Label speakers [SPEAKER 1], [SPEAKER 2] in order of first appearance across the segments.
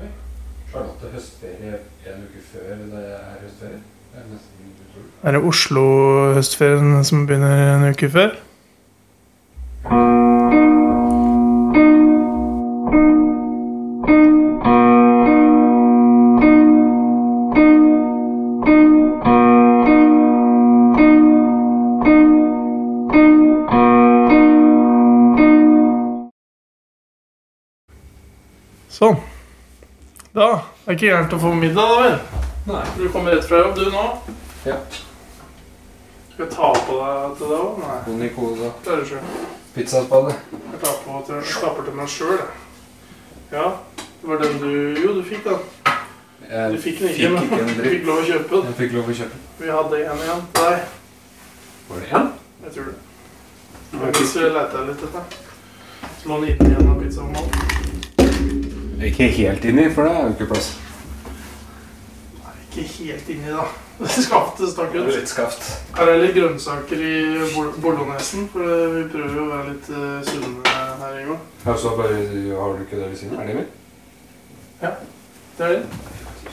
[SPEAKER 1] Oi. Charlotte høstferie en uke før det er høstferie. Det er nesten utrolig.
[SPEAKER 2] Er det Oslo-høstferien som begynner en uke før? Sånn. Da det er ikke gærent å få middag, da vel? Nei. Du kommer rett fra jobb, du nå?
[SPEAKER 1] Ja.
[SPEAKER 2] Skal jeg ta på deg til det òg? Nei.
[SPEAKER 1] Og Nicola
[SPEAKER 2] Klarer ikke.
[SPEAKER 1] pizzaspanne.
[SPEAKER 2] Jeg tar på til, jeg tapper til meg sjøl, jeg. Ja. Det var den du Jo, du fikk den. Du
[SPEAKER 1] Jeg
[SPEAKER 2] fikk den ikke, men
[SPEAKER 1] fikk ikke en
[SPEAKER 2] du
[SPEAKER 1] dritt.
[SPEAKER 2] fikk lov å kjøpe den.
[SPEAKER 1] jeg fikk lov å kjøpe.
[SPEAKER 2] Vi hadde en igjen til deg.
[SPEAKER 1] Var det én?
[SPEAKER 2] Jeg tror det. Jeg hvis vi leter litt etter. Så må den inn igjen av pizzaen.
[SPEAKER 1] Ikke helt inni, for det er jo ikke plass.
[SPEAKER 2] Nei, ikke helt inni, da. Det skapte stakk ut.
[SPEAKER 1] litt skaft.
[SPEAKER 2] Her er litt grønnsaker i bol- bolognesen, for eh, vi prøver jo å være litt eh, sunnere her i går.
[SPEAKER 1] Og så bare har du ikke det ved siden av? Er det min?
[SPEAKER 2] Det er det.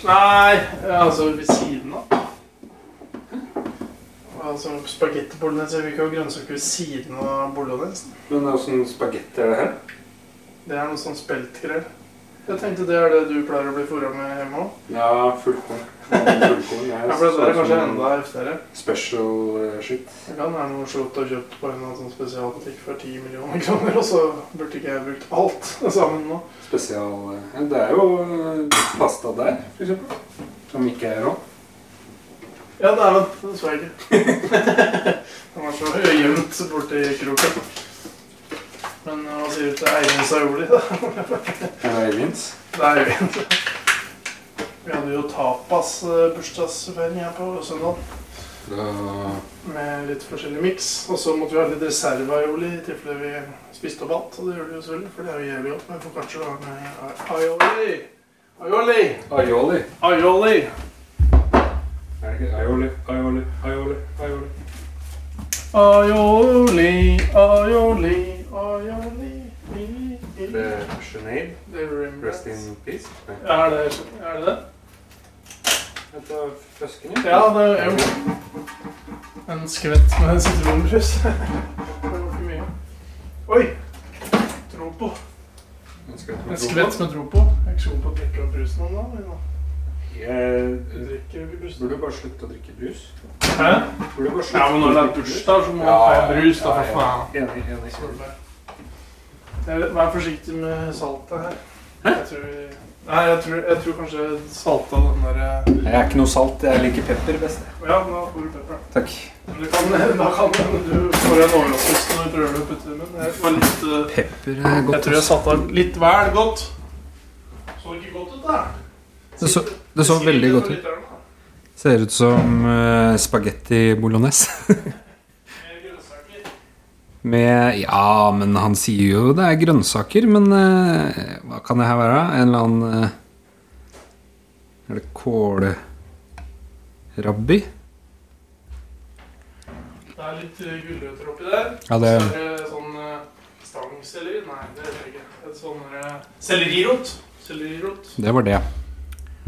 [SPEAKER 2] Nei, ja, altså ved siden av. Altså spagetti bolognese, jeg vil ikke ha grønnsaker ved siden av bolognesen.
[SPEAKER 1] Men åssen spagetti er det her?
[SPEAKER 2] Det er noe sånn speltgreier. Jeg tenkte det er det du pleier å bli fôra med hjemme òg.
[SPEAKER 1] Ja, fullkorn. Fullkorn.
[SPEAKER 2] Ja, for det der er
[SPEAKER 1] sånn-
[SPEAKER 2] kanskje enda heftigere.
[SPEAKER 1] special eh, shit.
[SPEAKER 2] Det kan være noe slått og kjøpt på en eller annen sånn spesialbutikk for 10 millioner kroner, og så burde ikke jeg brukt alt sammen nå.
[SPEAKER 1] Spesial eh, ja, Det er jo eh, pasta der, for eksempel. Som ikke er rå.
[SPEAKER 2] Ja, det er det. Det så jeg ikke. Den var så gjemt borti kroken. Men hva sier du til Eivind Sauli, da?
[SPEAKER 1] Er det Eivinds?
[SPEAKER 2] Det er Eivind. Vi hadde jo tapas-bursdagsfeiring her på søndag.
[SPEAKER 1] Da
[SPEAKER 2] Med litt forskjellig miks. Og så måtte vi ha litt reserve-aioli i tilfelle vi spiste opp alt. Og det gjør det jo selvfølgelig, for det er jo jævlig godt. Men vi får kanskje ha med aioli. Aioli!
[SPEAKER 1] Aioli.
[SPEAKER 2] Aioli!
[SPEAKER 1] Er det ikke aioli, aioli, aioli, aioli?
[SPEAKER 2] Aioli, aioli, aioli. i- i-
[SPEAKER 1] Det er Sinead.
[SPEAKER 2] Det er Rim
[SPEAKER 1] Rest
[SPEAKER 2] Rats.
[SPEAKER 1] in peace. Nei.
[SPEAKER 2] Ja, Er det er det? det?
[SPEAKER 1] Dette er føsken, ja.
[SPEAKER 2] Ja, det er jo en skvett med sitronbrus. det var ikke mye. Oi! Tropo.
[SPEAKER 1] En skvett
[SPEAKER 2] En
[SPEAKER 1] med
[SPEAKER 2] skvett
[SPEAKER 1] blodvann.
[SPEAKER 2] med tropo. Jeg er ikke så god på å drikke opp brusen om dagen. men nå. Vi
[SPEAKER 1] Jeg
[SPEAKER 2] drikker jo ikke brus.
[SPEAKER 1] burde bare slutte å drikke brus.
[SPEAKER 2] Hæ?
[SPEAKER 1] Burde bare slutte
[SPEAKER 2] Ja, men når det er bursdag, så må man ha brus, da, for faen.
[SPEAKER 1] Enig, enig.
[SPEAKER 2] Jeg vet- Vær forsiktig med saltet her. Jeg tror, nei, jeg tror, jeg tror kanskje jeg salta den der eh,
[SPEAKER 1] Jeg er ikke noe salt. Jeg liker pepper best.
[SPEAKER 2] Ja, nå får du pepper.
[SPEAKER 1] Takk.
[SPEAKER 2] Du kan, da kan du få en overraskelse når du prøver å putte det i munnen. Jeg, var litt, eh,
[SPEAKER 1] Pepper er
[SPEAKER 2] jeg tror jeg satte av litt vel godt. Så ikke godt ut, da.
[SPEAKER 1] Det så, det så veldig godt ut. Ser ut som eh, spagetti bolognese. Med Ja, men han sier jo det er grønnsaker, men eh, hva kan det her være? En eller annen eh, Er det kålrabbi?
[SPEAKER 2] Det er litt eh, gulrøtter oppi der.
[SPEAKER 1] Ja,
[SPEAKER 2] Så
[SPEAKER 1] det
[SPEAKER 2] er det sånn eh, stangselleri Nei, det er det ikke. Et sånn eh, sellerirot. Sellerirot.
[SPEAKER 1] Det var det.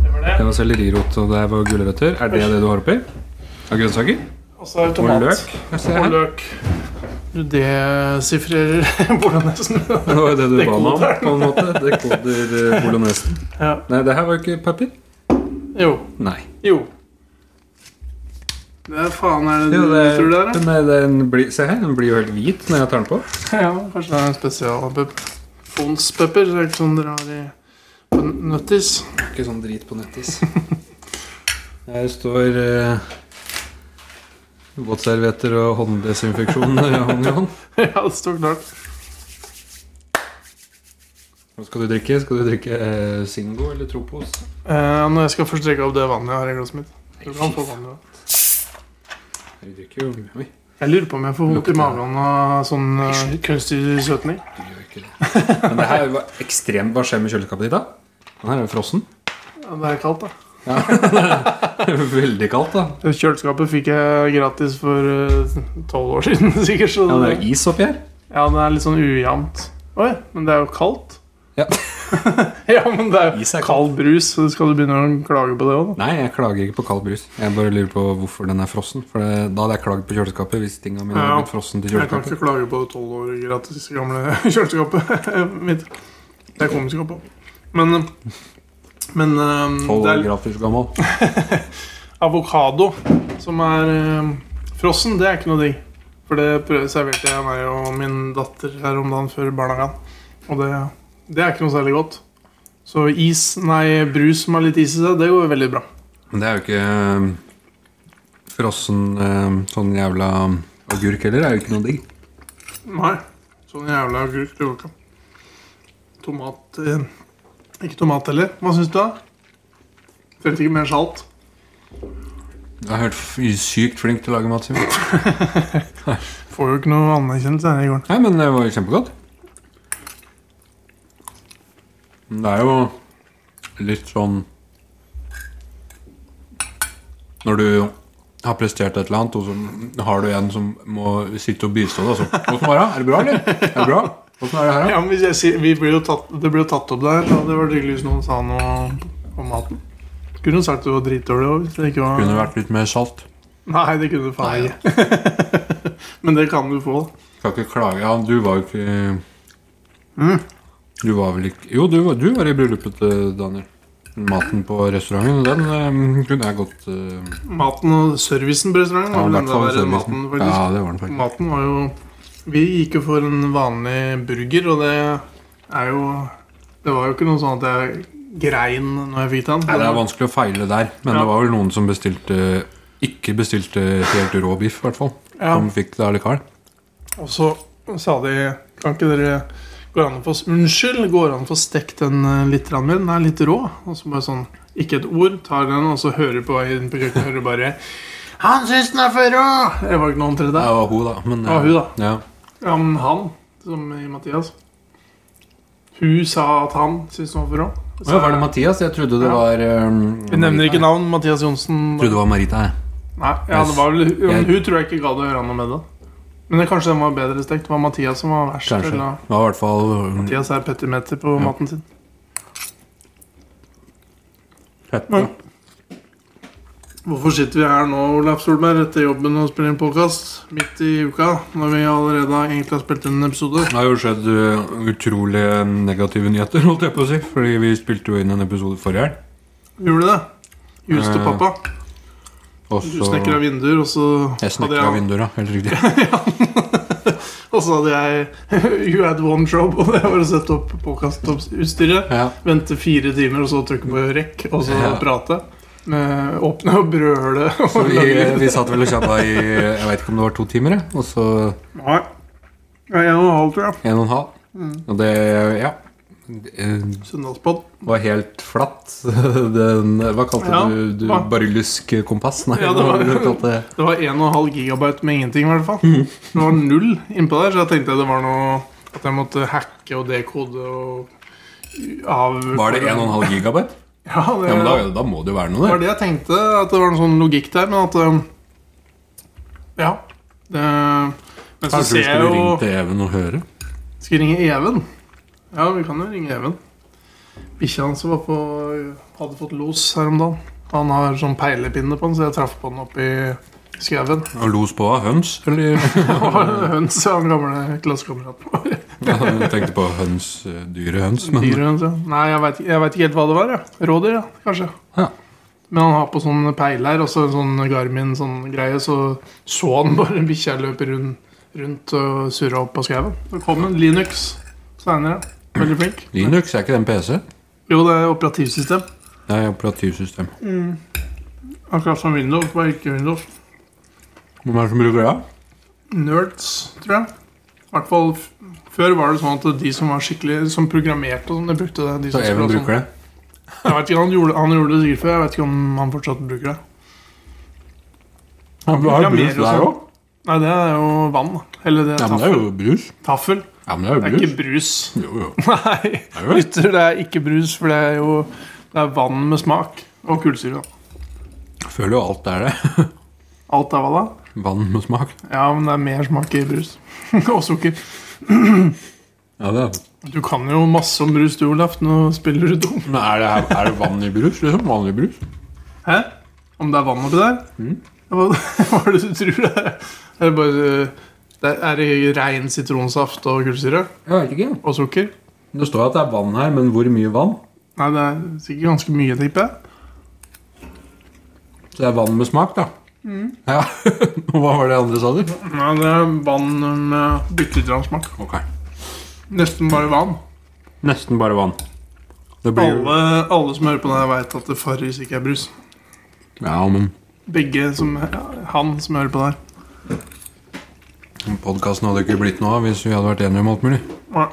[SPEAKER 2] Det var det.
[SPEAKER 1] Det var sellerirot, og det var gulrøtter. Er det det du har oppi? Av grønnsaker?
[SPEAKER 2] Og så er det
[SPEAKER 1] Og
[SPEAKER 2] tomat.
[SPEAKER 1] løk? Jeg ser
[SPEAKER 2] Og
[SPEAKER 1] her.
[SPEAKER 2] løk. Du desifrerer bolognesen.
[SPEAKER 1] Det var jo det du ba meg om,
[SPEAKER 2] Dekoder.
[SPEAKER 1] på en måte. Dekoder eh, bolognesen.
[SPEAKER 2] Ja.
[SPEAKER 1] Nei, det her var jo ikke papir.
[SPEAKER 2] Jo.
[SPEAKER 1] Nei.
[SPEAKER 2] Jo. Det er faen er det du
[SPEAKER 1] Jo, det-
[SPEAKER 2] tror det er? da?
[SPEAKER 1] Den, er- den blir, se her, den blir jo helt hvit når jeg tar den på.
[SPEAKER 2] Ja, kanskje det er en spesialpepper. Fonspepper, det er ikke sånn dere har i på nøttis.
[SPEAKER 1] Ikke sånn drit på nettis. Her står eh, våtservietter og hånddesinfeksjon eh, hånd i hånd.
[SPEAKER 2] ja, det står klart.
[SPEAKER 1] Hva skal du drikke? Skal du drikke eh, Singo eller Tropos?
[SPEAKER 2] Eh, når jeg skal først drikke opp det vannet jeg har i glasset mitt. Du kan få vann, da.
[SPEAKER 1] Vi drikker jo Oi,
[SPEAKER 2] Jeg lurer på om jeg får vondt i
[SPEAKER 1] Lukter.
[SPEAKER 2] magen av sånn eh, kunstig søtning.
[SPEAKER 1] du gjør ikke det. Men det her var ekstremt Hva skjer med kjøleskapet ditt, da? Den her er jo frossen.
[SPEAKER 2] Ja, det er kaldt, da.
[SPEAKER 1] Veldig kaldt, da.
[SPEAKER 2] Det Kjøleskapet fikk jeg gratis for eh, tolv år siden, sikkert. Så
[SPEAKER 1] Ja, det er jo is oppi her.
[SPEAKER 2] ja, det er litt sånn ujevnt. Oi, men det er jo kaldt.
[SPEAKER 1] Ja.
[SPEAKER 2] Ja, men det er
[SPEAKER 3] Is
[SPEAKER 2] jo
[SPEAKER 3] er
[SPEAKER 2] kald brus, så skal du begynne å klage på det òg, da.
[SPEAKER 1] Nei, jeg klager ikke på kald brus. Jeg bare lurer på hvorfor den er frossen. For det, da hadde jeg klagd på kjøleskapet hvis tingene mine
[SPEAKER 2] Ja.
[SPEAKER 1] hadde blitt frossen til
[SPEAKER 2] Jeg kan ikke
[SPEAKER 1] kjøleskapet.
[SPEAKER 2] klage på tolv år gratis i gamle kjøleskapet mitt. Det kommer vi ikke opp på. Men, eh, men um,
[SPEAKER 1] Tolv
[SPEAKER 2] det
[SPEAKER 1] år
[SPEAKER 2] er
[SPEAKER 1] gratis gammel.
[SPEAKER 2] avokado som er um, frossen. Det er ikke noe digg. For det prøv- serverte jeg meg og min datter her om dagen før barnehagen. Og det, det er ikke noe særlig godt. Så is, nei, brus som har litt is i seg, det går veldig bra.
[SPEAKER 1] Men det er jo ikke øhm, frossen øhm, sånn jævla agurk heller. Det er jo ikke noe digg.
[SPEAKER 2] Nei. Sånn jævla agurk det går ikke. Tomat eh, Ikke tomat heller. Hva syns du, da? Trengte ikke mer salt.
[SPEAKER 1] Jeg har hørt f- sykt flink til å lage mat, Simon.
[SPEAKER 2] Får jo ikke noe anerkjennelse her i gården.
[SPEAKER 1] Nei, men det var jo kjempegodt. Men det er jo litt sånn Når du har prestert et eller annet, og så har du en som må sitte og bistå deg, så 'Åssen var det? Er det bra, eller? Er det bra? Åssen er det her, da?'
[SPEAKER 2] Ja, men hvis jeg sier, vi blir jo tatt, Det blir jo tatt opp der, og det var hyggelig hvis noen sa noe om maten. Kunne jo sagt det var dritdårlig òg, hvis det ikke var
[SPEAKER 1] Kunne vært litt mer salt.
[SPEAKER 2] Nei, det kunne du faen ikke. men det kan du få.
[SPEAKER 1] Skal ikke klage. Ja, du var jo ikke
[SPEAKER 2] Mm.
[SPEAKER 1] Du var vel ikke Jo, du var, du var i bryllupet til Daniel. Maten på restauranten, den eh, kunne jeg godt eh,
[SPEAKER 2] Maten og servicen på restauranten
[SPEAKER 1] Ja, i
[SPEAKER 2] var vel
[SPEAKER 1] hvert fall
[SPEAKER 2] enda verre
[SPEAKER 1] servicen.
[SPEAKER 2] enn maten. faktisk.
[SPEAKER 1] Ja, det var den faktisk.
[SPEAKER 2] Maten var jo Vi gikk jo for en vanlig burger, og det er jo Det var jo ikke noe sånn at jeg grein når jeg fikk den.
[SPEAKER 1] Nei, det er vanskelig å feile der, men
[SPEAKER 2] Ja.
[SPEAKER 1] det var vel noen som bestilte ikke bestilte helt rå biff, i hvert fall.
[SPEAKER 2] Ja.
[SPEAKER 1] Som fikk det allikevel.
[SPEAKER 2] Og så sa de Kan ikke dere Går det an å få Unnskyld, går det an å få stekt den eh, litt grann mer? Den er litt rå. Og så bare sånn Ikke et ord. Tar den, og så hører på vei inn på kjøkkenet hører bare Han syns den er for rå! Det var ikke noe omtrent
[SPEAKER 1] Det
[SPEAKER 2] der.
[SPEAKER 1] var hun, da. Men, eh,
[SPEAKER 2] Det var hun, da.
[SPEAKER 1] Ja.
[SPEAKER 2] Ja, men han, som i Mathias Hun sa at han syntes den var for rå.
[SPEAKER 1] Å, var det Mathias? Jeg trodde det
[SPEAKER 2] Ja.
[SPEAKER 1] var um,
[SPEAKER 2] Vi nevner ikke
[SPEAKER 1] Marita.
[SPEAKER 2] navn. Mathias Johnsen.
[SPEAKER 1] Jeg trodde det var Marita, jeg.
[SPEAKER 2] Nei, ja, det var vel, hun,
[SPEAKER 1] Jeg-
[SPEAKER 2] hun tror jeg ikke gadd å gjøre noe med det. Men det, kanskje den var bedre stekt. Det var Mathias som var verst.
[SPEAKER 1] Kanskje.
[SPEAKER 2] Eller,
[SPEAKER 1] Det var i hvert fall um,
[SPEAKER 2] Mathias er petimeter på maten sin.
[SPEAKER 1] fett, da.
[SPEAKER 2] Men- Hvorfor sitter vi her nå, Olaf Solberg, etter jobben og spiller inn podkast midt i uka? Når vi allerede egentlig har spilt inn en episode?
[SPEAKER 1] Det har jo skjedd uh, utrolig negative nyheter, holdt jeg på å si. Fordi vi spilte jo inn en episode forrige helg.
[SPEAKER 2] Gjorde det? Jus til
[SPEAKER 1] Eh,
[SPEAKER 2] pappa.
[SPEAKER 1] Og
[SPEAKER 2] Du
[SPEAKER 1] så
[SPEAKER 2] snekra vinduer, og så
[SPEAKER 1] Jeg snekra
[SPEAKER 2] jeg,
[SPEAKER 1] vinduer, ja. Helt riktig.
[SPEAKER 2] Og så hadde jeg You had one job, og det var å sette opp podkastutstyret.
[SPEAKER 1] Ja.
[SPEAKER 2] Vente fire timer, og så trykke på rekk, og så
[SPEAKER 1] Ja.
[SPEAKER 2] prate. Med åpne og brøle.
[SPEAKER 1] Så vi, vi satt vel og tjabba i Jeg veit ikke om det var to timer, jeg. Og så
[SPEAKER 2] Nei. Ja, en og en halv, tror jeg.
[SPEAKER 1] en og en halv. Og det Ja. Det- eh,
[SPEAKER 2] Søndagspod.
[SPEAKER 1] var helt flatt. Den, hva kalte
[SPEAKER 2] Ja,
[SPEAKER 1] du, du
[SPEAKER 2] hva?
[SPEAKER 1] Barylysk kompass? Nei,
[SPEAKER 2] Ja, det
[SPEAKER 1] hva
[SPEAKER 2] var-
[SPEAKER 1] du kalte
[SPEAKER 2] Det var en og en halv gigabyte med ingenting, i hvert fall. Det var null innpå der, så jeg tenkte det var noe At jeg måtte hacke og dekode og av
[SPEAKER 1] Var det 1,5 gigabyte?
[SPEAKER 2] Ja, det,
[SPEAKER 1] Ja, men da, da må det jo være
[SPEAKER 2] det
[SPEAKER 1] noe
[SPEAKER 2] var
[SPEAKER 1] der.
[SPEAKER 2] det jeg tenkte. At det var noe sånn logikk der, men at um, Ja. Det, men så
[SPEAKER 1] Kanskje vi
[SPEAKER 2] ser jeg
[SPEAKER 1] skulle
[SPEAKER 2] jo
[SPEAKER 1] ringe til Even og høre?
[SPEAKER 2] Skal vi ringe Even? Ja, vi kan jo ringe Even. Bikkja hans var på, hadde fått los her om dagen. Han har sånn peilepinne på den, så jeg traff på den oppi skauen.
[SPEAKER 1] Og Los på av høns, eller?
[SPEAKER 2] Og Høns er den gamle klassekameraten vår.
[SPEAKER 1] Jeg tenkte på høns, eh, dyre høns, men
[SPEAKER 2] Dyr, høns, ja. Nei, jeg veit ikke helt hva det var. Ja. Rådyr, ja, kanskje.
[SPEAKER 1] Ja.
[SPEAKER 2] Men han har på sånn peiler og så en sånn Garmin-greie, så så han bare bikkja løpe rundt, rundt og surra opp på skauen. Så kom en Linux seinere. Veldig flink.
[SPEAKER 1] Linux er ikke den PC?
[SPEAKER 2] Jo, det er operativsystem.
[SPEAKER 1] Det er operativsystem.
[SPEAKER 2] Akkurat som Windows, bare ikke Windows.
[SPEAKER 1] Hvem er det som bruker det?
[SPEAKER 2] Nerds, tror jeg. I hvert fall f- før var det sånn at de som var skikkelig Som programmerte og sånn, de brukte det. De
[SPEAKER 1] Så
[SPEAKER 2] som
[SPEAKER 1] Even
[SPEAKER 2] skulle ha
[SPEAKER 1] bruker det?
[SPEAKER 2] sånn. Jeg vet ikke, han gjorde, han gjorde det sikkert før. Jeg vet ikke om han fortsatt bruker det.
[SPEAKER 1] Ja, men det er jo
[SPEAKER 2] Programmerer
[SPEAKER 1] brus
[SPEAKER 2] og
[SPEAKER 1] der
[SPEAKER 2] sånn.
[SPEAKER 1] òg.
[SPEAKER 2] Nei, det er jo vann. Eller det er
[SPEAKER 1] Ja, men det er
[SPEAKER 2] taffel.
[SPEAKER 1] jo brus.
[SPEAKER 2] taffel.
[SPEAKER 1] Ja, men det
[SPEAKER 2] Det
[SPEAKER 1] er
[SPEAKER 2] er
[SPEAKER 1] jo
[SPEAKER 2] ikke
[SPEAKER 1] brus.
[SPEAKER 2] brus.
[SPEAKER 1] Jo, jo.
[SPEAKER 2] Nei,
[SPEAKER 1] er jo det.
[SPEAKER 2] lytter, det er ikke brus, for det er jo Det er vann med smak. Og kullsyre. da.
[SPEAKER 1] Jeg føler jo alt er det.
[SPEAKER 2] Alt er hva da?
[SPEAKER 1] Vann med smak.
[SPEAKER 2] Ja, men det er mer smak i brus. og sukker.
[SPEAKER 1] Ja, det er.
[SPEAKER 2] Du kan jo masse om brus, du, Olaf. Nå spiller du dum.
[SPEAKER 1] Men er det, her, er det vann i brus? Liksom? Vanlig brus?
[SPEAKER 2] Hæ? Om det er vann oppi der?
[SPEAKER 1] Mhm.
[SPEAKER 2] Hva, hva er det du tror det er? Er det bare eh, det er, er det rein sitronsaft og kullsyre?
[SPEAKER 1] Jeg vet ikke.
[SPEAKER 2] Og sukker?
[SPEAKER 1] Det står at det er vann her, men hvor mye vann?
[SPEAKER 2] Nei, det er sikkert ganske mye, tipper jeg.
[SPEAKER 1] Så det er vann med smak, da.
[SPEAKER 2] Mm.
[SPEAKER 1] Ja. Hva var det andre sa du?
[SPEAKER 2] Nei, det er vann med bitte litt smak.
[SPEAKER 1] Ok.
[SPEAKER 2] Nesten bare vann.
[SPEAKER 1] Nesten bare vann. Det blir jo
[SPEAKER 2] Alle, alle som hører på det her, veit at Farris ikke er brus.
[SPEAKER 1] Ja, men
[SPEAKER 2] Begge som Han som hører på det her.
[SPEAKER 1] podkasten hadde ikke blitt noe av hvis vi hadde vært enige om alt mulig.
[SPEAKER 2] Nei.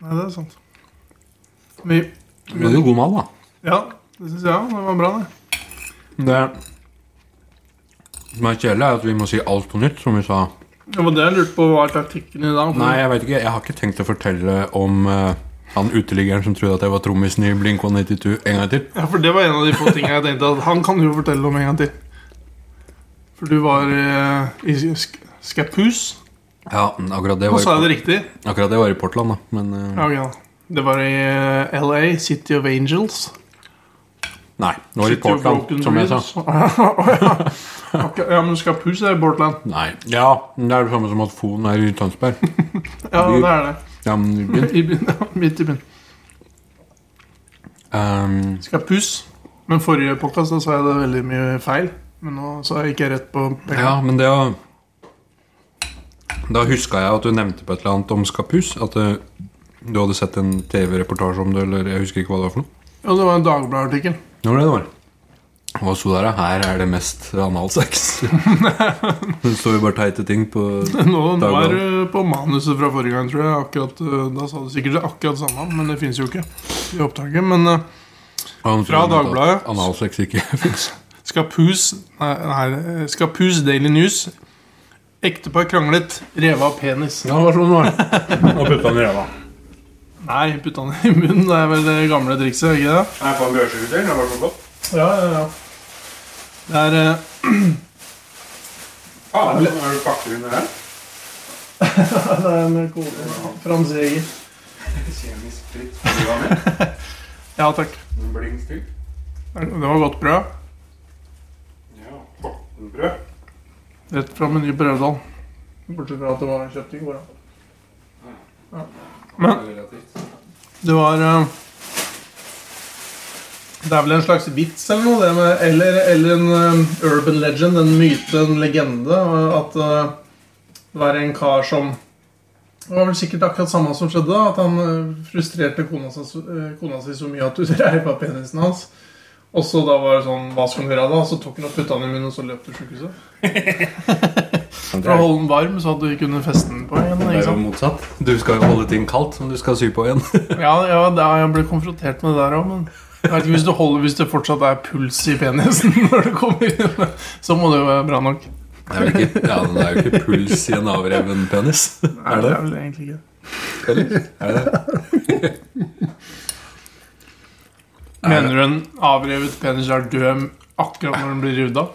[SPEAKER 2] Nei, det er sant. Vi,
[SPEAKER 1] Det er jo god mat, da.
[SPEAKER 2] ja, det syns jeg. Det var bra, det.
[SPEAKER 1] Det som er kjedelig, er at vi må si alt på nytt, som vi sa.
[SPEAKER 2] Det var det jeg lurte på. Hva er taktikken i dag? For-
[SPEAKER 1] Nei, jeg vet ikke. Jeg har ikke tenkt å fortelle om eh, han uteliggeren som trodde at jeg var trommisen i Blink 192 en gang til.
[SPEAKER 2] Ja, for det var en av de få tingene jeg tenkte at han kan du jo fortelle om en gang til. For du var eh, i Sk- Skapus,
[SPEAKER 1] Ja, men akkurat det
[SPEAKER 2] og
[SPEAKER 1] var,
[SPEAKER 2] sa
[SPEAKER 1] i,
[SPEAKER 2] jeg det riktig?
[SPEAKER 1] akkurat det var i Portland, da. Men eh,
[SPEAKER 2] Ja, ok da. Det var i eh, LA, City of Angels.
[SPEAKER 1] nei, det var i
[SPEAKER 2] City of
[SPEAKER 1] Portland,
[SPEAKER 2] Broken
[SPEAKER 1] som jeg sa.
[SPEAKER 2] Dreams. Å, ja. Ok, ja, men Skapus er i Bortland.
[SPEAKER 1] Nei. Ja, men det er det samme som at Fon er i Tønsberg.
[SPEAKER 2] Ja,
[SPEAKER 1] Vi-
[SPEAKER 2] det er det.
[SPEAKER 1] Ja, men i byen.
[SPEAKER 2] I byen, ja, Midt i byen.
[SPEAKER 1] Ehm,
[SPEAKER 2] Skapus. Men forrige podcast da sa jeg det veldig mye feil. Men nå sa jeg ikke rett på pengene.
[SPEAKER 1] Ja, men det å Da huska jeg at du nevnte på et eller annet om Skapus. At eh, du hadde sett en TV-reportasje om det, eller jeg husker ikke hva det var for noe.
[SPEAKER 2] Ja, det var en Dagbladet-artikkel.
[SPEAKER 1] Det var det det var. Hva sto der, da? Her er det mest analsex. det står jo bare teite ting på
[SPEAKER 2] Nå, nå er
[SPEAKER 1] Dagbladet.
[SPEAKER 2] du på manuset fra forrige gang, tror jeg. Akkurat, øh, da sa du sikkert akkurat samme, men det fins jo ikke i opptaket. Men øh,
[SPEAKER 1] Han
[SPEAKER 2] Fra
[SPEAKER 1] sier at
[SPEAKER 2] Dagbladet.
[SPEAKER 1] Analsex ikke fins.
[SPEAKER 2] Skapus Nei, nei Skapus Daily News. Ektepar kranglet. Reva av penis.
[SPEAKER 1] Ja, det var sånn det var. Og putta den i ræva.
[SPEAKER 2] Nei, putta den i munnen. Det er vel det gamle trikset, er det ikke det?
[SPEAKER 1] Jeg fant brødskiveutdeling. Det var så godt.
[SPEAKER 2] Ja, ja, ja. Det er øh,
[SPEAKER 1] Ah, er det pakker under her?
[SPEAKER 2] Det er en kode. Frans Eger.
[SPEAKER 1] Kjemisk fritt. Du har med?
[SPEAKER 2] Ja, takk.
[SPEAKER 1] Bling stil.
[SPEAKER 2] Det var godt brød.
[SPEAKER 1] Ja. Brød.
[SPEAKER 2] Rett fra Meny på Rødal. Bortsett fra at det var kjøpt i går, da. Det var eh, Det er vel en slags vits eller noe, det med Eller, eller en eh, urban legend, en myte, en legende. eh, At eh, det var en kar som Det var vel sikkert akkurat samme som skjedde, da. At han eh, frustrerte kona, sa så- eh, kona si så mye at hun reipa penisen hans. Og så da var det sånn Hva skal hun gjøre da? Så tok han og putta den i munnen, og så løp til sjukehuset. For å holde den varm, så at du kunne feste den på igjen.
[SPEAKER 1] Det
[SPEAKER 2] Ikke
[SPEAKER 1] er jo
[SPEAKER 2] sant?
[SPEAKER 1] motsatt. Du skal jo holde ting kaldt som du skal sy på igjen.
[SPEAKER 2] Ja, ja da har jeg blitt konfrontert med det der òg, men jeg vet ikke hvis det holder hvis det fortsatt er puls i penisen når det kommer inn. Så må det jo være bra nok.
[SPEAKER 1] Det er, vel ikke, ja, men det er jo ikke puls i en avreven penis. Er det?
[SPEAKER 2] er vel egentlig ikke
[SPEAKER 1] Eller? Er det?
[SPEAKER 2] Mener du en avrevet penis er død akkurat når den blir revet av?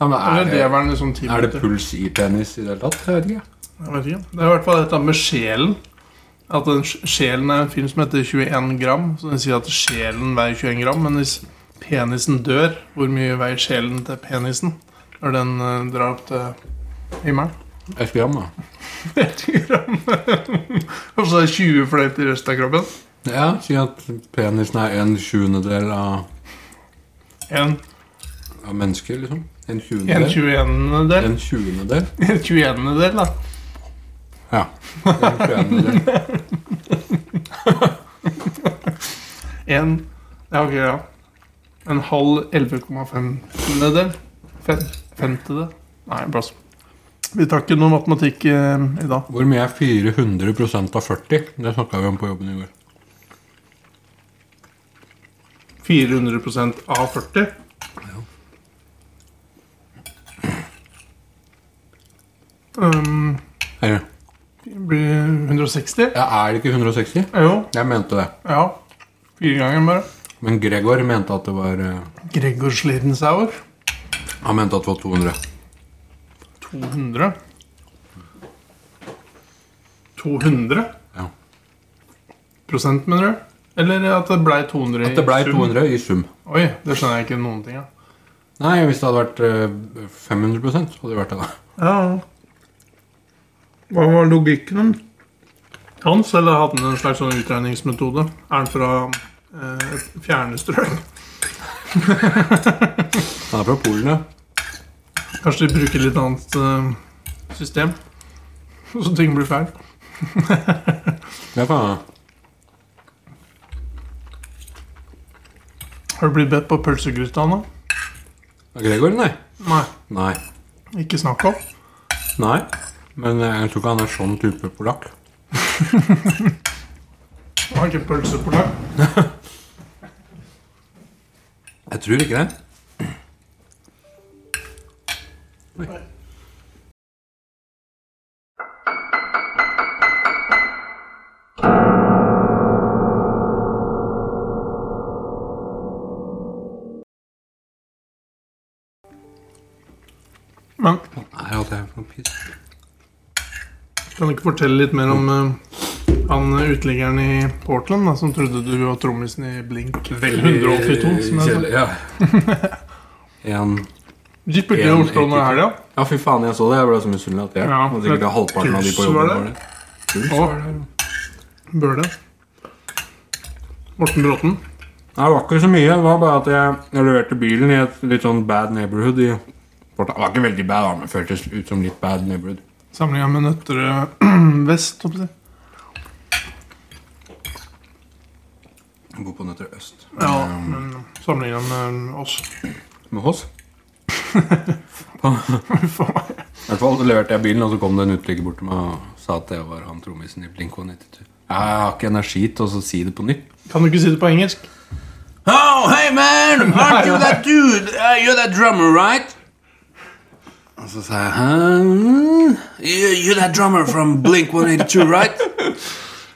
[SPEAKER 1] Ja, men er,
[SPEAKER 2] Eller det
[SPEAKER 1] det,
[SPEAKER 2] var den liksom ti
[SPEAKER 1] er det
[SPEAKER 2] minutter?
[SPEAKER 1] puls i penis i det hele tatt? Jeg vet ikke.
[SPEAKER 2] Jeg vet ikke. Det er i hvert fall dette med sjelen. At den, sj- Sjelen er en film som heter 21 gram. Så den sier at sjelen veier 21 gram. Men hvis penisen dør, hvor mye veier sjelen til penisen når den eh, drar opp til himmelen?
[SPEAKER 1] Et gram, da.
[SPEAKER 2] 30 gram. Og så er det 20 fløyt i resten av kroppen.
[SPEAKER 1] Ja, Si at penisen er en sjuendedel av,
[SPEAKER 2] En,
[SPEAKER 1] av mennesker, liksom. En
[SPEAKER 2] en
[SPEAKER 1] tjuendedel.
[SPEAKER 2] 21-del.
[SPEAKER 1] En tjuendedel.
[SPEAKER 2] En 21-del, da.
[SPEAKER 1] Ja. En tjuendedel.
[SPEAKER 2] En Ja, ok, ja. En halv 11,5-del. Femtedel. Nei, plass. Vi tar ikke noe matematikk eh, i dag.
[SPEAKER 1] Hvor mye er 400 av 40? Det snakka vi om på jobben i går.
[SPEAKER 2] 400 av 40. Um,
[SPEAKER 1] Eller,
[SPEAKER 2] det blir 160?
[SPEAKER 1] ja, er det ikke 160?
[SPEAKER 2] Jo.
[SPEAKER 1] Jeg mente det.
[SPEAKER 2] Ja. Fire ganger bare.
[SPEAKER 1] Men Gregor mente at det var eh,
[SPEAKER 2] Gregor Slidensauer.
[SPEAKER 1] Han mente at det var 200.
[SPEAKER 2] 200. 200
[SPEAKER 1] Ja.
[SPEAKER 2] prosent, mener du? Eller at det blei 200
[SPEAKER 1] At det blei 200 i sum.
[SPEAKER 2] Oi, det skjønner jeg ikke noen ting av.
[SPEAKER 1] Nei, hvis det hadde vært eh, 500 så hadde det vært det. da.
[SPEAKER 2] Ja. Hva var logikken hans? Eller hadde han en slags sånn utregningsmetode? Er han fra eh, fjerne strøk?
[SPEAKER 1] Han er fra Polen, ja.
[SPEAKER 2] Kanskje de bruker litt annet eh, system? Så ting blir feil.
[SPEAKER 1] Ja, faen.
[SPEAKER 2] Har du blitt bedt på pølsegryta nå?
[SPEAKER 1] Gregor, nei.
[SPEAKER 2] Nei,
[SPEAKER 1] Nei.
[SPEAKER 2] ikke snakk om.
[SPEAKER 1] Nei. Men jeg tror ikke han er sånn type polakk.
[SPEAKER 2] Jeg har ikke pølse på lag.
[SPEAKER 1] Jeg tror ikke det.
[SPEAKER 2] Men
[SPEAKER 1] Nei, at jeg er for piss.
[SPEAKER 2] kan du ikke fortelle litt mer om eh, han uteliggeren i Portland da, som trodde du var trommisen i Blink 182? som jeg sa?
[SPEAKER 1] Kjedelig, Ja. En
[SPEAKER 2] De spilte i
[SPEAKER 1] En-
[SPEAKER 2] Oslo nå i helga.
[SPEAKER 1] Ja, fy faen, jeg så det. Jeg ble så misunnelig at jeg
[SPEAKER 2] Ja,
[SPEAKER 1] og sikkert
[SPEAKER 2] det-
[SPEAKER 1] halvparten av de på
[SPEAKER 2] Puls
[SPEAKER 1] jobben
[SPEAKER 2] var
[SPEAKER 1] var
[SPEAKER 2] det.
[SPEAKER 1] det. Puls
[SPEAKER 2] Å.
[SPEAKER 1] var det. Nei,
[SPEAKER 2] Bøle. Morten Bråten.
[SPEAKER 1] det var ikke så mye. Det var bare at jeg, jeg leverte bilen i et litt sånn bad neighborhood i Porta. Det var ikke veldig bad, da, men føltes ut som litt bad neighborhood.
[SPEAKER 2] Samlinga med Nøtterøe vest. holdt jeg på å si.
[SPEAKER 1] Jeg bor på Nøtterøy øst.
[SPEAKER 2] Ja,
[SPEAKER 1] Um,
[SPEAKER 2] men sammenligna med oss.
[SPEAKER 1] Med oss.
[SPEAKER 2] Faen meg.
[SPEAKER 1] I hvert fall leverte jeg bilen, og så kom det en uteligger bort til meg og sa at jeg var han trommisen i Blink 192. Jeg har ikke energi til å si det på nytt.
[SPEAKER 2] Kan du ikke si det på engelsk?
[SPEAKER 1] Oh, hey man! Aren't you that dude? Uh, you're that drummer, right? Og så sa jeg huh? You- You're that drummer from Blink 182, right?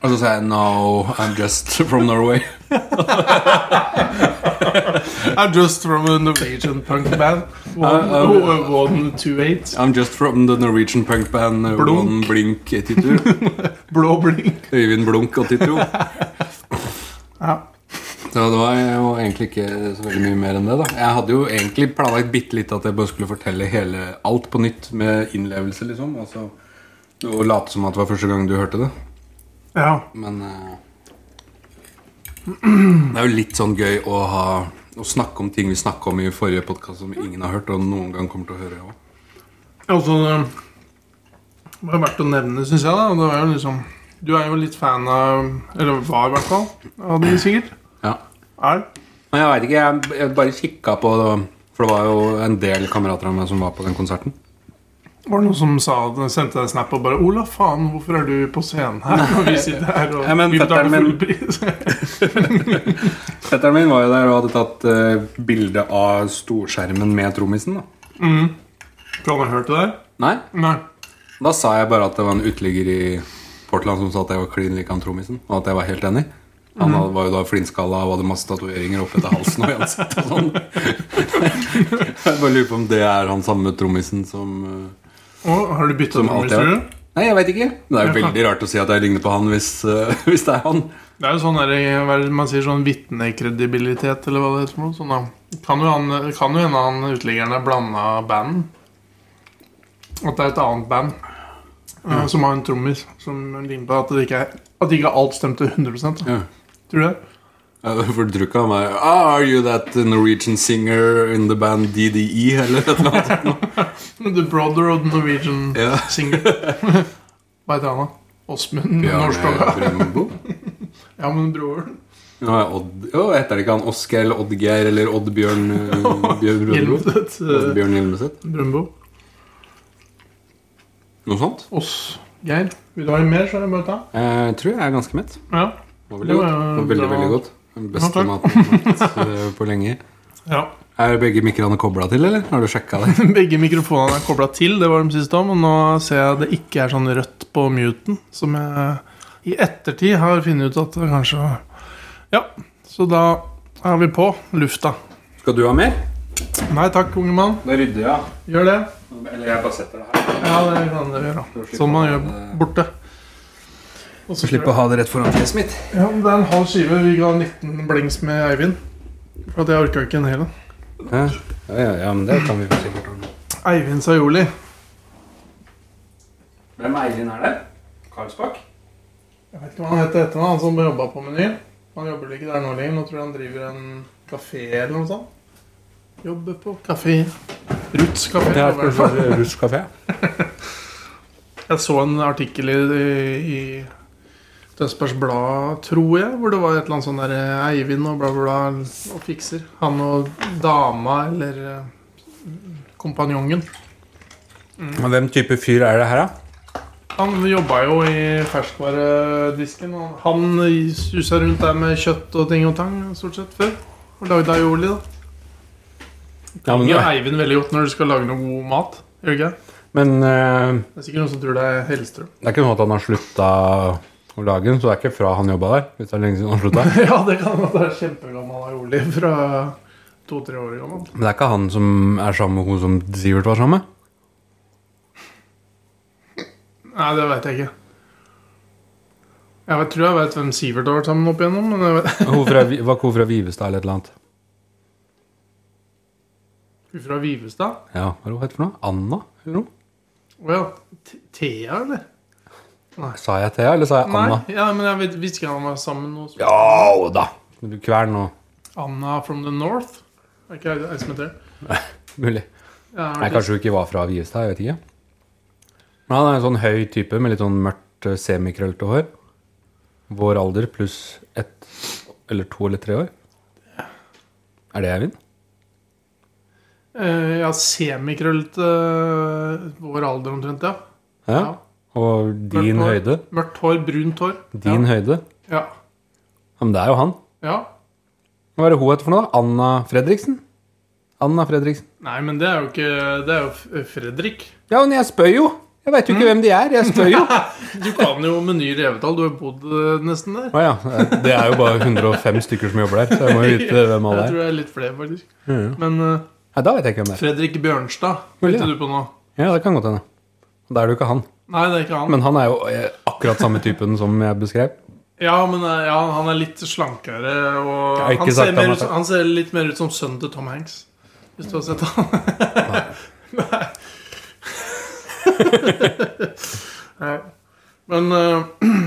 [SPEAKER 1] Og så sa jeg no, I'm just from Norway.
[SPEAKER 2] I'm just from a Norwegian punk band. One,
[SPEAKER 1] Uh, uh,
[SPEAKER 2] oh, uh, one two eight.
[SPEAKER 1] I'm just from the Norwegian punk band uh,
[SPEAKER 2] Blunk.
[SPEAKER 1] One Blink 82.
[SPEAKER 2] Blå blink.
[SPEAKER 1] Øyvind Blunk 82.
[SPEAKER 2] Ja.
[SPEAKER 1] Så det var jo egentlig ikke så veldig mye mer enn det, da. Jeg hadde jo egentlig planlagt bitte litt at jeg bare skulle fortelle hele alt på nytt med innlevelse, liksom. Og så og late som at det var første gang du hørte det.
[SPEAKER 2] ja.
[SPEAKER 1] Men eh, det er jo litt sånn gøy å ha å snakke om ting vi snakka om i forrige podkast som ingen har hørt, og noen gang kommer til å høre òg.
[SPEAKER 2] Altså, det var verdt å nevne, syns jeg. da og det var jo liksom Du er jo litt fan av Eller var i hvert fall. Av de sikkert.
[SPEAKER 1] Ja.
[SPEAKER 2] Er.
[SPEAKER 1] Men jeg veit ikke. Jeg, jeg bare kikka på det, for det var jo en del kamerater av meg som var på den konserten.
[SPEAKER 2] Var det noen som sa, sendte deg en snap og bare 'Ola, faen, hvorfor er du på scenen her?' Og vi sitter her og
[SPEAKER 1] Ja, men
[SPEAKER 2] vi betaler
[SPEAKER 1] fetteren
[SPEAKER 2] full
[SPEAKER 1] min-
[SPEAKER 2] pris.
[SPEAKER 1] Fetteren min var jo der og hadde tatt eh, bilde av storskjermen med trommisen. da
[SPEAKER 2] mm. Tror han har hørt det der?
[SPEAKER 1] Nei,
[SPEAKER 2] Nei.
[SPEAKER 1] Da sa jeg bare at det var en uteligger i Portland som sa at jeg var klin lik han trommisen, og at jeg var helt enig. Han hadde- var jo da flintskalla og hadde masse tatoveringer oppetter halsen og i ansiktet og sånn. Jeg bare lurer på om det er han samme trommisen som eh,
[SPEAKER 2] Og har du bytta
[SPEAKER 1] Som
[SPEAKER 2] nummer,
[SPEAKER 1] alltid har
[SPEAKER 2] tror
[SPEAKER 1] vært.
[SPEAKER 2] du?
[SPEAKER 1] Nei, jeg veit ikke. Men Det er jo veldig rart å si at jeg ligner på han hvis, eh, hvis det er han.
[SPEAKER 2] Det er jo sånn der, hva er det man sier sånn vitnekredibilitet, eller hva det heter. for noe, Sånn, da. kan jo han- kan jo hende han uteliggeren er blanda band. At det er et annet band eh, som har en trommis som ligner på at det ikke er At ikke alt stemte 100 da.
[SPEAKER 1] Ja.
[SPEAKER 2] Tror du det?
[SPEAKER 1] Eh, For du tror ikke han er ah, Are you that Norwegian singer in the band DDE? Eller et eller annet.
[SPEAKER 2] The Brother of the Norwegian
[SPEAKER 1] Ja.
[SPEAKER 2] Singer. Hva heter han, da? Åsmund
[SPEAKER 1] Bjarne
[SPEAKER 2] Norskåga.
[SPEAKER 1] Brøndbo?
[SPEAKER 2] Ja, men broren.
[SPEAKER 1] Ja, Odd, jo, heter det ikke han Oskar eller Oddgeir eller Oddbjørn eh, Bjørn Brøndbo?
[SPEAKER 2] Hjelmstedt. eh,
[SPEAKER 1] Oddbjørn Hjelmeset?
[SPEAKER 2] Brøndbo.
[SPEAKER 1] Noe sånt?
[SPEAKER 2] Ås. Geir. Vil du ha mer, så er det bare å ta.
[SPEAKER 1] Jeg Eh, tror jeg er ganske mett.
[SPEAKER 2] Ja.
[SPEAKER 1] Det var veldig
[SPEAKER 2] Det var-
[SPEAKER 1] godt. Det var veldig,
[SPEAKER 2] det var-
[SPEAKER 1] veldig godt. Den beste
[SPEAKER 2] takk.
[SPEAKER 1] maten jeg har smakt eh, på lenge.
[SPEAKER 2] ja.
[SPEAKER 1] Er begge mikrene kobla til, eller? Har du sjekka det?
[SPEAKER 2] Begge mikrofonene er kobla til, det var de siste om. Og nå ser jeg det ikke er sånn rødt på muten, som jeg i ettertid har funnet ut at det kanskje var- Ja, så da er vi på lufta.
[SPEAKER 1] Skal du ha mer?
[SPEAKER 2] Nei takk, unge mann.
[SPEAKER 1] Da rydder jeg.
[SPEAKER 2] Gjør det.
[SPEAKER 1] Eller jeg bare setter det her.
[SPEAKER 2] Ja, det kan dere gjøre. Som man gjør borte. Og
[SPEAKER 4] Så slipper jeg å ha det rett foran fjeset mitt.
[SPEAKER 2] Ja, men det er en halv skive. Vi ga 19 blings med Eivind. For at jeg orka ikke en hel en.
[SPEAKER 1] Ja, ja, ja, ja, men det kan vi vel sikkert ordne.
[SPEAKER 2] Eivind Sajoli.
[SPEAKER 4] Hvem Eivind er det? Karlsbakk?
[SPEAKER 2] Jeg vet ikke hva han heter etter nå, han som jobba på Meny. Han jobber vel ikke der nå lenger. Nå tror jeg han driver en kafé eller noe sånt. Jobber på kafé. Ruths kafé. jobber han på.
[SPEAKER 1] rusk kafé.
[SPEAKER 2] Jeg så en artikkel i, i Tønsbergs Blad, tror jeg, hvor det var et eller annet sånn der eh, Eivind og bla, bla, bla og fikser. Han og dama eller eh, kompanjongen. Mm.
[SPEAKER 1] Og hvem type fyr er det her, da?
[SPEAKER 2] Han jobba jo i ferskvaredisken. og Han susa rundt der med kjøtt og ting og tang stort sett før. Og lagde aioli, da.
[SPEAKER 1] Ja, men,
[SPEAKER 2] Det er Eivind veldig godt når du skal lage noe god mat. Gjør du ikke? det?
[SPEAKER 1] men eh,
[SPEAKER 2] Det er sikkert noen som tror det er Hellstrøm.
[SPEAKER 1] det er ikke noe at han har slutta å lage den, så det er ikke fra han jobba der. Hvis det er lenge siden han slutta.
[SPEAKER 2] ja, det kan godt være kjempegammel aioli fra to-tre år gammel.
[SPEAKER 1] Men det er ikke han som er sammen med hun som Sivert var sammen med?
[SPEAKER 2] Nei, det veit jeg ikke. Jeg vet, tror jeg veit hvem Sivert har vært sammen opp igjennom. Men jeg vet,
[SPEAKER 1] Hun fra, Vi- var ikke hun fra Vivestad eller et eller annet?
[SPEAKER 2] Hun fra Vivestad?
[SPEAKER 1] Ja, hva er det hun het for noe? Anna? Eller noe?
[SPEAKER 2] Å ja. T- Thea, eller?
[SPEAKER 1] Sa jeg Thea, eller sa jeg Anna?
[SPEAKER 2] Nei, ja, men jeg vet, visste ikke han var sammen med noen.
[SPEAKER 1] Ja da! Du kvern nå.
[SPEAKER 2] Anna from the North? Er ikke jeg som heter det?
[SPEAKER 1] Mulig.
[SPEAKER 2] Jeg har
[SPEAKER 1] Nei,
[SPEAKER 2] vært-
[SPEAKER 1] kanskje hun ikke var fra Viestad, jeg vet ikke. Men han er en sånn høy type med litt sånn mørkt eh, semikrøllete hår. Vår alder pluss ett eller to eller tre år. Er det Eivind?
[SPEAKER 2] Eh, ja, semikrøllete eh, vår alder omtrent, ja.
[SPEAKER 1] Ja.
[SPEAKER 2] Ja.
[SPEAKER 1] Og din
[SPEAKER 2] Mørkt hår.
[SPEAKER 1] høyde.
[SPEAKER 2] Mørkt hår, brunt hår.
[SPEAKER 1] Din høyde.
[SPEAKER 2] Ja.
[SPEAKER 1] Ja, men det er jo han.
[SPEAKER 2] ja.
[SPEAKER 1] Hva er det hun heter for noe? da? Anna Fredriksen? Anna Fredriksen.
[SPEAKER 2] Nei, men det er jo ikke Det er jo F- eh, Fredrik.
[SPEAKER 1] Ja, men jeg spør jo! Jeg veit jo ikke hvem de er. Jeg spør jo.
[SPEAKER 2] Du kan jo Meny Revetal. Du har bodd eh, nesten der.
[SPEAKER 1] Å ja. Det er jo bare 105 stykker som jobber der, så jeg må jo vite hvem alle
[SPEAKER 2] Jeg
[SPEAKER 1] er.
[SPEAKER 2] tror det er litt flere, faktisk.
[SPEAKER 1] Mhm.
[SPEAKER 2] Men eh,
[SPEAKER 1] Ja, da vet jeg ikke hvem det er.
[SPEAKER 2] Fredrik Bjørnstad
[SPEAKER 1] Vel,
[SPEAKER 2] tenkte
[SPEAKER 1] ja.
[SPEAKER 2] du på nå?
[SPEAKER 1] Ja, det kan godt hende. Da er det jo ikke han.
[SPEAKER 2] Nei, det er ikke han.
[SPEAKER 1] Men han er jo eh, akkurat samme typen som jeg beskrev.
[SPEAKER 2] ja, men eh, ja, han er litt slankere. Og
[SPEAKER 1] Jeg har ikke
[SPEAKER 2] han
[SPEAKER 1] sagt
[SPEAKER 2] ser, mer
[SPEAKER 1] han
[SPEAKER 2] ut,
[SPEAKER 1] er-
[SPEAKER 2] han ser litt mer ut som sønnen til Tom Hanks. Hvis du har sett han. Nei. Nei. Men eh,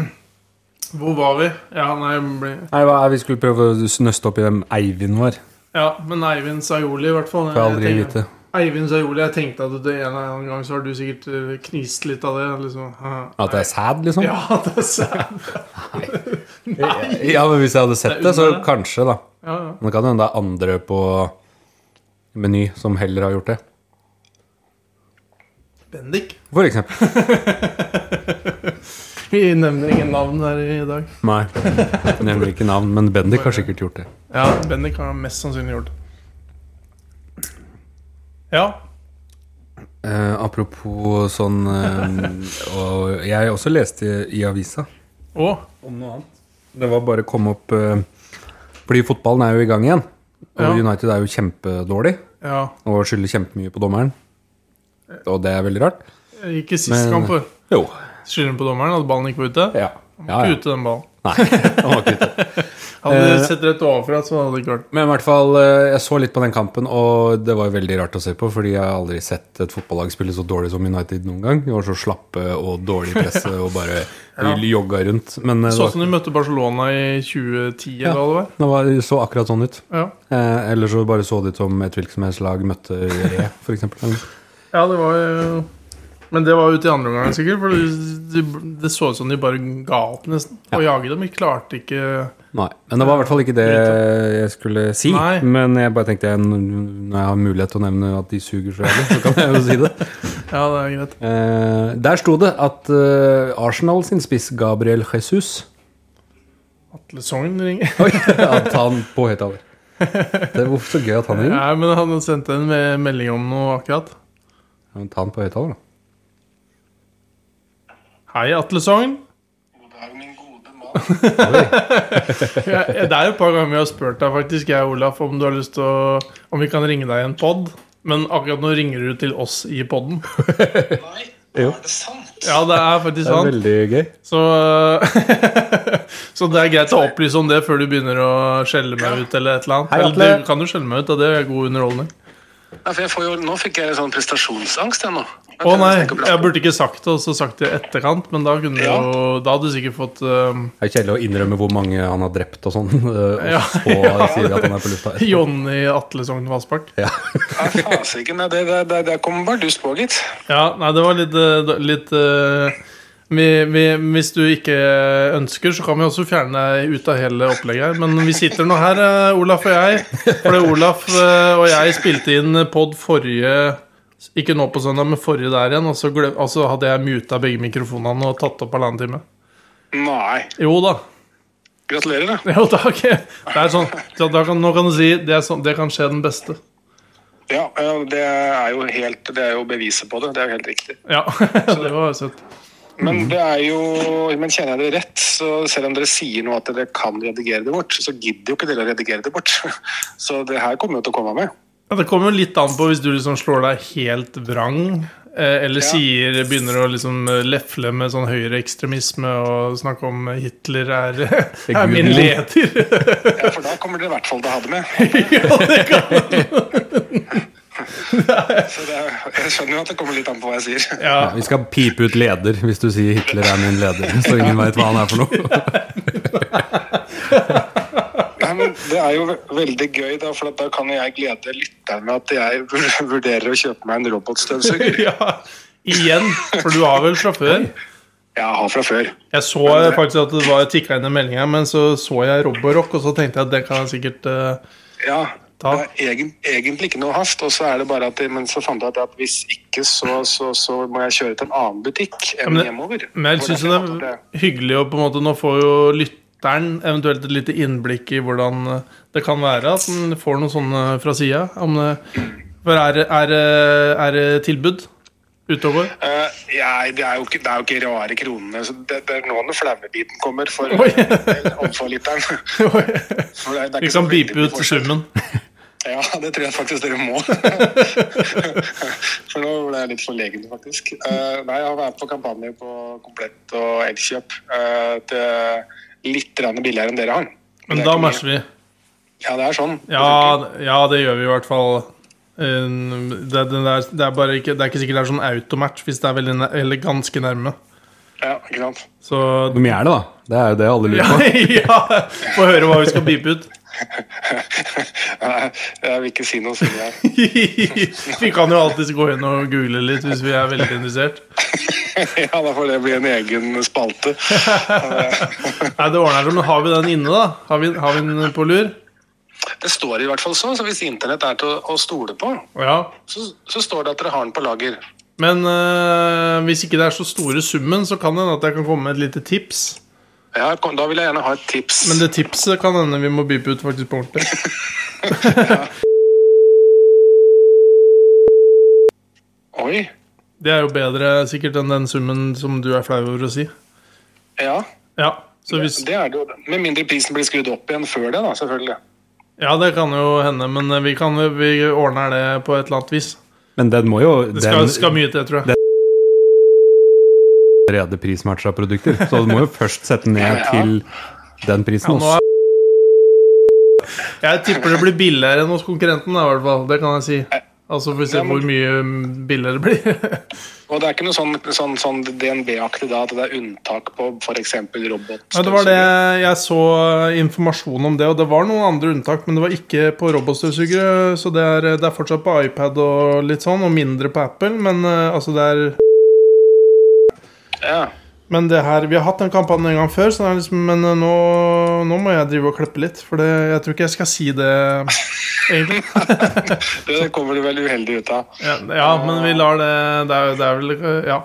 [SPEAKER 2] hvor var vi? Ja, nei, ble-
[SPEAKER 1] Nei, hva er Vi skulle prøve å snøste opp i hvem Eivind var.
[SPEAKER 2] ja men Eivind Sajoli, i hvert fall.
[SPEAKER 1] Får jeg aldri
[SPEAKER 2] Jeg tenker-
[SPEAKER 1] vite.
[SPEAKER 2] Eivind Sajoli, jeg tenkte at det en eller annen gang så har du sikkert eh, knist litt av det. Liksom.
[SPEAKER 1] At det er sad, liksom?
[SPEAKER 2] Ja, det er sant.
[SPEAKER 1] Ja, men Hvis jeg hadde sett
[SPEAKER 2] Det er
[SPEAKER 1] det, så
[SPEAKER 2] under det.
[SPEAKER 1] kanskje, da.
[SPEAKER 2] Ja, ja.
[SPEAKER 1] Men det kan hende det er andre på Meny som heller har gjort det.
[SPEAKER 2] Bendik.
[SPEAKER 1] For eksempel.
[SPEAKER 2] Vi nevner ingen navn her i dag.
[SPEAKER 1] Nei. Jeg Nevner ikke navn, men Bendik har sikkert gjort det.
[SPEAKER 2] Ja, Bendik har mest sannsynlig gjort det. Ja.
[SPEAKER 1] Eh, apropos sånn eh, og Jeg også leste i avisa
[SPEAKER 2] Å,
[SPEAKER 1] om noe annet. Det var bare å komme opp eh, Fordi fotballen er jo i gang igjen. Og
[SPEAKER 2] Ja.
[SPEAKER 1] United er jo kjempedårlig
[SPEAKER 2] ja.
[SPEAKER 1] og skylder kjempemye på dommeren. Og det er veldig rart.
[SPEAKER 2] Ikke sist
[SPEAKER 1] Men-
[SPEAKER 2] kamp, for
[SPEAKER 1] Jo.
[SPEAKER 2] skylden på dommeren at ballen ikke var ute.
[SPEAKER 1] Ja. ja,
[SPEAKER 2] Ikke
[SPEAKER 1] ja.
[SPEAKER 2] ute den ballen.
[SPEAKER 1] Nei. han var ikke ute.
[SPEAKER 2] Hadde
[SPEAKER 1] Eh.
[SPEAKER 2] du sett rett overfra, så hadde det ikke vært
[SPEAKER 1] Men i hvert fall, eh, jeg så litt på den kampen, og det var jo veldig rart å se på. Fordi jeg har aldri sett et fotballag spille så dårlig som United noen gang. De var så slappe og dårlig i presset og bare jogga rundt. Men eh, det
[SPEAKER 2] Sånn
[SPEAKER 1] var,
[SPEAKER 2] som de møtte Barcelona i 2010,
[SPEAKER 1] Ja.
[SPEAKER 2] eller hva det var.
[SPEAKER 1] det var, så akkurat sånn ut.
[SPEAKER 2] Ja.
[SPEAKER 1] Eh, eller så bare så det ut som et hvilket som helst lag møtte Re, f.eks.
[SPEAKER 2] ja, det var jo Men det var ute i andre omgang, sikkert. For det, det så ut som de bare ga opp, nesten.
[SPEAKER 1] Ja.
[SPEAKER 2] Å jage dem. Vi klarte ikke
[SPEAKER 1] Nei, men det var i hvert fall ikke det jeg skulle si.
[SPEAKER 2] Nei.
[SPEAKER 1] Men jeg bare tenkte n- når jeg har mulighet til å nevne at de suger så jævlig, så kan jeg jo si det.
[SPEAKER 2] Ja, det er greit.
[SPEAKER 1] Eh, der sto det at eh, Arsenal sin spiss Gabriel Jesus
[SPEAKER 2] Atle Sogn ringer.
[SPEAKER 1] Oi, At han på høyt alder. Det er hvorfor så gøy at han er inne.
[SPEAKER 2] Nei, men han sendte en me- melding om noe akkurat.
[SPEAKER 1] Ja, men Ta han på høyt alder, da.
[SPEAKER 2] Hei, Atle Sogn.
[SPEAKER 5] God dag, min gode mann.
[SPEAKER 2] Jeg- jeg- Det er jo et par ganger vi har spurt deg, faktisk, jeg og Olaf, om du har lyst til å Om vi kan ringe deg i en pod. Men akkurat nå ringer du til oss i poden.
[SPEAKER 5] Nei,
[SPEAKER 1] Jo,
[SPEAKER 5] Er det sant?
[SPEAKER 2] Ja, det er faktisk
[SPEAKER 1] det er
[SPEAKER 2] sant.
[SPEAKER 1] veldig gøy.
[SPEAKER 2] Så, så det er greit å opplyse om det før du begynner å skjelle meg ut eller et eller annet.
[SPEAKER 1] Hei, Atle.
[SPEAKER 2] eller du kan jo skjelle meg ut, da. Det er god underholdning.
[SPEAKER 5] Nei, for jeg får jo, nå fikk jeg sånn prestasjonsangst, jeg nå.
[SPEAKER 2] Å nei, jeg burde ikke sagt det, og så sagt det i etterkant, men da, kunne du
[SPEAKER 5] Ja.
[SPEAKER 2] jo, da hadde du sikkert fått eh,
[SPEAKER 1] Det er kjedelig å innrømme hvor mange han har drept og sånn, eh,
[SPEAKER 2] Ja,
[SPEAKER 1] og så sier vi at han er på lufta etterpå.
[SPEAKER 2] Jonny Atle Sogn Vassbakk.
[SPEAKER 5] Nei, fasiken. Nei, det, det, det, det kommer bardust på, gitt.
[SPEAKER 2] Ja, nei, det var litt, eh, litt eh, vi, vi, Hvis du ikke ønsker, så kan vi også fjerne deg ut av hele opplegget her. Men vi sitter nå her, eh, Olaf og jeg. Fordi Olaf eh, og jeg spilte inn pod forrige Ikke nå på søndag, men forrige der igjen. Og så, glem, og så hadde jeg muta begge mikrofonene og tatt opp halvannen time.
[SPEAKER 5] Nei.
[SPEAKER 2] Jo da.
[SPEAKER 5] Gratulerer, da.
[SPEAKER 2] Jo, takk. Det er sånn, så da kan, nå kan du si det, er sånn, det kan skje den beste.
[SPEAKER 5] Ja, ja, det er jo helt Det er jo beviset på det. Det er jo helt riktig.
[SPEAKER 2] Ja, det var søtt. Mhm.
[SPEAKER 5] Men det er jo Men kjenner jeg det rett, så selv om dere sier nå at dere kan redigere det bort, så gidder jo ikke dere å redigere det bort. Så det her kommer jo til å komme med.
[SPEAKER 2] Ja, det kommer jo litt an på hvis du liksom slår deg helt vrang, eh, eller
[SPEAKER 5] Ja.
[SPEAKER 2] sier, begynner å liksom eh, lefle med sånn høyreekstremisme og snakke om eh, Hitler er, er min
[SPEAKER 1] Gud.
[SPEAKER 2] leder.
[SPEAKER 5] Ja, for da kommer dere i hvert fall til å ha det med. Så det, er- jeg skjønner jo at det kommer litt an på hva jeg sier.
[SPEAKER 2] Ja,
[SPEAKER 1] Ja, vi skal pipe ut leder hvis du sier Hitler er min leder, så ingen veit hva han er for noe.
[SPEAKER 5] Nei, men Det er jo ve- veldig gøy, da, for at da kan jeg glede lytteren med at jeg vur- vurderer å kjøpe meg en robotstøvsuger.
[SPEAKER 2] ja. Igjen, for du har vel fra før?
[SPEAKER 5] Jeg har fra før.
[SPEAKER 2] Jeg så eh, faktisk at det var tikka inn en melding her, men så så jeg Roborock, og så tenkte jeg at det kan jeg sikkert eh,
[SPEAKER 5] Ja,
[SPEAKER 2] Ta.
[SPEAKER 5] Det er egen, egentlig ikke noe hast, og så er det bare at men så fant jeg ut at hvis ikke, så, så, så må jeg kjøre til en annen butikk enn
[SPEAKER 2] men det-
[SPEAKER 5] hjemover.
[SPEAKER 2] Men jeg
[SPEAKER 5] Hvor
[SPEAKER 2] syns
[SPEAKER 5] jeg
[SPEAKER 2] det
[SPEAKER 5] fant
[SPEAKER 2] er
[SPEAKER 5] at
[SPEAKER 2] hyggelig å på en måte Nå får jo lytteren eventuelt et lite innblikk i hvordan eh, det kan være at den får noen sånne fra sida. For er, det- er, det- er det tilbud ute og går?
[SPEAKER 5] Eh, jeg- det, er jo ikke, det er jo ikke rare kronene. Så det, det er nå den flaue biten kommer for
[SPEAKER 2] Oi.
[SPEAKER 5] omforlytteren. For det er- det er
[SPEAKER 2] Vi
[SPEAKER 5] ikke
[SPEAKER 2] kan
[SPEAKER 5] så veldig
[SPEAKER 2] bipe Liksom
[SPEAKER 5] mye
[SPEAKER 2] ut
[SPEAKER 5] forskjell.
[SPEAKER 2] summen.
[SPEAKER 5] Ja, det tror jeg faktisk dere må. For nå ble jeg litt forlegen, faktisk. Eh, nei, jeg har vært på kampanje på Komplett og Elkjøp eh, til litt grann billigere enn dere har.
[SPEAKER 2] Men da matcher vi.
[SPEAKER 5] Ja, det er sånn.
[SPEAKER 2] Ja, ja, det gjør vi i hvert fall. Um, Det, det, er, det, er bare ikke, det er ikke sikkert det er sånn automatch hvis det er veldig, nær- eller ganske nærme.
[SPEAKER 5] Ja, ikke sant?
[SPEAKER 2] Så
[SPEAKER 1] Hvor mye er det, da? Det er jo det alle
[SPEAKER 2] ja,
[SPEAKER 1] lurer på.
[SPEAKER 2] ja, Få høre hva vi skal bipe ut.
[SPEAKER 5] Nei, jeg vil ikke si noe siden jeg
[SPEAKER 2] vi kan jo alltid gå inn og google litt hvis vi er veldig interessert.
[SPEAKER 5] Ja, da får det bli en egen spalte.
[SPEAKER 2] Nei, det ordner seg, men har vi den inne, da? Har vi, har vi den på lur?
[SPEAKER 5] Det står i hvert fall sånn, så, så hvis internett er til å, å stole på,
[SPEAKER 2] Ja.
[SPEAKER 5] så, så står det at dere har den på lager.
[SPEAKER 2] Men eh, hvis ikke det er så store summen, så kan det hende at jeg kan komme med et lite tips.
[SPEAKER 5] Ja, kom, da vil jeg gjerne ha et tips.
[SPEAKER 2] Men det tipset kan hende vi må bipe ut faktisk på ordentlig.
[SPEAKER 5] Oi,
[SPEAKER 2] Det er jo bedre sikkert enn den summen som du er flau over å si.
[SPEAKER 5] ja.
[SPEAKER 2] Ja, så hvis,
[SPEAKER 5] Det er det jo. Med mindre prisen blir skrudd opp igjen før det, da, selvfølgelig.
[SPEAKER 2] ja det kan jo hende, men eh, vi, kan, vi ordner det på et eller annet vis.
[SPEAKER 1] Men den må jo
[SPEAKER 2] Det skal,
[SPEAKER 1] Den
[SPEAKER 2] skal mye til, tror jeg.
[SPEAKER 1] allerede prismatcha produkter, så du må jo først sette den ned
[SPEAKER 5] Ja.
[SPEAKER 1] til den prisen.
[SPEAKER 2] Ja, nå
[SPEAKER 1] Også.
[SPEAKER 2] Jeg tipper det blir billigere enn hos konkurrenten, da, i hvert fall. Det kan jeg si. Altså får vi se
[SPEAKER 5] Ja, men-
[SPEAKER 2] hvor mye mm, billigere det blir.
[SPEAKER 5] Og det er ikke noe sånn, sånn, sånn DNB-aktig da, at det er unntak på f.eks. robot?
[SPEAKER 2] Ja, det var det jeg så informasjon om det, og det var noen andre unntak, men det var ikke på robotstøvsugere, så det er, det er fortsatt på iPad og litt sånn, og mindre på Apple, men eh, altså det er
[SPEAKER 5] Ja.
[SPEAKER 2] Men det her, vi har hatt den kampanjen en gang før, så det er liksom, men eh, nå, nå må jeg drive og klippe litt, for det, jeg tror ikke jeg skal si det, egentlig.
[SPEAKER 5] Det kommer du vel uheldig ut av.
[SPEAKER 2] Ja, ja men vi lar det Det er, det er vel eh, Ja.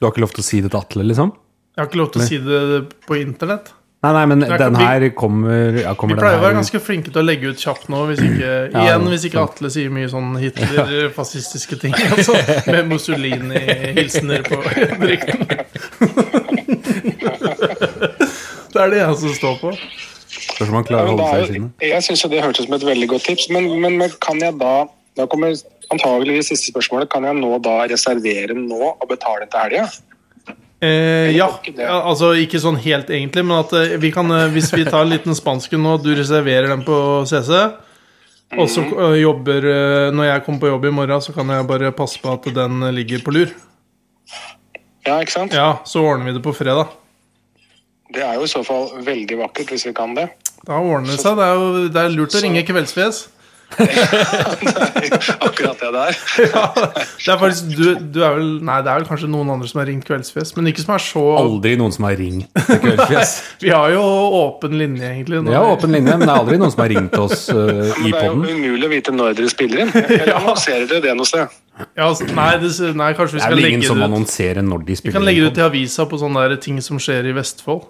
[SPEAKER 1] Du har ikke lov til å si det til Atle, liksom?
[SPEAKER 2] Jeg har ikke lov til å si det på internett.
[SPEAKER 1] Nei, nei, men
[SPEAKER 2] er
[SPEAKER 1] den
[SPEAKER 2] ikke-
[SPEAKER 1] her kommer ja,
[SPEAKER 2] Vi
[SPEAKER 1] kommer den
[SPEAKER 2] pleier å være
[SPEAKER 1] her
[SPEAKER 2] ganske flinke til å legge ut kjapt nå, hvis ikke,
[SPEAKER 1] Ja,
[SPEAKER 2] igjen
[SPEAKER 1] ja,
[SPEAKER 2] hvis ikke Atle sier mye sånn Hitler-fascistiske ting. Altså, med Mussolini-hilsener på drikten. Det er det jeg som står på.
[SPEAKER 1] Spørs om han klarer å
[SPEAKER 5] Men
[SPEAKER 1] holde
[SPEAKER 5] det
[SPEAKER 1] seg i
[SPEAKER 5] er,
[SPEAKER 1] skinnet.
[SPEAKER 5] jeg syns jo det hørtes ut som et veldig godt tips, men, men, men kan jeg da Da kommer antageligvis siste spørsmålet. Kan jeg nå da reservere nå og betale til helga?
[SPEAKER 2] Eh, ja,
[SPEAKER 5] Ikke det.
[SPEAKER 2] ja, altså ikke sånn helt egentlig, men at eh, vi kan eh, Hvis vi tar en liten spansken nå, du reserverer den på CC, og så eh, jobber eh, Når jeg kommer på jobb i morgen, så kan jeg bare passe på at den eh, ligger på lur.
[SPEAKER 5] Ja, ikke sant?
[SPEAKER 2] Ja, så ordner vi det på fredag.
[SPEAKER 5] Det er jo i så fall veldig vakkert hvis vi kan det.
[SPEAKER 2] Da ordner det seg. Det er jo det er lurt å ringe Kveldsfjes.
[SPEAKER 5] Akkurat det der.
[SPEAKER 2] Ja, det er faktisk du, du er vel Nei, det er vel kanskje noen andre som har ringt Kveldsfjes, men ikke som er så
[SPEAKER 1] Aldri noen som har ringt til Kveldsfjes.
[SPEAKER 2] Vi har jo åpen linje, egentlig. nå.
[SPEAKER 1] Vi har åpen linje, men det er aldri noen som har ringt oss eh,
[SPEAKER 5] Men
[SPEAKER 1] i
[SPEAKER 5] det er jo
[SPEAKER 1] poden.
[SPEAKER 5] umulig å vite når dere spiller inn. Eller
[SPEAKER 2] Ja.
[SPEAKER 5] annonserer dere det noe sted?
[SPEAKER 2] Ja, altså, nei, det, nei, kanskje vi
[SPEAKER 1] Det er
[SPEAKER 2] skal
[SPEAKER 1] vel
[SPEAKER 2] legge
[SPEAKER 1] ingen
[SPEAKER 2] det
[SPEAKER 1] som
[SPEAKER 2] ut.
[SPEAKER 1] annonserer når de
[SPEAKER 2] Vi kan
[SPEAKER 1] spiller
[SPEAKER 2] legge det
[SPEAKER 1] inn.
[SPEAKER 2] ut i avisa på sånne der ting som skjer i Vestfold.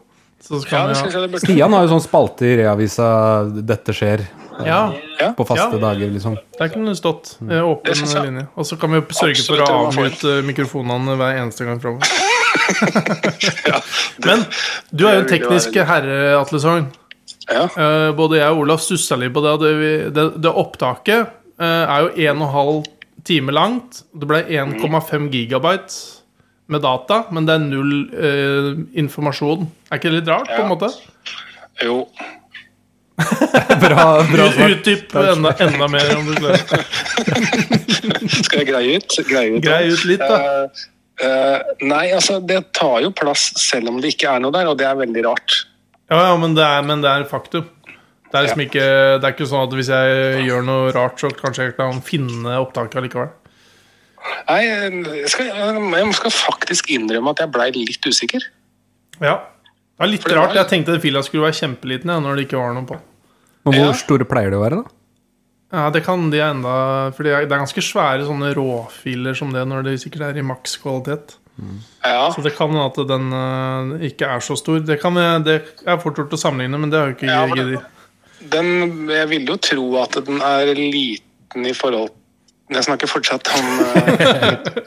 [SPEAKER 2] Så
[SPEAKER 5] Ja,
[SPEAKER 2] skal vi
[SPEAKER 5] det synes
[SPEAKER 2] ha
[SPEAKER 5] jeg det burde.
[SPEAKER 1] Stian har jo sånn spalte i reavisa 'Dette skjer'
[SPEAKER 2] Ja,
[SPEAKER 1] på faste
[SPEAKER 2] Ja.
[SPEAKER 1] dager, liksom.
[SPEAKER 2] der kunne det stått. eh,
[SPEAKER 1] Mm.
[SPEAKER 2] Åpen
[SPEAKER 5] Det synes jeg-
[SPEAKER 2] linje. Og så kan vi jo sørge
[SPEAKER 5] Absolutt,
[SPEAKER 2] for å
[SPEAKER 5] det var
[SPEAKER 2] avmute mikrofonene hver eneste gang framover. Men du er jo en
[SPEAKER 5] det ville
[SPEAKER 2] teknisk
[SPEAKER 5] være-
[SPEAKER 2] herre, Atle Sogn.
[SPEAKER 5] Ja.
[SPEAKER 2] Eh, både jeg og Olav stussa litt på det. at Det, vi- det, det opptaket eh, er jo 1,5 time langt. Det ble 1,5 gigabyte med data, men det er null eh, informasjon. Er ikke det litt rart, på en
[SPEAKER 5] Ja.
[SPEAKER 2] måte?
[SPEAKER 5] Jo.
[SPEAKER 1] Bra, bra svart.
[SPEAKER 2] Utdyp enda, enda mer om du klarer.
[SPEAKER 5] Skal jeg greie ut? Greie ut,
[SPEAKER 2] Grei ut litt, da.
[SPEAKER 5] Eh, eh, nei, altså, det tar jo plass selv om det ikke er noe der, og det er veldig rart.
[SPEAKER 2] Ja, ja, men det er, men det er faktum. Det er liksom ikke Det er ikke sånn at hvis jeg gjør noe rart, så kanskje jeg kan finne opptaket allikevel.
[SPEAKER 5] Nei, jeg skal, jeg skal faktisk innrømme at jeg blei litt usikker.
[SPEAKER 2] Ja. Det er litt
[SPEAKER 5] For det var-
[SPEAKER 2] rart. Jeg tenkte den fila skulle være kjempeliten ja, når det ikke var noe på.
[SPEAKER 1] Men
[SPEAKER 5] Ja.
[SPEAKER 1] hvor store pleier det å være, da?
[SPEAKER 2] Ja, det kan de enda For det er det er ganske svære sånne råfiler som det, når det sikkert er i maks kvalitet.
[SPEAKER 5] Ja,
[SPEAKER 2] Så det kan hende at den eh, ikke er så stor. Det, kan, jeg- det er fort gjort å sammenligne, men det har jo ikke
[SPEAKER 5] Ja, for det-
[SPEAKER 2] giddet.
[SPEAKER 5] den, Jeg ville jo tro at den er liten i forhold Jeg snakker fortsatt om eh,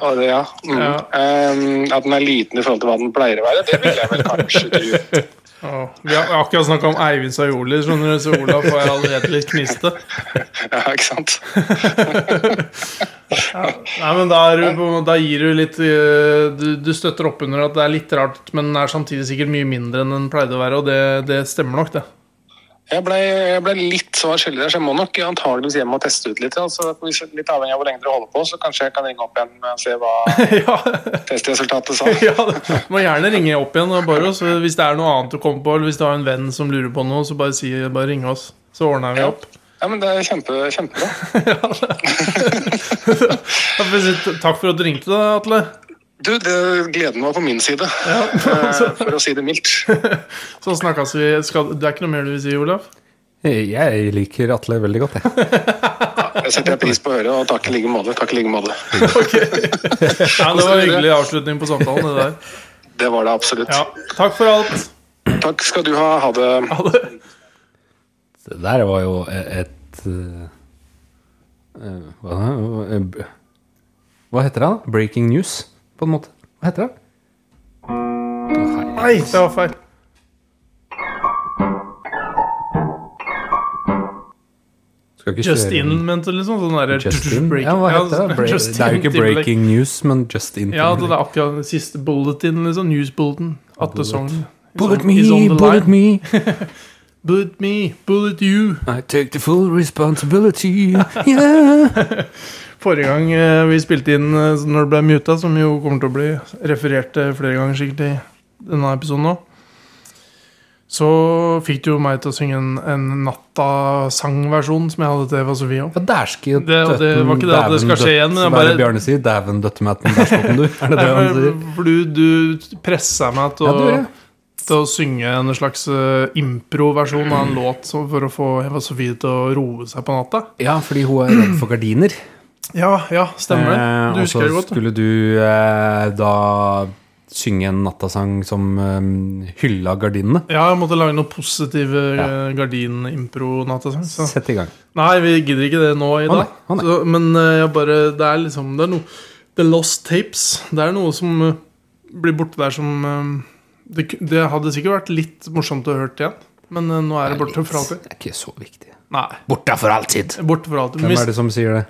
[SPEAKER 5] og det, ja. Mm.
[SPEAKER 2] Ja.
[SPEAKER 5] Em, at den er liten i forhold til hva den pleier å være, det ville jeg vel kanskje tro.
[SPEAKER 2] Ja, vi har akkurat snakka om Eivind Sajoli, skjønner du, så Olav får jeg allerede litt kniste.
[SPEAKER 5] Ja, ikke sant?
[SPEAKER 2] Nei, men da, er du, på- da gir du litt øh, du, du støtter opp under at det er litt rart, men den er samtidig sikkert mye mindre enn den pleide å være, og det, det stemmer nok, det.
[SPEAKER 5] Jeg ble, jeg ble litt svar skyldig der, så jeg må nok antageligvis hjem og teste ut litt. Altså, hvis, litt avhengig av hvor lenge dere holder på, så kanskje jeg kan ringe opp igjen og se hva
[SPEAKER 2] ja,
[SPEAKER 5] testresultatet sa.
[SPEAKER 2] ja, du må gjerne ringe opp igjen, bare, så hvis det er noe annet du kommer på, eller hvis du har en venn som lurer på noe, så bare, si, bare ring oss. Så ordner vi opp.
[SPEAKER 5] Ja, men det er kjempe, kjempebra.
[SPEAKER 2] Ja, for å si- Takk for at du ringte, da, Atle.
[SPEAKER 5] Du, det, gleden var på min side, eh, for å si det mildt.
[SPEAKER 2] Så snakkes vi. Skal, det er ikke noe mer du vil si, Olav?
[SPEAKER 1] Jeg liker Atle veldig godt, jeg.
[SPEAKER 5] Jeg setter pris på å høre, og takk i like måte. Takk i like måte.
[SPEAKER 2] Nei, det var en hyggelig avslutning på samtalen. det der
[SPEAKER 5] Det var det absolutt.
[SPEAKER 2] ja, Takk for alt.
[SPEAKER 5] Takk skal du ha. Ha det.
[SPEAKER 2] Ha det.
[SPEAKER 1] Det der var jo et eh, eh, Hva, eh, b- hva heter det, da? Breaking news, på en måte. Hva heter det?
[SPEAKER 2] Nei, det var feil.
[SPEAKER 1] Skal ikke
[SPEAKER 2] Just
[SPEAKER 1] kjøre-
[SPEAKER 2] in, mente du liksom? Sånn der,
[SPEAKER 1] Just in?
[SPEAKER 2] break-
[SPEAKER 1] Ja, hva heter
[SPEAKER 2] Ja,
[SPEAKER 1] det? Break,
[SPEAKER 2] Justin
[SPEAKER 1] det er jo ikke
[SPEAKER 2] Timberlake.
[SPEAKER 1] breaking news, men just in.
[SPEAKER 2] Ja, altså, det er akkurat den siste bulletin, liksom. News bulletin. Atte Sogn. is
[SPEAKER 1] Bullet
[SPEAKER 2] on-
[SPEAKER 1] me,
[SPEAKER 2] is on the
[SPEAKER 1] bullet
[SPEAKER 2] line.
[SPEAKER 1] me.
[SPEAKER 2] Bullet me, bullet you.
[SPEAKER 1] I take the full responsibility. Yeah.
[SPEAKER 2] Forrige gang eh, vi spilte inn eh, når det ble muta, som jo kommer til å bli referert til flere ganger sikkert i denne episoden nå, så fikk du jo meg til å synge en, en natta-sangversjon som jeg hadde til Eva Sofie òg.
[SPEAKER 1] Ja, dæsken
[SPEAKER 2] Det- og det var ikke det at det skal skje igjen, men det er
[SPEAKER 1] Hva er
[SPEAKER 2] bare-
[SPEAKER 1] det Bjarne sier? Dæven døttematen, der stoppen du. Er det det han sier?
[SPEAKER 2] For Eh, du, du pressa meg til
[SPEAKER 1] Ja,
[SPEAKER 2] å
[SPEAKER 1] det gjorde jeg.
[SPEAKER 2] til å synge en slags eh, improversjon av en låt som- for å få Eva Sofie til å roe seg på natta.
[SPEAKER 1] Ja, fordi hun er redd for gardiner.
[SPEAKER 2] Ja, ja, stemmer det.
[SPEAKER 1] Eh,
[SPEAKER 2] Du
[SPEAKER 1] og
[SPEAKER 2] husker
[SPEAKER 1] så
[SPEAKER 2] det godt. du.
[SPEAKER 1] skulle du eh, da synge en nattasang som eh, hylla gardinene.
[SPEAKER 2] Ja, jeg måtte lage noe positiv eh, gardin-impro-nattasang. så-
[SPEAKER 1] Sett i gang.
[SPEAKER 2] Nei, vi gidder ikke det nå i
[SPEAKER 1] Å, nei,
[SPEAKER 2] dag.
[SPEAKER 1] å, nei.
[SPEAKER 2] Så, men eh, jeg bare Det er liksom Det er noe The Lost Tapes. Det er noe som eh, blir borte der som eh, det, ku- det hadde sikkert vært litt morsomt å hørt igjen, men eh, nå er det borte for alltid.
[SPEAKER 1] Det er ikke så viktig.
[SPEAKER 2] Nei.
[SPEAKER 1] Borte for alltid.
[SPEAKER 2] Borte for alltid.
[SPEAKER 1] Hvem
[SPEAKER 2] Mist
[SPEAKER 1] er det som sier det?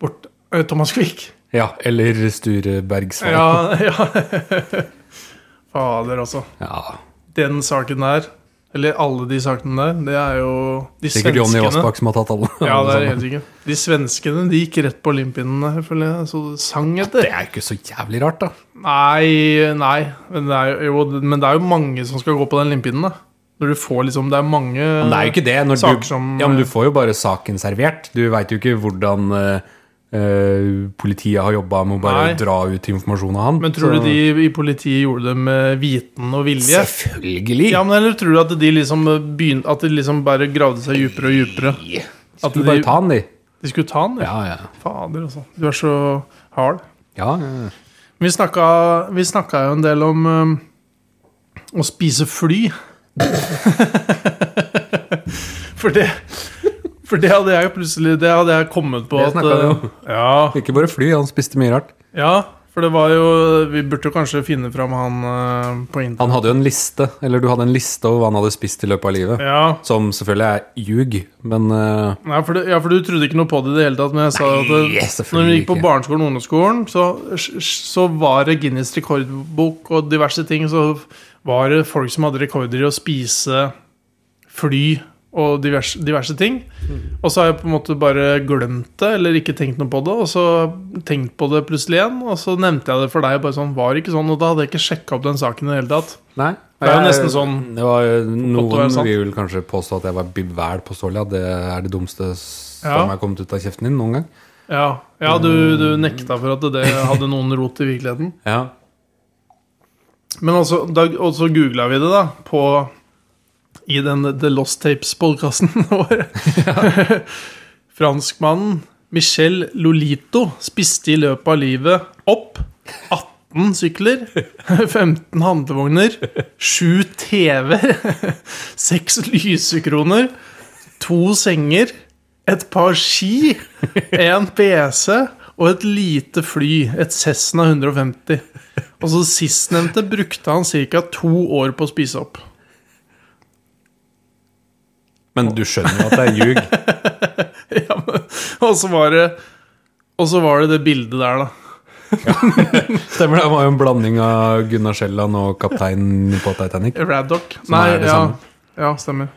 [SPEAKER 2] bort. Eh, Thomas Quick.
[SPEAKER 1] Ja, eller Sturebergsvall.
[SPEAKER 2] Ja, ja. Fader, altså.
[SPEAKER 1] Ja,
[SPEAKER 2] Den saken der, eller alle de sakene der, det er jo de
[SPEAKER 1] Sikkert Jonny
[SPEAKER 2] svenskene.
[SPEAKER 1] Aasbak som har tatt alle.
[SPEAKER 2] Ja, det er
[SPEAKER 1] alle
[SPEAKER 2] helt
[SPEAKER 1] sammen.
[SPEAKER 2] sikkert. De svenskene de gikk rett på limpinnene, her, føler jeg. Så det sang etter.
[SPEAKER 1] det er ikke så jævlig rart, da.
[SPEAKER 2] Nei, nei. Men det, er jo, jo, men det er jo mange som skal gå på den limpinnen, da. Når du får liksom Det er mange
[SPEAKER 1] Men det er jo ikke det. Når
[SPEAKER 2] Saker
[SPEAKER 1] du,
[SPEAKER 2] som- eh,
[SPEAKER 1] ja, men du får jo bare saken servert. Du veit jo ikke hvordan eh, eh, politiet har jobba med å bare
[SPEAKER 2] Nei.
[SPEAKER 1] dra ut informasjon av han.
[SPEAKER 2] Men tror
[SPEAKER 1] Så-
[SPEAKER 2] du de i politiet gjorde det med viten og vilje?
[SPEAKER 1] Selvfølgelig!
[SPEAKER 2] Ja, men Eller tror du at de liksom begyn- At de liksom bare gravde seg dypere og dypere? At
[SPEAKER 1] Skulle bare
[SPEAKER 2] de,
[SPEAKER 1] ta han, de.
[SPEAKER 2] de skulle ta han? Ja.
[SPEAKER 1] Ja, ja.
[SPEAKER 2] Fader, altså. Du er så hard.
[SPEAKER 1] ja, ja.
[SPEAKER 2] Vi snakka, vi snakka jo en del om um, å spise fly. for det For det hadde jeg jo plutselig Det hadde jeg kommet på
[SPEAKER 1] Det
[SPEAKER 2] at
[SPEAKER 1] snakka vi om.
[SPEAKER 2] uh, ja,
[SPEAKER 1] Ikke bare fly, han spiste mye rart.
[SPEAKER 2] ja, for det var jo Vi burde jo kanskje finne fram han uh, på internett.
[SPEAKER 1] Han hadde jo en liste, eller du hadde en liste over hva han hadde spist i løpet av livet.
[SPEAKER 2] Ja,
[SPEAKER 1] Som selvfølgelig er ljug, men eh,
[SPEAKER 2] Nei, for, det, ja, for du trodde ikke noe på det i det hele tatt. Men jeg sa at det,
[SPEAKER 1] Nei,
[SPEAKER 2] når vi
[SPEAKER 1] selvfølgelig
[SPEAKER 2] gikk på
[SPEAKER 1] ikke.
[SPEAKER 2] barneskolen og ungdomsskolen, så, så var det Guinness rekordbok og diverse ting. Så var det folk som hadde rekorder i å spise fly og diverse, diverse ting. Og så har jeg på en måte bare glemt det, eller ikke tenkt noe på det. Og så tenkt på det plutselig igjen, og så nevnte jeg det for deg. Og bare sånn, var det ikke sånn, og da hadde jeg ikke sjekka opp den saken i det hele tatt.
[SPEAKER 1] Nei.
[SPEAKER 2] Det er jo
[SPEAKER 1] Jeg-
[SPEAKER 2] nesten sånn-
[SPEAKER 1] det var,
[SPEAKER 2] å være
[SPEAKER 1] Noen
[SPEAKER 2] sant.
[SPEAKER 1] vil vel kanskje påstå at jeg var bivæl påståelig. at Det er det dummeste
[SPEAKER 2] Ja.
[SPEAKER 1] som har kommet ut av kjeften din noen gang.
[SPEAKER 2] Ja, ja du, du nekta for at det hadde noen rot i virkeligheten.
[SPEAKER 1] Ja.
[SPEAKER 2] Men også, da, og så googla vi det, da, på I den The Lost Tapes-podkasten vår. Franskmannen Michel Lolito spiste i løpet av livet opp 18 sykler, 15 handlevogner, 7 TV-er, 6 lysekroner, 2 senger, et par ski, en PC og et lite fly, et Cessna 150. Og så sistnevnte brukte han ca. to år på å spise opp.
[SPEAKER 1] Men du skjønner jo at det er ljug.
[SPEAKER 2] Ja, men, og så var det Og så var det det bildet der, da.
[SPEAKER 1] Stemmer det? Det var jo en blanding av Gunnar Sjælland og kapteinen på Titanic.
[SPEAKER 2] Raddock.
[SPEAKER 1] Som
[SPEAKER 2] Nei,
[SPEAKER 1] er det
[SPEAKER 2] ja.
[SPEAKER 1] samme.
[SPEAKER 2] Ja, stemmer.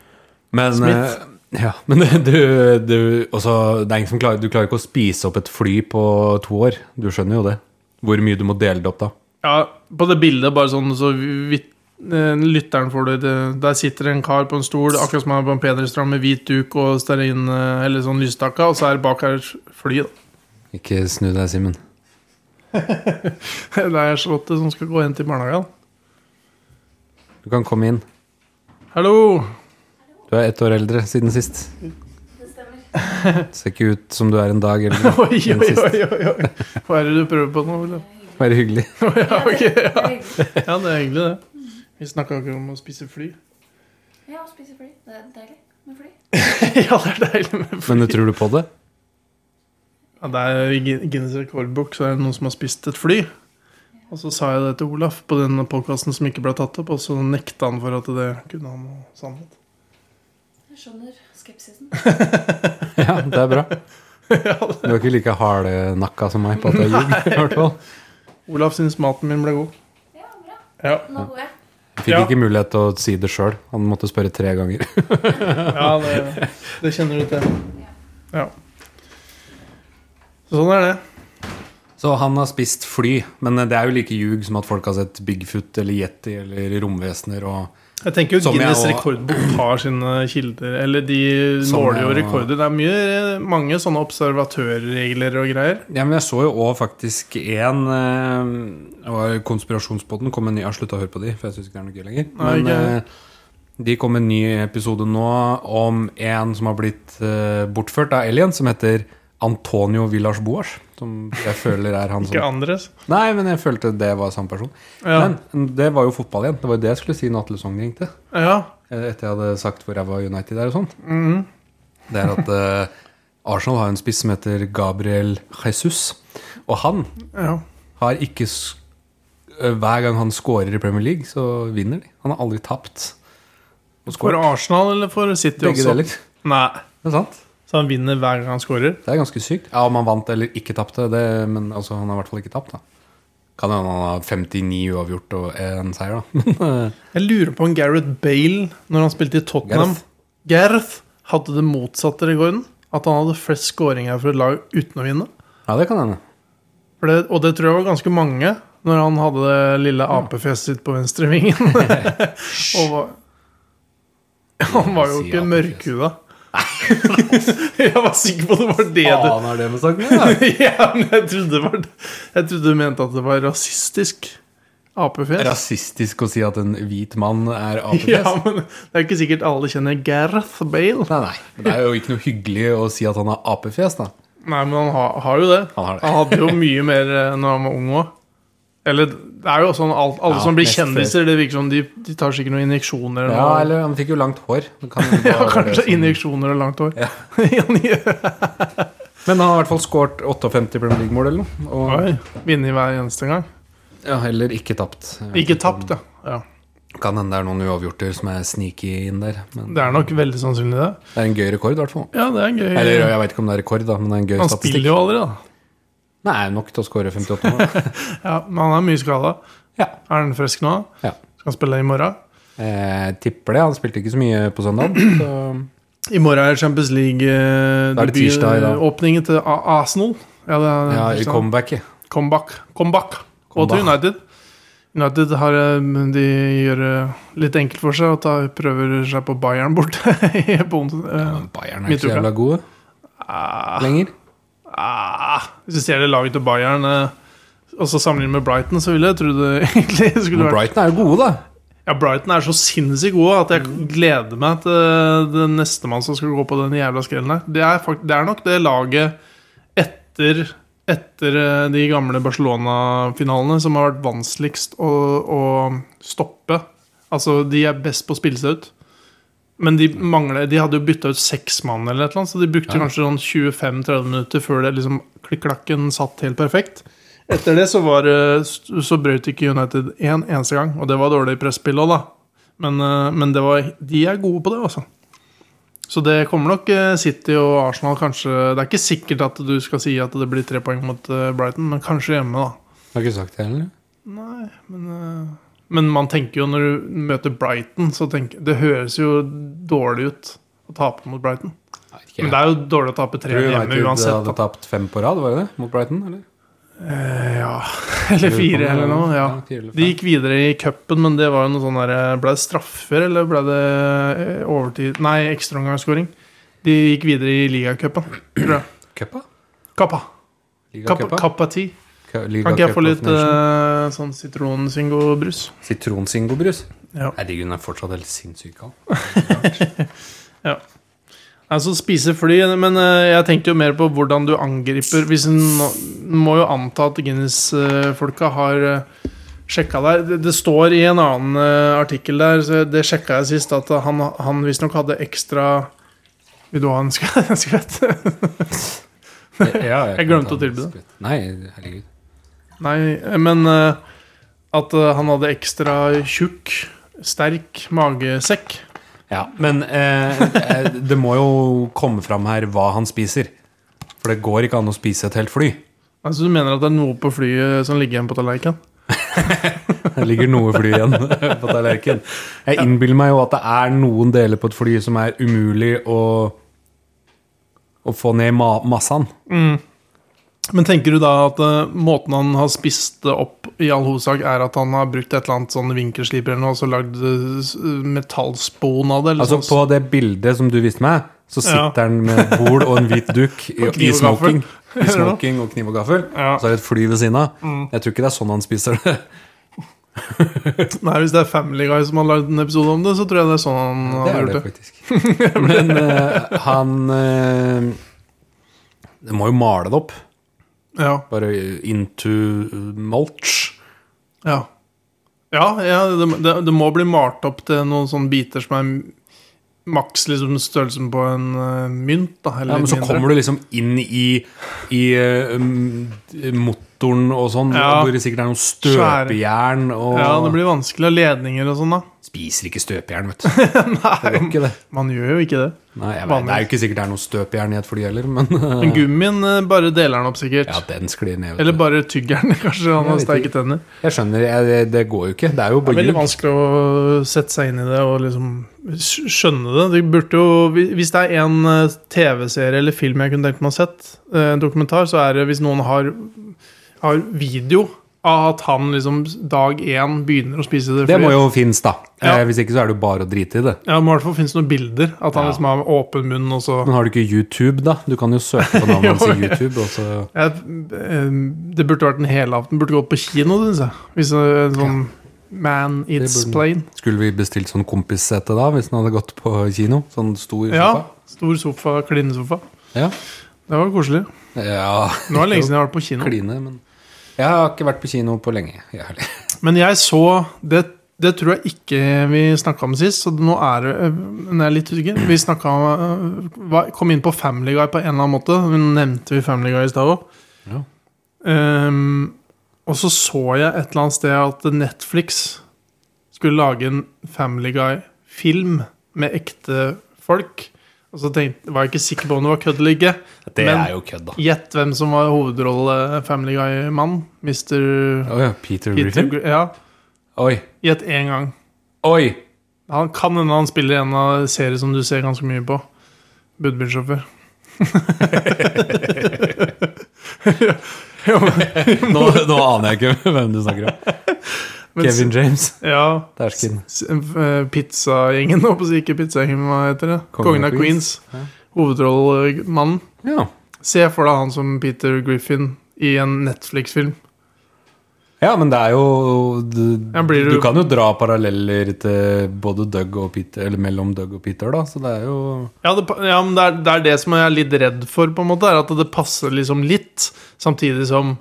[SPEAKER 1] Men,
[SPEAKER 2] Smith.
[SPEAKER 1] eh, ja, men du, du, også, det er ingen som klarer, du klarer ikke å spise opp et fly på to år. Du skjønner jo det. Hvor mye du må dele det opp da.
[SPEAKER 2] Ja, på det bildet, bare sånn så vidt eh, Lytteren får det det- Der sitter en kar på en stol, akkurat som han er på en Pederstrand, med hvit duk og stearin eh, eller sånn lysstakke, og så er det bak her et fly, da.
[SPEAKER 1] Ikke snu deg, Simen.
[SPEAKER 2] Det er Charlotte som skal gå hen til barnehagen.
[SPEAKER 1] Du kan komme inn.
[SPEAKER 2] Hallo!
[SPEAKER 1] Du er ett år eldre siden sist.
[SPEAKER 2] Mm.
[SPEAKER 6] Det stemmer.
[SPEAKER 1] Ser ikke ut som du er en dag eldre.
[SPEAKER 2] Oi,
[SPEAKER 1] siden
[SPEAKER 2] oi,
[SPEAKER 1] sist.
[SPEAKER 2] oi, oi, oi. Hva er det du prøver på nå, Ole?
[SPEAKER 1] Bare hyggelig.
[SPEAKER 2] Ja, ok, ja.
[SPEAKER 6] Det er hyggelig.
[SPEAKER 2] Ja, det er hyggelig, det. Vi snakka ikke om å spise fly.
[SPEAKER 6] Ja, å spise fly. Det er deilig med fly.
[SPEAKER 2] ja, det er deilig med fly.
[SPEAKER 1] Men du tror du på det?
[SPEAKER 2] Ja, det er i Gin- Guinness rekordbok, så er det noen som har spist et fly. Og så sa jeg det til Olaf på den podkasten som ikke ble tatt opp, og så nekta han for at det kunne ha noe sannhet.
[SPEAKER 6] Jeg skjønner skepsisen.
[SPEAKER 1] Ja, det er bra. Du er ikke like hardnakka som meg på at det er ljug. i hvert fall.
[SPEAKER 2] Olaf syns maten min ble god.
[SPEAKER 6] Ja, bra.
[SPEAKER 2] Ja,
[SPEAKER 6] Nå går jeg.
[SPEAKER 1] Jeg Fikk
[SPEAKER 2] Ja.
[SPEAKER 1] ikke mulighet til å si det sjøl. Han måtte spørre tre ganger.
[SPEAKER 2] ja det, det kjenner du til. Ja. Sånn er det.
[SPEAKER 1] Så han har spist fly, men det er jo like ljug som at folk har sett Bigfoot eller Yeti eller romvesener og
[SPEAKER 2] Jeg tenker jo
[SPEAKER 1] Som jeg
[SPEAKER 2] Guinness
[SPEAKER 1] også-
[SPEAKER 2] rekordbok har sine kilder. Eller de
[SPEAKER 1] Som
[SPEAKER 2] måler jo
[SPEAKER 1] jeg også-
[SPEAKER 2] rekorder. Det er mye, mange sånne observatørregler og greier.
[SPEAKER 1] Ja, men jeg så jo òg faktisk én eh, det var Konspirasjonspodden kom med en ny Jeg har slutta å høre på de, for jeg syns ikke det er noe gøy lenger.
[SPEAKER 2] Nei,
[SPEAKER 1] Men
[SPEAKER 2] ikke.
[SPEAKER 1] eh, de kom med en ny episode nå om en som har blitt eh, bortført av alien, som heter Antonio Villas Boas. Som jeg føler er han som
[SPEAKER 2] Ikke Andres.
[SPEAKER 1] Nei, men jeg følte det var samme person.
[SPEAKER 2] Ja.
[SPEAKER 1] Men det var jo fotball igjen. Det var jo det jeg skulle si når Atle Sogn ringte.
[SPEAKER 2] Ja,
[SPEAKER 1] Eh, Etter jeg hadde sagt hvor jeg var United der og sånt. Det er at eh, Arsenal har en spiss som heter Gabriel Jesus. Og han
[SPEAKER 2] ja.
[SPEAKER 1] har ikke sk eh, Hver gang han scorer i Premier League, så vinner de. Han har aldri tapt. Og
[SPEAKER 2] For
[SPEAKER 1] scorer
[SPEAKER 2] Arsenal eller for City
[SPEAKER 1] begge
[SPEAKER 2] også?
[SPEAKER 1] deler.
[SPEAKER 2] Nei.
[SPEAKER 1] Det er sant.
[SPEAKER 2] Så han vinner hver gang han scorer.
[SPEAKER 1] Det er ganske sykt. Ja, Om han vant eller ikke tapte, det- men altså, han har i hvert fall ikke tapt. da Kan hende han har 59 uavgjort og en seier, da. Men, eh,
[SPEAKER 2] Jeg lurer på om Gareth Bale, når han spilte i Tottenham
[SPEAKER 1] Gareth.
[SPEAKER 2] Gareth hadde det motsatte rekorden. At han hadde flest scoringer for et lag uten å vinne.
[SPEAKER 1] ja, det kan hende.
[SPEAKER 2] For det, og det tror jeg var ganske mange når han hadde det lille apefjeset sitt på venstre vingen. og var, han var jo
[SPEAKER 1] Si
[SPEAKER 2] ikke
[SPEAKER 1] apefjes.
[SPEAKER 2] mørkhuda. jeg var sikker på det var det du
[SPEAKER 1] Faen har det med saken å gjøre?
[SPEAKER 2] ja, men jeg trodde, det var, jeg trodde du mente at det var rasistisk apefjes.
[SPEAKER 1] Rasistisk å si at en hvit mann er apefjes.
[SPEAKER 2] Ja, men det er ikke sikkert alle kjenner Gareth Bale.
[SPEAKER 1] Nei, nei. Men Det er jo ikke noe hyggelig å si at han har apefjes, da.
[SPEAKER 2] Nei, men han har, har jo det.
[SPEAKER 1] Han har det.
[SPEAKER 2] hadde jo mye mer eh, når han var ung òg. Eller det er jo sånn alt, alle
[SPEAKER 1] Ja,
[SPEAKER 2] som blir
[SPEAKER 1] mest før.
[SPEAKER 2] kjendiser, det virker som de, de tar sikkert noen injeksjoner.
[SPEAKER 1] Ja,
[SPEAKER 2] og-
[SPEAKER 1] eller han fikk jo langt hår. Det kan jo
[SPEAKER 2] ja,
[SPEAKER 1] bare være sånn. det
[SPEAKER 2] kanskje
[SPEAKER 1] som-
[SPEAKER 2] injeksjoner og langt hår.
[SPEAKER 1] Ja.
[SPEAKER 2] Han gjør-
[SPEAKER 1] Men han har i hvert fall skåret 58 Premier League-mål eller noe. Og,
[SPEAKER 2] Oi, Vinner hver eneste gang.
[SPEAKER 1] ja, heller ikke tapt. Jeg vet
[SPEAKER 2] Ikke
[SPEAKER 1] om-
[SPEAKER 2] tapt, ja. ja.
[SPEAKER 1] Kan hende det er noen uavgjorter som er sneaky inn der. Men
[SPEAKER 2] Det er nok veldig sannsynlig, det.
[SPEAKER 1] det er en gøy rekord, i hvert fall.
[SPEAKER 2] Ja, det er gøy.
[SPEAKER 1] Eller jeg vet ikke om det er rekord, da, men det er en gøy
[SPEAKER 2] han
[SPEAKER 1] statistikk.
[SPEAKER 2] spiller jo aldri, da.
[SPEAKER 1] Nei, nok til å skåre 58 mål.
[SPEAKER 2] Ja, men han er mye skada.
[SPEAKER 1] Ja.
[SPEAKER 2] Er han frisk nå?
[SPEAKER 1] Ja.
[SPEAKER 2] Skal spille i morgen?
[SPEAKER 1] Jeg Eh, tipper det. Han spilte ikke så mye på søndag. Så
[SPEAKER 2] I morgen er Champions
[SPEAKER 1] Da er det tirsdag i dag.
[SPEAKER 2] League-åpningen til A- Arsenal. Ja, det er
[SPEAKER 1] ja, i
[SPEAKER 2] tirsdag.
[SPEAKER 1] comebacket.
[SPEAKER 2] comeback. comeback. Og
[SPEAKER 1] Comeback.
[SPEAKER 2] til United. United har, eh, de gjør det litt enkelt for seg og tar, prøver seg på Bayern borte. på onsdag. Eh,
[SPEAKER 1] Men Bayern er ikke så
[SPEAKER 2] Midtuka.
[SPEAKER 1] jævla gode lenger.
[SPEAKER 2] ah, hvis du ser det laget til Bayern eh, og så sammenlignet med Brighton, så ville jeg trodd det egentlig skulle
[SPEAKER 1] Men
[SPEAKER 2] vært
[SPEAKER 1] Brighton er jo gode, da.
[SPEAKER 2] Ja, Brighton er så sinnssykt gode at jeg gleder meg til eh, den neste mann som skal gå på den jævla skrellen her. Det er, fakt det er nok det laget etter, etter eh, de gamle Barcelona-finalene som har vært vanskeligst å, å stoppe. Altså, de er best på å spille seg ut. Men de mangler De hadde jo bytta ut seks mann, eller et eller annet, så de brukte kanskje sånn 25-30 minutter før det liksom klikk-klakken satt helt perfekt. Etter det så, var, det- så brøt ikke United én eneste gang, og det var dårlig presspill òg, da. Men, eh, men det var, de er gode på det, altså. Så det kommer nok eh, City og Arsenal kanskje Det er ikke sikkert at du skal si at det blir tre poeng mot eh, Brighton, men kanskje hjemme, da.
[SPEAKER 1] Har ikke sagt det heller.
[SPEAKER 2] Nei, men eh, Men man tenker jo når du møter Brighton, så tenker Det høres jo dårlig ut å tape mot Brighton.
[SPEAKER 1] Nei, ikke jeg.
[SPEAKER 2] Men det er jo dårlig å tape tre
[SPEAKER 1] Tror du
[SPEAKER 2] hjemme
[SPEAKER 1] United
[SPEAKER 2] uansett.
[SPEAKER 1] hadde
[SPEAKER 2] Da.
[SPEAKER 1] tapt fem på rad, var det det? Mot Brighton, eller?
[SPEAKER 2] Eh, Ja, eller fire eller noe. Ja.
[SPEAKER 1] fire eller fem.
[SPEAKER 2] De gikk videre i cupen, men det var jo noe sånn der Ble det straffer, eller ble det eh, overtid Nei, ekstraomgangsskåring. De gikk videre i ligacupen, tror jeg.
[SPEAKER 1] Cupa?
[SPEAKER 2] Kappa.
[SPEAKER 1] Liga
[SPEAKER 2] Kappa,
[SPEAKER 1] Cupa?
[SPEAKER 2] kappa 10.
[SPEAKER 1] Ka- Liga
[SPEAKER 2] Kan ikke jeg
[SPEAKER 1] Cup
[SPEAKER 2] få
[SPEAKER 1] of
[SPEAKER 2] litt
[SPEAKER 1] Nations?
[SPEAKER 2] eh, sånn sitronsingo-brus?
[SPEAKER 1] Sitronsingobrus?
[SPEAKER 2] Ja.
[SPEAKER 1] Herregud, den er fortsatt helt sinnssyk kald.
[SPEAKER 2] Altså spise fly, men eh, jeg tenkte jo mer på hvordan du angriper Hvis en nå- må jo anta at Guinness-folka har uh, sjekka der. Det, det står i en annen eh, artikkel der, så det sjekka jeg sist, at han, han visstnok hadde ekstra Vil du ha en skvett? En skvett? Jeg glemte å tilby det.
[SPEAKER 1] Nei, herregud.
[SPEAKER 2] Nei, eh, men eh, at eh, han hadde ekstra tjukk, sterk magesekk.
[SPEAKER 1] Ja, men eh, eh, det må jo komme fram her hva han spiser. For det går ikke an å spise et helt fly.
[SPEAKER 2] Altså du mener at det er noe på flyet som ligger igjen på tallerkenen?
[SPEAKER 1] Det ligger noe fly igjen på tallerkenen. Jeg innbiller meg jo at det er noen deler på et fly som er umulig å, å få ned ma massen.
[SPEAKER 2] Men tenker du da at eh, måten han har spist det opp i all hovedsak, er at han har brukt et eller annet sånn vinkelsliper eller noe, og så lagd eh, s- metallspon av det? Eller
[SPEAKER 1] Altså
[SPEAKER 2] sånn,
[SPEAKER 1] På det bildet som du viste meg, så sitter han med et bol og en hvit duk i,
[SPEAKER 2] Og kniv
[SPEAKER 1] i
[SPEAKER 2] og
[SPEAKER 1] smoking.
[SPEAKER 2] gaffel.
[SPEAKER 1] I smoking og kniv og gaffel.
[SPEAKER 2] Ja. Mm.
[SPEAKER 1] Så er det et fly ved siden av. Jeg tror ikke det er sånn han spiser det. altså-
[SPEAKER 2] Nei, Hvis det er Family Guy som har lagd en episode om det, så tror jeg det er sånn han
[SPEAKER 1] Det
[SPEAKER 2] har
[SPEAKER 1] er
[SPEAKER 2] gjort
[SPEAKER 1] det
[SPEAKER 2] det.
[SPEAKER 1] faktisk. Men eh, han eh, Det må jo male det opp.
[SPEAKER 2] Ja,
[SPEAKER 1] Bare into mulch.
[SPEAKER 2] ja. ja, ja det, det, det må bli malt opp til noen sånne biter som er maks liksom størrelsen på en eh, mynt. da
[SPEAKER 1] Ja,
[SPEAKER 2] eller
[SPEAKER 1] men så kommer du liksom inn i, i eh, mm, motoren og sånn,
[SPEAKER 2] Ja.
[SPEAKER 1] hvor det sikkert er noen støpejern og
[SPEAKER 2] Ja, det blir vanskelig. og Ledninger og sånn, da.
[SPEAKER 1] Spiser ikke støpejern, vet du. Det gjør ikke det.
[SPEAKER 2] Man gjør jo ikke det.
[SPEAKER 1] Nei, jeg vet, det er jo ikke sikkert det er noe støpejern i et fly heller, men
[SPEAKER 2] Men gummien eh, bare deler den opp, sikkert.
[SPEAKER 1] ja, den sklir ned.
[SPEAKER 2] Eller
[SPEAKER 1] Vet du.
[SPEAKER 2] bare tygger den. Kanskje han har
[SPEAKER 1] vet
[SPEAKER 2] sterke
[SPEAKER 1] ikke.
[SPEAKER 2] tenner.
[SPEAKER 1] Jeg skjønner, jeg, det- det går jo ikke. Det er jo
[SPEAKER 2] Det er
[SPEAKER 1] bare
[SPEAKER 2] veldig
[SPEAKER 1] ljug.
[SPEAKER 2] vanskelig å sette seg inn i det og liksom skj- skjønne det. det burde jo, hvis det er en eh, TV-serie eller film jeg kunne tenkt meg å sett, eh, en dokumentar, så er det hvis noen har, har video av at han liksom dag én begynner å spise det.
[SPEAKER 1] Det må
[SPEAKER 2] flyet.
[SPEAKER 1] jo finnes, da.
[SPEAKER 2] Ja.
[SPEAKER 1] Eh, Hvis ikke så er det jo bare å drite i det.
[SPEAKER 2] Ja, det må i hvert fall finnes noen bilder. At han
[SPEAKER 1] Ja.
[SPEAKER 2] liksom har åpen munn og så
[SPEAKER 1] Men har du ikke YouTube, da? Du kan jo søke på navnet hans i YouTube. Og så
[SPEAKER 2] jeg, eh, Det burde vært en helaften. Burde gått på kino, syns jeg. Hvis det er en sånn Man It's
[SPEAKER 1] burde den.
[SPEAKER 2] Plain.
[SPEAKER 1] skulle vi bestilt sånn kompissete da, hvis den hadde gått på kino? Sånn stor
[SPEAKER 2] Ja. Stor sofa, klinesofa.
[SPEAKER 1] sofa? Ja.
[SPEAKER 2] Det var koselig.
[SPEAKER 1] ja.
[SPEAKER 2] Nå er det lenge siden jeg har vært på kino.
[SPEAKER 1] Kline, men Jeg har ikke vært på kino på lenge. Jeg heller.
[SPEAKER 2] Men jeg så Det, det tror jeg ikke vi snakka om sist, så nå er det men jeg er litt usikker. Vi snakka om øh, hva- Kom inn på Family Guy på en eller annen måte. Nå nevnte vi Family Guy i stad òg.
[SPEAKER 1] Ja.
[SPEAKER 2] og så så jeg et eller annet sted at Netflix skulle lage en Family Guy-film med ekte folk. Og så tenkte, var jeg ikke sikker på om det var kødd eller ikke.
[SPEAKER 1] Det
[SPEAKER 2] Men-
[SPEAKER 1] er jo kødd, da.
[SPEAKER 2] Gjett hvem som var hovedrolle Family Guy-mann. Mr.
[SPEAKER 1] Å ja, Peter
[SPEAKER 2] Peter
[SPEAKER 1] Griffin?
[SPEAKER 2] Gr- Ja,
[SPEAKER 1] Oi.
[SPEAKER 2] Gjett én gang.
[SPEAKER 1] Oi!
[SPEAKER 2] Han kan hende han spiller en av serier som du ser ganske mye på. Budbilsjåfør.
[SPEAKER 1] Nå, nå aner jeg ikke hvem du snakker om.
[SPEAKER 2] Men
[SPEAKER 1] Kevin James.
[SPEAKER 2] Ja.
[SPEAKER 1] Dersken.
[SPEAKER 2] s- eh, Pizzagjengen, holdt på å si. Ikke pizzagjengen, men hva heter det?
[SPEAKER 1] Kongen
[SPEAKER 2] Kongen av
[SPEAKER 1] av
[SPEAKER 2] Queens.
[SPEAKER 1] Ja.
[SPEAKER 2] Hovedrollemannen.
[SPEAKER 1] Ja.
[SPEAKER 2] Se for deg han som Peter Griffin i en Netflix-film.
[SPEAKER 1] ja, men det er jo du,
[SPEAKER 2] Ja, blir
[SPEAKER 1] du
[SPEAKER 2] du-
[SPEAKER 1] kan jo dra paralleller til både Doug og Peter, eller mellom Doug og Peter, da, så det er jo
[SPEAKER 2] Ja, det, pa- ja men det er, det er det som jeg er litt redd for, på en måte. Er at det passer liksom litt. Samtidig som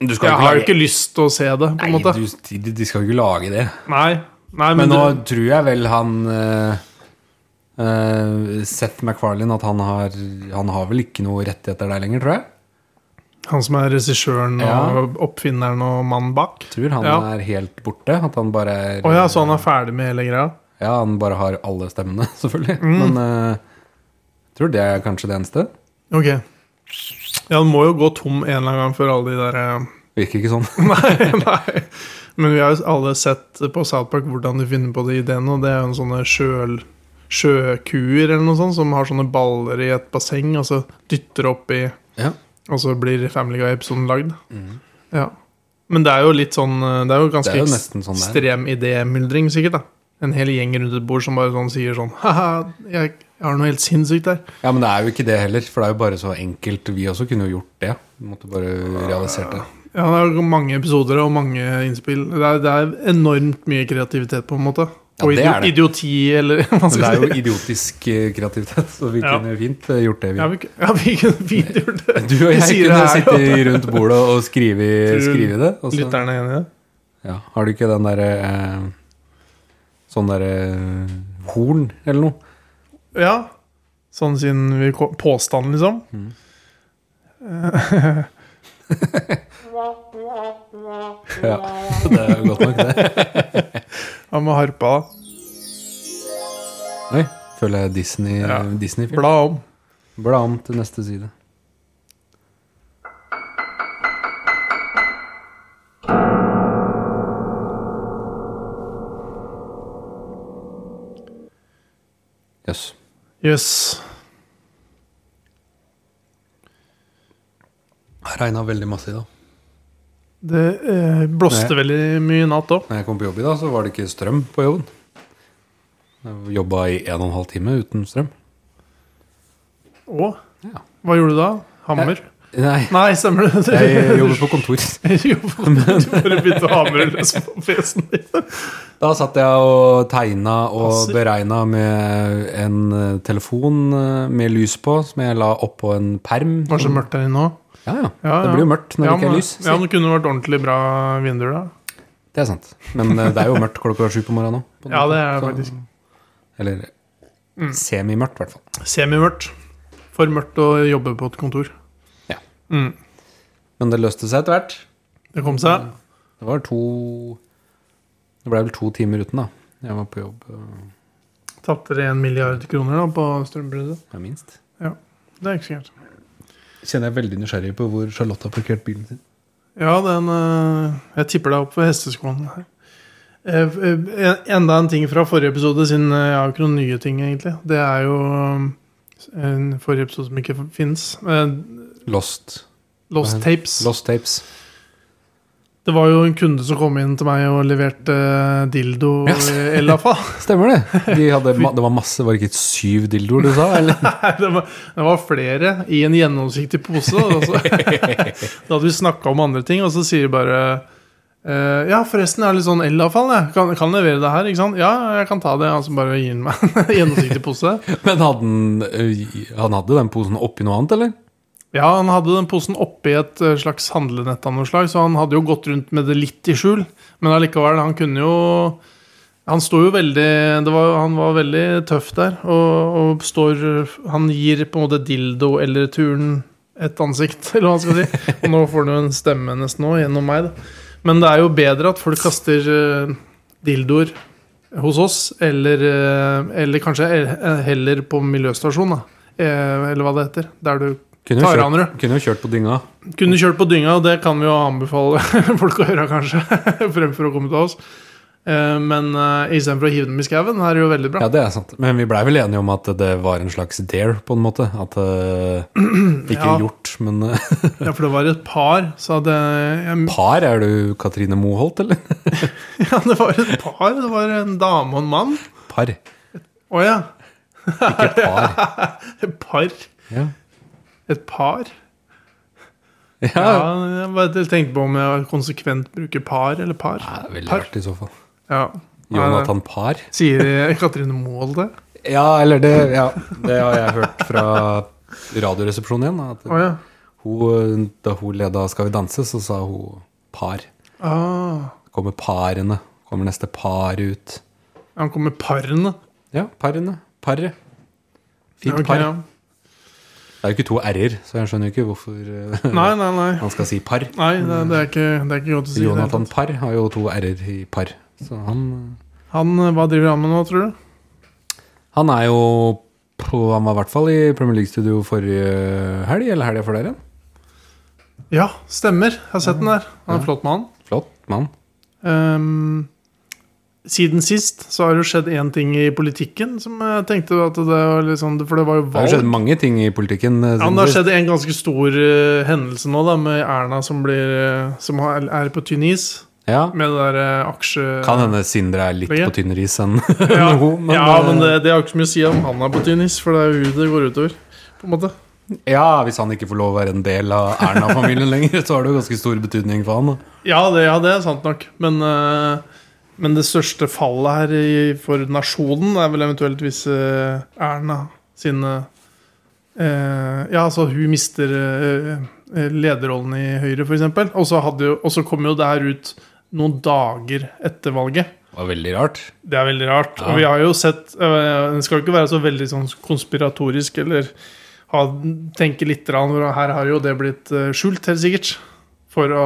[SPEAKER 1] Du
[SPEAKER 2] Jeg har jo ikke lyst til å se det, på en
[SPEAKER 1] Nei,
[SPEAKER 2] måte.
[SPEAKER 1] du, de- de skal jo ikke lage det.
[SPEAKER 2] Nei, nei men,
[SPEAKER 1] Men nå
[SPEAKER 2] du,
[SPEAKER 1] tror jeg vel han eh, eh, Seth MacFarlane at han har, han har vel ikke noe rettigheter der lenger, tror jeg.
[SPEAKER 2] han som er regissøren
[SPEAKER 1] Ja.
[SPEAKER 2] og oppfinneren og mannen bak.
[SPEAKER 1] Tror han
[SPEAKER 2] Ja.
[SPEAKER 1] er helt borte. At han bare er
[SPEAKER 2] Å ja, sånn. så han er ferdig med hele greia?
[SPEAKER 1] Ja, han bare har alle stemmene, selvfølgelig.
[SPEAKER 2] Mm.
[SPEAKER 1] Men eh, jeg tror det er kanskje det eneste.
[SPEAKER 2] Ok. Ja, han må jo gå tom en eller annen gang for alle de der eh,
[SPEAKER 1] Virker ikke sånn.
[SPEAKER 2] Nei, nei. Men vi har jo alle sett på South Park hvordan de finner på de ideene, og det er jo en sånne sjøl... Sjøkuer eller noe sånt som har sånne baller i et basseng, og så dytter oppi
[SPEAKER 1] Ja. Mm.
[SPEAKER 2] Og så blir Family Guy-episoden lagd. Ja. Men det er jo litt sånn eh, Det er jo ganske
[SPEAKER 1] Det er jo nesten sånn det
[SPEAKER 2] ekstrem idémyldring, sikkert. da En hel gjeng rundt et bord som bare sånn sier sånn Haha, jeg, jeg har noe helt sinnssykt der.
[SPEAKER 1] ja, men det er jo ikke det heller, for det er jo bare så enkelt. Vi også kunne jo gjort det. Vi måtte bare realisert det.
[SPEAKER 2] Ja, det er mange episoder og mange innspill. Det er, det er enormt mye kreativitet, på en måte.
[SPEAKER 1] Ja,
[SPEAKER 2] og
[SPEAKER 1] det
[SPEAKER 2] idio
[SPEAKER 1] er det.
[SPEAKER 2] idioti, eller hva
[SPEAKER 1] Men
[SPEAKER 2] skal
[SPEAKER 1] det er
[SPEAKER 2] jeg
[SPEAKER 1] jo
[SPEAKER 2] si.
[SPEAKER 1] idiotisk eh, kreativitet, så vi
[SPEAKER 2] Ja.
[SPEAKER 1] kunne fint eh, gjort det. Vi.
[SPEAKER 2] Ja, vi, ja, vi kunne fint gjort det.
[SPEAKER 1] Du og
[SPEAKER 2] Vi
[SPEAKER 1] jeg
[SPEAKER 2] sier
[SPEAKER 1] kunne
[SPEAKER 2] det her,
[SPEAKER 1] sitte
[SPEAKER 2] ja.
[SPEAKER 1] rundt bordet og skrive,
[SPEAKER 2] Tror du
[SPEAKER 1] skrive det. og så-
[SPEAKER 2] Lytterne er enig i det?
[SPEAKER 1] ja. Har du ikke den derre eh, Sånn derre eh, horn eller noe?
[SPEAKER 2] Ja. Sånn siden vi ko- Påstand, liksom.
[SPEAKER 1] Ja, det er jo godt nok, det.
[SPEAKER 2] Hva med harpa? da?
[SPEAKER 1] Oi, føler jeg Disney,
[SPEAKER 2] Ja.
[SPEAKER 1] Disney film.
[SPEAKER 2] Bla om.
[SPEAKER 1] Bla om til neste side. Jøss. Yes.
[SPEAKER 2] Jøss. Yes.
[SPEAKER 1] Det regna veldig masse i dag.
[SPEAKER 2] Det eh, blåste
[SPEAKER 1] Nei.
[SPEAKER 2] veldig mye i natt òg.
[SPEAKER 1] Når jeg kom på jobb i dag, så var det ikke strøm på jobben. Jeg jobba i en og en halv time uten strøm.
[SPEAKER 2] Og
[SPEAKER 1] Ja.
[SPEAKER 2] hva gjorde du da? Hammer?
[SPEAKER 1] Nei,
[SPEAKER 2] Nei, stemmer det?
[SPEAKER 1] jeg jobber på kontor.
[SPEAKER 2] Jo, du bare begynte å hamre løs på PC-en din.
[SPEAKER 1] Da satt jeg og tegna og
[SPEAKER 2] Passer.
[SPEAKER 1] beregna med en eh, telefon eh, med lys på, som jeg la oppå en perm.
[SPEAKER 2] Var så mørkt der inne òg.
[SPEAKER 1] Ja, ja. Det blir jo mørkt når
[SPEAKER 2] ja,
[SPEAKER 1] det ikke
[SPEAKER 2] men-
[SPEAKER 1] er lys.
[SPEAKER 2] Ja, men Det kunne vært ordentlig bra vinduer, da.
[SPEAKER 1] Det er sant. Men eh, det er jo mørkt klokka sju på morgenen nå. på den
[SPEAKER 2] Ja, det
[SPEAKER 1] måten,
[SPEAKER 2] er
[SPEAKER 1] så-
[SPEAKER 2] faktisk Mm.
[SPEAKER 1] Eller semimørkt, i hvert fall.
[SPEAKER 2] semimørkt. For mørkt å jobbe på et kontor.
[SPEAKER 1] Ja.
[SPEAKER 2] Mm.
[SPEAKER 1] Men det løste seg etter hvert.
[SPEAKER 2] Det kom seg.
[SPEAKER 1] Det var to Det ble vel to timer uten, da. Jeg var på jobb. eh, og-
[SPEAKER 2] Tapte dere en milliard kroner da på strømbruddet?
[SPEAKER 1] Ja, minst.
[SPEAKER 2] Det er ikke så gærent.
[SPEAKER 1] Kjenner jeg veldig nysgjerrig på hvor Charlotte har parkert bilen sin.
[SPEAKER 2] Ja, den eh, Jeg tipper deg opp ved hesteskoen her. Eh, eh, Enda en ting fra forrige episode, siden eh, jeg har ikke noen nye ting, egentlig. Det er jo eh, en forrige episode som ikke fins.
[SPEAKER 1] Lost.
[SPEAKER 2] Lost Tapes.
[SPEAKER 1] Lost tapes.
[SPEAKER 2] Det var jo en kunde som kom inn til meg og leverte eh, dildo
[SPEAKER 1] Yes.
[SPEAKER 2] i Elafa.
[SPEAKER 1] Stemmer det. De hadde, ma- det var masse, var det ikke syv dildoer du sa? Eller?
[SPEAKER 2] det, var, det var flere i en gjennomsiktig pose. Og så, da hadde vi snakka om andre ting, og så sier de bare eh, Ja, forresten, jeg har litt sånn elavfall. Jeg kan, kan levere det her. ikke sant? Ja, jeg kan ta det. Og så bare gir han meg en gjennomsiktig pose.
[SPEAKER 1] Men hadde han, ø, han hadde den posen oppi noe annet, eller?
[SPEAKER 2] Ja, han hadde den posen oppi et eh, slags handlenett av noe slag, så han hadde jo gått rundt med det litt i skjul. Men allikevel, han kunne jo Han sto jo veldig det var, Han var veldig tøff der. Og, og står Han gir på en måte dildo eller turen et ansikt, eller hva man skal si. Og nå får han jo en stemme nesten nå, gjennom meg, da. Men det er jo bedre at folk kaster eh, dildoer hos oss, eller, eh, eller kanskje eh, heller på miljøstasjon, da. Eh, Eller hva det heter. Der du
[SPEAKER 1] Kunne jo
[SPEAKER 2] Taranere.
[SPEAKER 1] kjørt, kunne jo kjørt på dynga.
[SPEAKER 2] kunne kjørt på dynga, og det kan vi jo anbefale folk å gjøre, kanskje. Fremfor å komme til oss. Eh, Men eh, istedenfor å hive dem i skauen, er det jo veldig bra.
[SPEAKER 1] Ja, det er sant. Men vi blei vel enige om at det var en slags dare, på en måte. At ø, Ikke
[SPEAKER 2] Ja.
[SPEAKER 1] gjort, men ø,
[SPEAKER 2] Ja, For det var et par, så hadde jeg
[SPEAKER 1] Par, er du Katrine Moholt, eller?
[SPEAKER 2] Ja, det var et par. Det var en dame og en mann.
[SPEAKER 1] Par.
[SPEAKER 2] Å ja.
[SPEAKER 1] Ikke par.
[SPEAKER 2] Et par.
[SPEAKER 1] Ja.
[SPEAKER 2] Et par. Ja,
[SPEAKER 1] Ja.
[SPEAKER 2] jeg bare tenkte på om jeg konsekvent bruker par eller par.
[SPEAKER 1] Nei, det er veldig
[SPEAKER 2] Par.
[SPEAKER 1] rart i så fall.
[SPEAKER 2] Ja.
[SPEAKER 1] Jonathan Par?
[SPEAKER 2] Sier Katrine Moholt det?
[SPEAKER 1] Ja, eller det ja, Det har jeg hørt fra Radioresepsjonen igjen. At
[SPEAKER 2] Å ja.
[SPEAKER 1] hun, da hun leda Skal vi danse, så sa hun par.
[SPEAKER 2] Ah,
[SPEAKER 1] Kommer parene. Kommer neste par ut.
[SPEAKER 2] han kom med parene.
[SPEAKER 1] Ja, parene. Paret. Fint
[SPEAKER 2] Ok,
[SPEAKER 1] par.
[SPEAKER 2] ja.
[SPEAKER 1] Det er jo ikke to r-er, så jeg skjønner ikke hvorfor eh,
[SPEAKER 2] Nei, nei, nei.
[SPEAKER 1] han skal si par.
[SPEAKER 2] Nei, det, det, er ikke, det er ikke godt å si. det.
[SPEAKER 1] Jonathan Par har jo to r-er i par. Så han,
[SPEAKER 2] Han, eh, Hva driver han med nå, tror du?
[SPEAKER 1] han er jo på, Han var i hvert fall i Premier League-studio forrige helg, eller helga for der igjen.
[SPEAKER 2] Ja, stemmer. Jeg har sett den der. Han er en flott mann.
[SPEAKER 1] Flott mann.
[SPEAKER 2] Ehm, siden sist så har det jo skjedd én ting i politikken som jeg tenkte at det var litt sånn For det var jo
[SPEAKER 1] Det har jo skjedd
[SPEAKER 2] valg.
[SPEAKER 1] mange ting i politikken. eh,
[SPEAKER 2] Ja,
[SPEAKER 1] siden
[SPEAKER 2] men det har
[SPEAKER 1] sist.
[SPEAKER 2] skjedd en ganske stor eh, hendelse nå, da, med Erna som, blir, eh, som har- er på tynn is.
[SPEAKER 1] Ja,
[SPEAKER 2] Med det derre aksje...
[SPEAKER 1] Kan hende Sindre er litt
[SPEAKER 2] Begge?
[SPEAKER 1] på tynnere is enn
[SPEAKER 2] ja,
[SPEAKER 1] noen, men,
[SPEAKER 2] ja, men
[SPEAKER 1] eh,
[SPEAKER 2] det, det har ikke så mye å si om han er på tynn is, for det er jo hun det går utover. På en måte.
[SPEAKER 1] ja, hvis han ikke får lov å være en del av Erna-familien lenger, så har det jo ganske stor betydning for han. da.
[SPEAKER 2] Ja, det, ja, det er sant nok. Men, eh, men det største fallet her i, for nasjonen er vel eventuelt hvis eh, Erna sine eh, Ja, altså hun mister eh, eh, lederrollen i Høyre, f.eks. Og så hadde jo- og så kom jo det her ut noen dager etter valget.
[SPEAKER 1] Det var veldig rart.
[SPEAKER 2] Det er veldig rart. Og vi har jo sett øh, Den skal jo ikke være så veldig sånn konspiratorisk eller ha, tenke litt grann, for Her har jo det blitt øh, skjult, helt sikkert. For å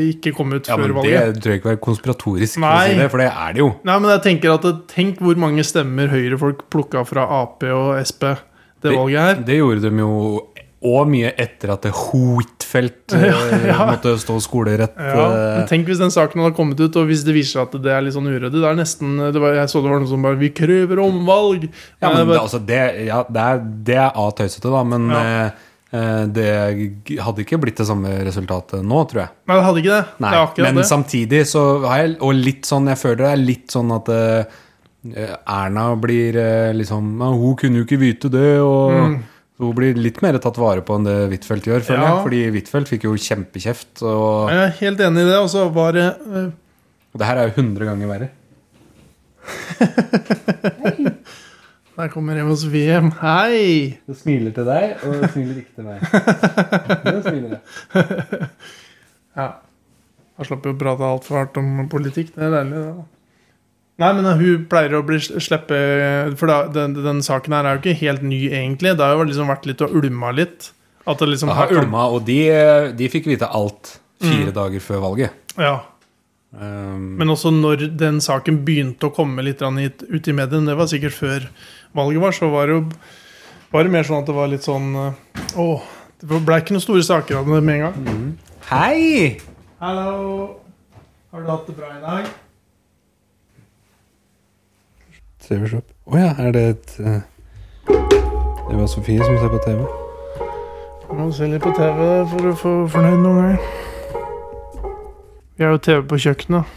[SPEAKER 2] ikke komme ut
[SPEAKER 1] Ja, men
[SPEAKER 2] før
[SPEAKER 1] Det
[SPEAKER 2] valget.
[SPEAKER 1] tror jeg ikke var konspiratorisk, for å
[SPEAKER 2] Nei.
[SPEAKER 1] si det, for det er det jo.
[SPEAKER 2] Nei, men jeg tenker at eh, Tenk hvor mange stemmer Høyre-folk plukka fra Ap og Sp det valget her.
[SPEAKER 1] Det gjorde de jo og mye etter at det Huitfeldt eh, måtte stå skolerett.
[SPEAKER 2] Ja,
[SPEAKER 1] eh,
[SPEAKER 2] men Tenk hvis den saken hadde kommet ut, og hvis det viser seg at det er litt sånn uryddig. Det er nesten, det var, jeg så det var noen som bare 'Vi krever omvalg'.
[SPEAKER 1] Ja,
[SPEAKER 2] Jeg
[SPEAKER 1] men det,
[SPEAKER 2] bare-
[SPEAKER 1] altså, det, ja, det er, det er A tøysete, da, men
[SPEAKER 2] Ja.
[SPEAKER 1] eh, eh, det g- hadde ikke blitt det samme resultatet nå, tror jeg.
[SPEAKER 2] Nei, det hadde ikke det.
[SPEAKER 1] Nei,
[SPEAKER 2] det er akkurat
[SPEAKER 1] men
[SPEAKER 2] det.
[SPEAKER 1] samtidig så har jeg Og litt sånn, jeg føler det er litt sånn at eh, Erna blir eh, liksom «Ja, Hun kunne jo ikke vite det, og
[SPEAKER 2] Mm.
[SPEAKER 1] hun blir litt mer tatt vare på enn det Huitfeldt gjør, føler
[SPEAKER 2] Ja.
[SPEAKER 1] jeg. Fordi Huitfeldt fikk jo kjempekjeft, og
[SPEAKER 2] Jeg er helt enig i det. Og så var det øh,
[SPEAKER 1] det her er jo 100 ganger verre.
[SPEAKER 2] Der kommer Evos VM. Hei!
[SPEAKER 1] Det smiler til deg, og det smiler ikke til meg. Det smiler jeg.
[SPEAKER 2] Ja. Da slapp vi å prate altfor hardt om politikk. Det er deilig, det. da. Nei, men hun pleier å bli sleppe For da, den, den saken her er jo ikke helt ny, egentlig. Det har jo liksom vært litt og ulma litt. At det liksom
[SPEAKER 1] eh,
[SPEAKER 2] Mm.
[SPEAKER 1] Aha, Ulma, og de, de fikk vite alt fire dager før valget.
[SPEAKER 2] Ja.
[SPEAKER 1] Um,
[SPEAKER 2] Men også når den saken begynte å komme litt grann hit, ut i mediene, det var sikkert før valget var, så var det jo var det mer sånn at det var litt sånn eh, Å, det ble ikke noen store saker av det med en gang.
[SPEAKER 1] hei!
[SPEAKER 2] Hallo! Har du hatt det bra i dag?
[SPEAKER 1] TV-shop. Å ja, er det et eh, Det var Sofie som ser på TV.
[SPEAKER 2] Må se litt på TV for å få fornøyd noen ganger. Vi har jo TV på kjøkkenet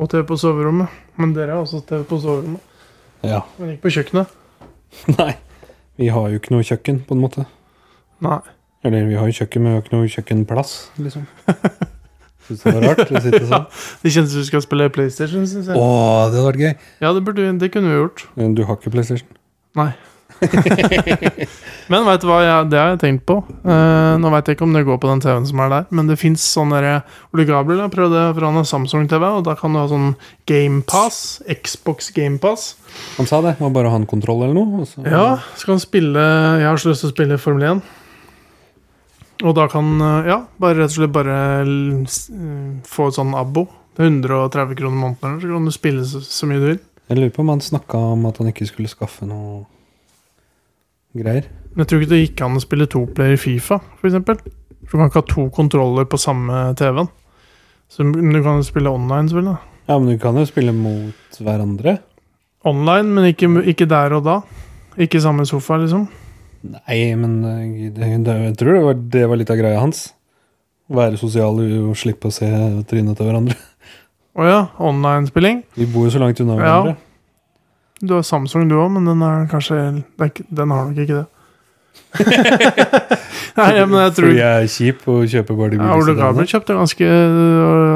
[SPEAKER 2] og TV på soverommet. Men dere har også TV på soverommet,
[SPEAKER 1] Ja.
[SPEAKER 2] men ikke på kjøkkenet.
[SPEAKER 1] Nei. Vi har jo ikke noe kjøkken, på en måte.
[SPEAKER 2] Nei.
[SPEAKER 1] Eller vi har jo kjøkken, men vi har ikke noe kjøkkenplass, liksom. Syns det var rart å sitte sånn.
[SPEAKER 2] Det kjennes ut som vi skal spille PlayStation, syns jeg.
[SPEAKER 1] Å, det hadde vært gøy.
[SPEAKER 2] Ja, det, burde, vi- det kunne vi gjort.
[SPEAKER 1] Men Du har ikke PlayStation?
[SPEAKER 2] Nei. men vet du hva, jeg, det har jeg tenkt på. Eh, nå veit jeg ikke om det går på den TV-en som er der, men det fins sånn derre Ole Gabriel har prøvd det, for han har Samsung-TV, og da kan du ha sånn GamePass. Xbox GamePass.
[SPEAKER 1] Han sa det. Må bare ha en kontroll eller noe. Og så.
[SPEAKER 2] Ja, så kan han spille Jeg har så lyst til å spille Formel 1. Og da kan eh, Ja, bare rett og slett bare l- s- eh, få et sånn abo. Det er 130 kroner i måneden, eller så kan du spille så, så mye du vil.
[SPEAKER 1] Jeg lurer på om han snakka om at han ikke skulle skaffe noe greier.
[SPEAKER 2] Men jeg tror ikke det gikk an å spille to player i Fifa, f.eks. Du kan ikke ha to kontroller på samme TV-en. Så men du kan jo spille online, selvfølgelig. da.
[SPEAKER 1] Ja, men du kan jo spille mot hverandre.
[SPEAKER 2] Online, men ikke, ikke der og da. Ikke i samme sofa, liksom.
[SPEAKER 1] Nei, men eh, det, det, jeg tror det var, det var litt av greia hans. Å være sosial og slippe å se trynet til hverandre.
[SPEAKER 2] Å ja, online-spilling.
[SPEAKER 1] Vi bor jo så langt unna
[SPEAKER 2] Ja.
[SPEAKER 1] hverandre.
[SPEAKER 2] Du har Samsung, du òg, men den er kanskje det er ikke- Den har nok ikke det. Nei, ja, men jeg tror
[SPEAKER 1] Fordi jeg er kjip og kjøper bare de
[SPEAKER 2] ja, Ole
[SPEAKER 1] billigste.
[SPEAKER 2] Gabriel
[SPEAKER 1] damene.
[SPEAKER 2] kjøpte ganske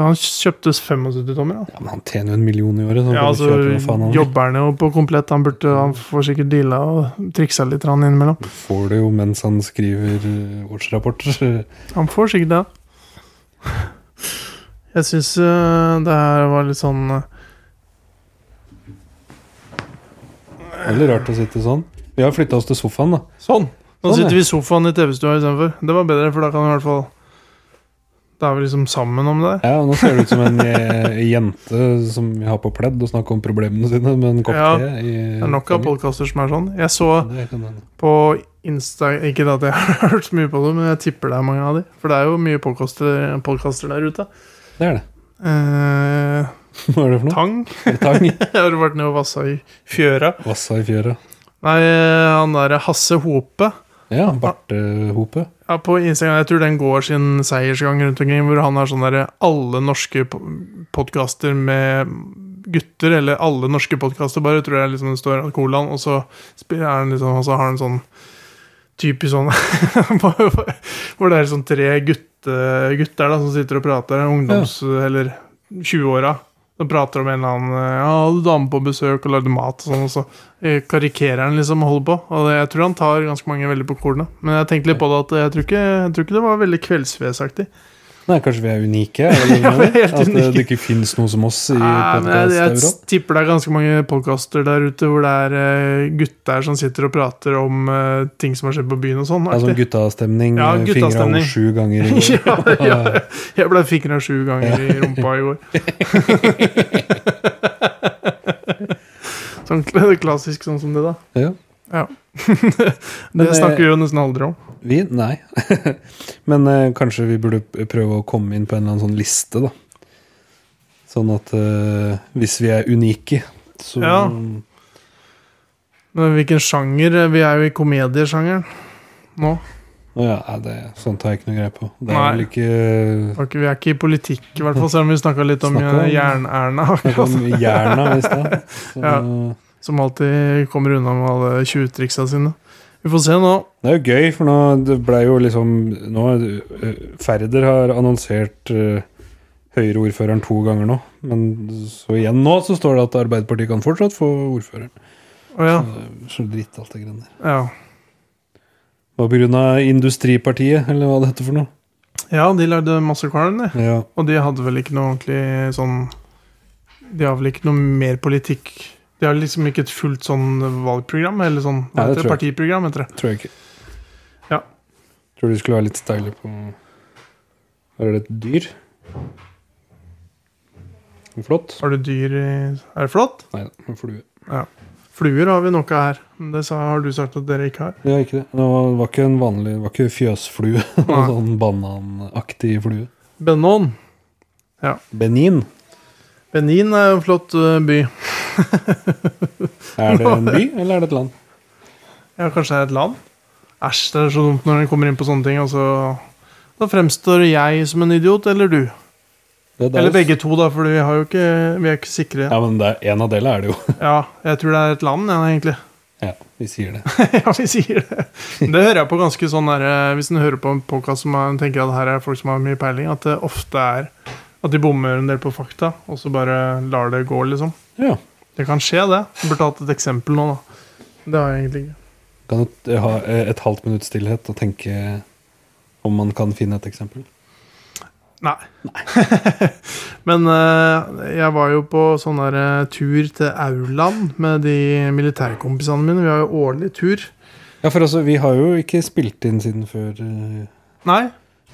[SPEAKER 2] Han kjøpte 75 tommer.
[SPEAKER 1] Ja, men han tjener jo en million i året. Så han
[SPEAKER 2] Ja,
[SPEAKER 1] kan
[SPEAKER 2] altså,
[SPEAKER 1] kjøpe hva faen han vil.
[SPEAKER 2] jobber han jo på komplett. Han, burde, han får sikkert deala og triksa litt grann innimellom.
[SPEAKER 1] Får det jo mens han skriver eh, årsrapporter.
[SPEAKER 2] Han får sikkert det. Jeg syns det her var litt sånn eh,
[SPEAKER 1] Det er Veldig rart å sitte sånn. Vi har flytta oss til sofaen, da.
[SPEAKER 2] Sånn! Nå
[SPEAKER 1] Sånn,
[SPEAKER 2] sitter
[SPEAKER 1] ja.
[SPEAKER 2] vi i sofaen i TV-stua istedenfor. Det var bedre, for da kan vi i hvert fall Da er vi liksom sammen om det.
[SPEAKER 1] Ja, og Nå ser det ut som en eh, jente som vi har på pledd og snakker om problemene sine med en kopp
[SPEAKER 2] Ja,
[SPEAKER 1] te. i-
[SPEAKER 2] Det er nok av podkaster som er sånn. Jeg så
[SPEAKER 1] Det kan hende.
[SPEAKER 2] på Insta Ikke at jeg har hørt så mye på det, men jeg tipper det er mange av de. For det er jo mye podkaster podkaster der ute.
[SPEAKER 1] Det er det.
[SPEAKER 2] Eh,
[SPEAKER 1] Hva er det for noe?
[SPEAKER 2] tang.
[SPEAKER 1] Tang.
[SPEAKER 2] jeg har vært nede og vassa i fjøra.
[SPEAKER 1] Vassa i fjøra.
[SPEAKER 2] Nei, han derre Hasse Hope.
[SPEAKER 1] Ja, bartehope.
[SPEAKER 2] Ja, på Instagram, Jeg tror den går sin seiersgang rundt omkring, hvor han har sånn derre Alle norske podkaster med gutter, eller alle norske podkaster, bare, tror jeg liksom det står at colaen, og så sp- er han liksom, og så har han en sånn typisk sånn Hvor det er sånn tre gutte, gutter da, som sitter og prater, ungdoms- eller 20-åra. Så prater de om en eller annen eh, Ja, hadde dame på besøk og lagde mat og sånn, og så eh, karikerer han liksom og holder på. Og det, jeg tror han tar ganske mange veldig på kornet. Men jeg tenkte litt på det at eh, jeg tror ikke, jeg tror ikke det var veldig Kveldsfjesaktig.
[SPEAKER 1] Nei, kanskje vi er unike? er det det du
[SPEAKER 2] Ja, vi er
[SPEAKER 1] mener?
[SPEAKER 2] helt
[SPEAKER 1] At det,
[SPEAKER 2] unike.
[SPEAKER 1] det ikke fins noe som oss i
[SPEAKER 2] Nei, Ah, men jeg, jeg
[SPEAKER 1] podkast-euroen?
[SPEAKER 2] tipper det er ganske mange podkaster der ute hvor det er eh, gutter som sitter og prater om eh, ting som har skjedd på byen og sånn.
[SPEAKER 1] Altså
[SPEAKER 2] aktig.
[SPEAKER 1] guttastemning.
[SPEAKER 2] Ja,
[SPEAKER 1] eh, Fingra
[SPEAKER 2] guttastemning.
[SPEAKER 1] over sju ganger. i går.
[SPEAKER 2] ja, ja, jeg ble fikra sju ganger i rumpa i går. sånn kl- klassisk sånn som det, da.
[SPEAKER 1] Eh, Ja. Men
[SPEAKER 2] Det
[SPEAKER 1] det-
[SPEAKER 2] snakker vi jo nesten aldri om.
[SPEAKER 1] Vi? Nei. Men eh, kanskje vi burde p- prøve å komme inn på en eller annen sånn liste, da. Sånn at eh, hvis vi er unike, så
[SPEAKER 2] Ja. Men hvilken sjanger? Vi er jo i komediesjangeren nå.
[SPEAKER 1] Å ja, nei, det, sånt har jeg ikke noe greie på. Det er
[SPEAKER 2] Nei.
[SPEAKER 1] vel ikke
[SPEAKER 2] Og ikke- Vi er ikke i politikk, i hvert fall, selv om vi snakka litt om
[SPEAKER 1] Snakket om-
[SPEAKER 2] eh, Jern-Erna.
[SPEAKER 1] Snakk
[SPEAKER 2] akkurat,
[SPEAKER 1] om jerna i stad. Så,
[SPEAKER 2] Som alltid kommer unna med alle tjuvtriksa sine. Vi får se nå.
[SPEAKER 1] Det er jo gøy, for nå det ble jo liksom nå, eh, Færder har annonsert eh, Høyre-ordføreren to ganger nå. Men så igjen nå så står det at Arbeiderpartiet kan fortsatt få ordføreren.
[SPEAKER 2] Å ja.
[SPEAKER 1] Så dritt alt det greiene der.
[SPEAKER 2] ja.
[SPEAKER 1] Det var pga. Industripartiet, eller hva det heter for noe.
[SPEAKER 2] Ja, de lagde masse kvalm, de.
[SPEAKER 1] Ja,
[SPEAKER 2] Og de hadde vel ikke noe ordentlig sånn De har vel ikke noe mer politikk De har liksom ikke et fullt sånn valgprogram, eller sånn hva
[SPEAKER 1] Nei, det
[SPEAKER 2] heter det?
[SPEAKER 1] tror
[SPEAKER 2] partiprogram, heter det.
[SPEAKER 1] tror jeg ikke.
[SPEAKER 2] Ja.
[SPEAKER 1] Tror du skulle være litt steiler på Her er det et dyr. Flott.
[SPEAKER 2] Har du dyr i Er det flott?
[SPEAKER 1] Nei da, en flue.
[SPEAKER 2] Fluer har vi nok av her. Men det sa, har du sagt at dere ikke har.
[SPEAKER 1] Det var ikke det. Det var, var ikke en vanlig det var ikke fjøsflue. Det var
[SPEAKER 2] Nei.
[SPEAKER 1] en sånn bananaktig flue.
[SPEAKER 2] Benon.
[SPEAKER 1] Benin.
[SPEAKER 2] Benin er jo en flott eh, by.
[SPEAKER 1] Er det en by, eller er det et land?
[SPEAKER 2] Ja, kanskje det er et land? Æsj, det er så dumt når en kommer inn på sånne ting. Altså. Da fremstår jeg som en idiot, eller du.
[SPEAKER 1] Det, det er
[SPEAKER 2] Eller
[SPEAKER 1] jo-
[SPEAKER 2] begge to, da, for vi, har jo ikke, vi er ikke sikre.
[SPEAKER 1] Ja, men det er, en av delene er det jo.
[SPEAKER 2] Ja, jeg tror det er et land, ja, egentlig.
[SPEAKER 1] Ja, vi sier det.
[SPEAKER 2] ja, vi sier det. Men Det hører jeg på ganske sånn der, eh, Hvis en hører på en podkast som er- en tenker at her er folk som har mye peiling, at det ofte er at de bommer en del på fakta, og så bare lar det gå, liksom.
[SPEAKER 1] Ja.
[SPEAKER 2] Det kan skje, det. Jeg burde hatt et eksempel nå, da. Det har jeg egentlig ikke.
[SPEAKER 1] Kan du ha eh, et halvt minutts stillhet og tenke om man kan finne et eksempel?
[SPEAKER 2] Nei. Men eh, jeg var jo på sånn der eh, tur til Auland med de militærkompisene mine. Vi har jo årlig tur.
[SPEAKER 1] Ja, for altså, vi har jo ikke spilt inn siden før eh,
[SPEAKER 2] Nei,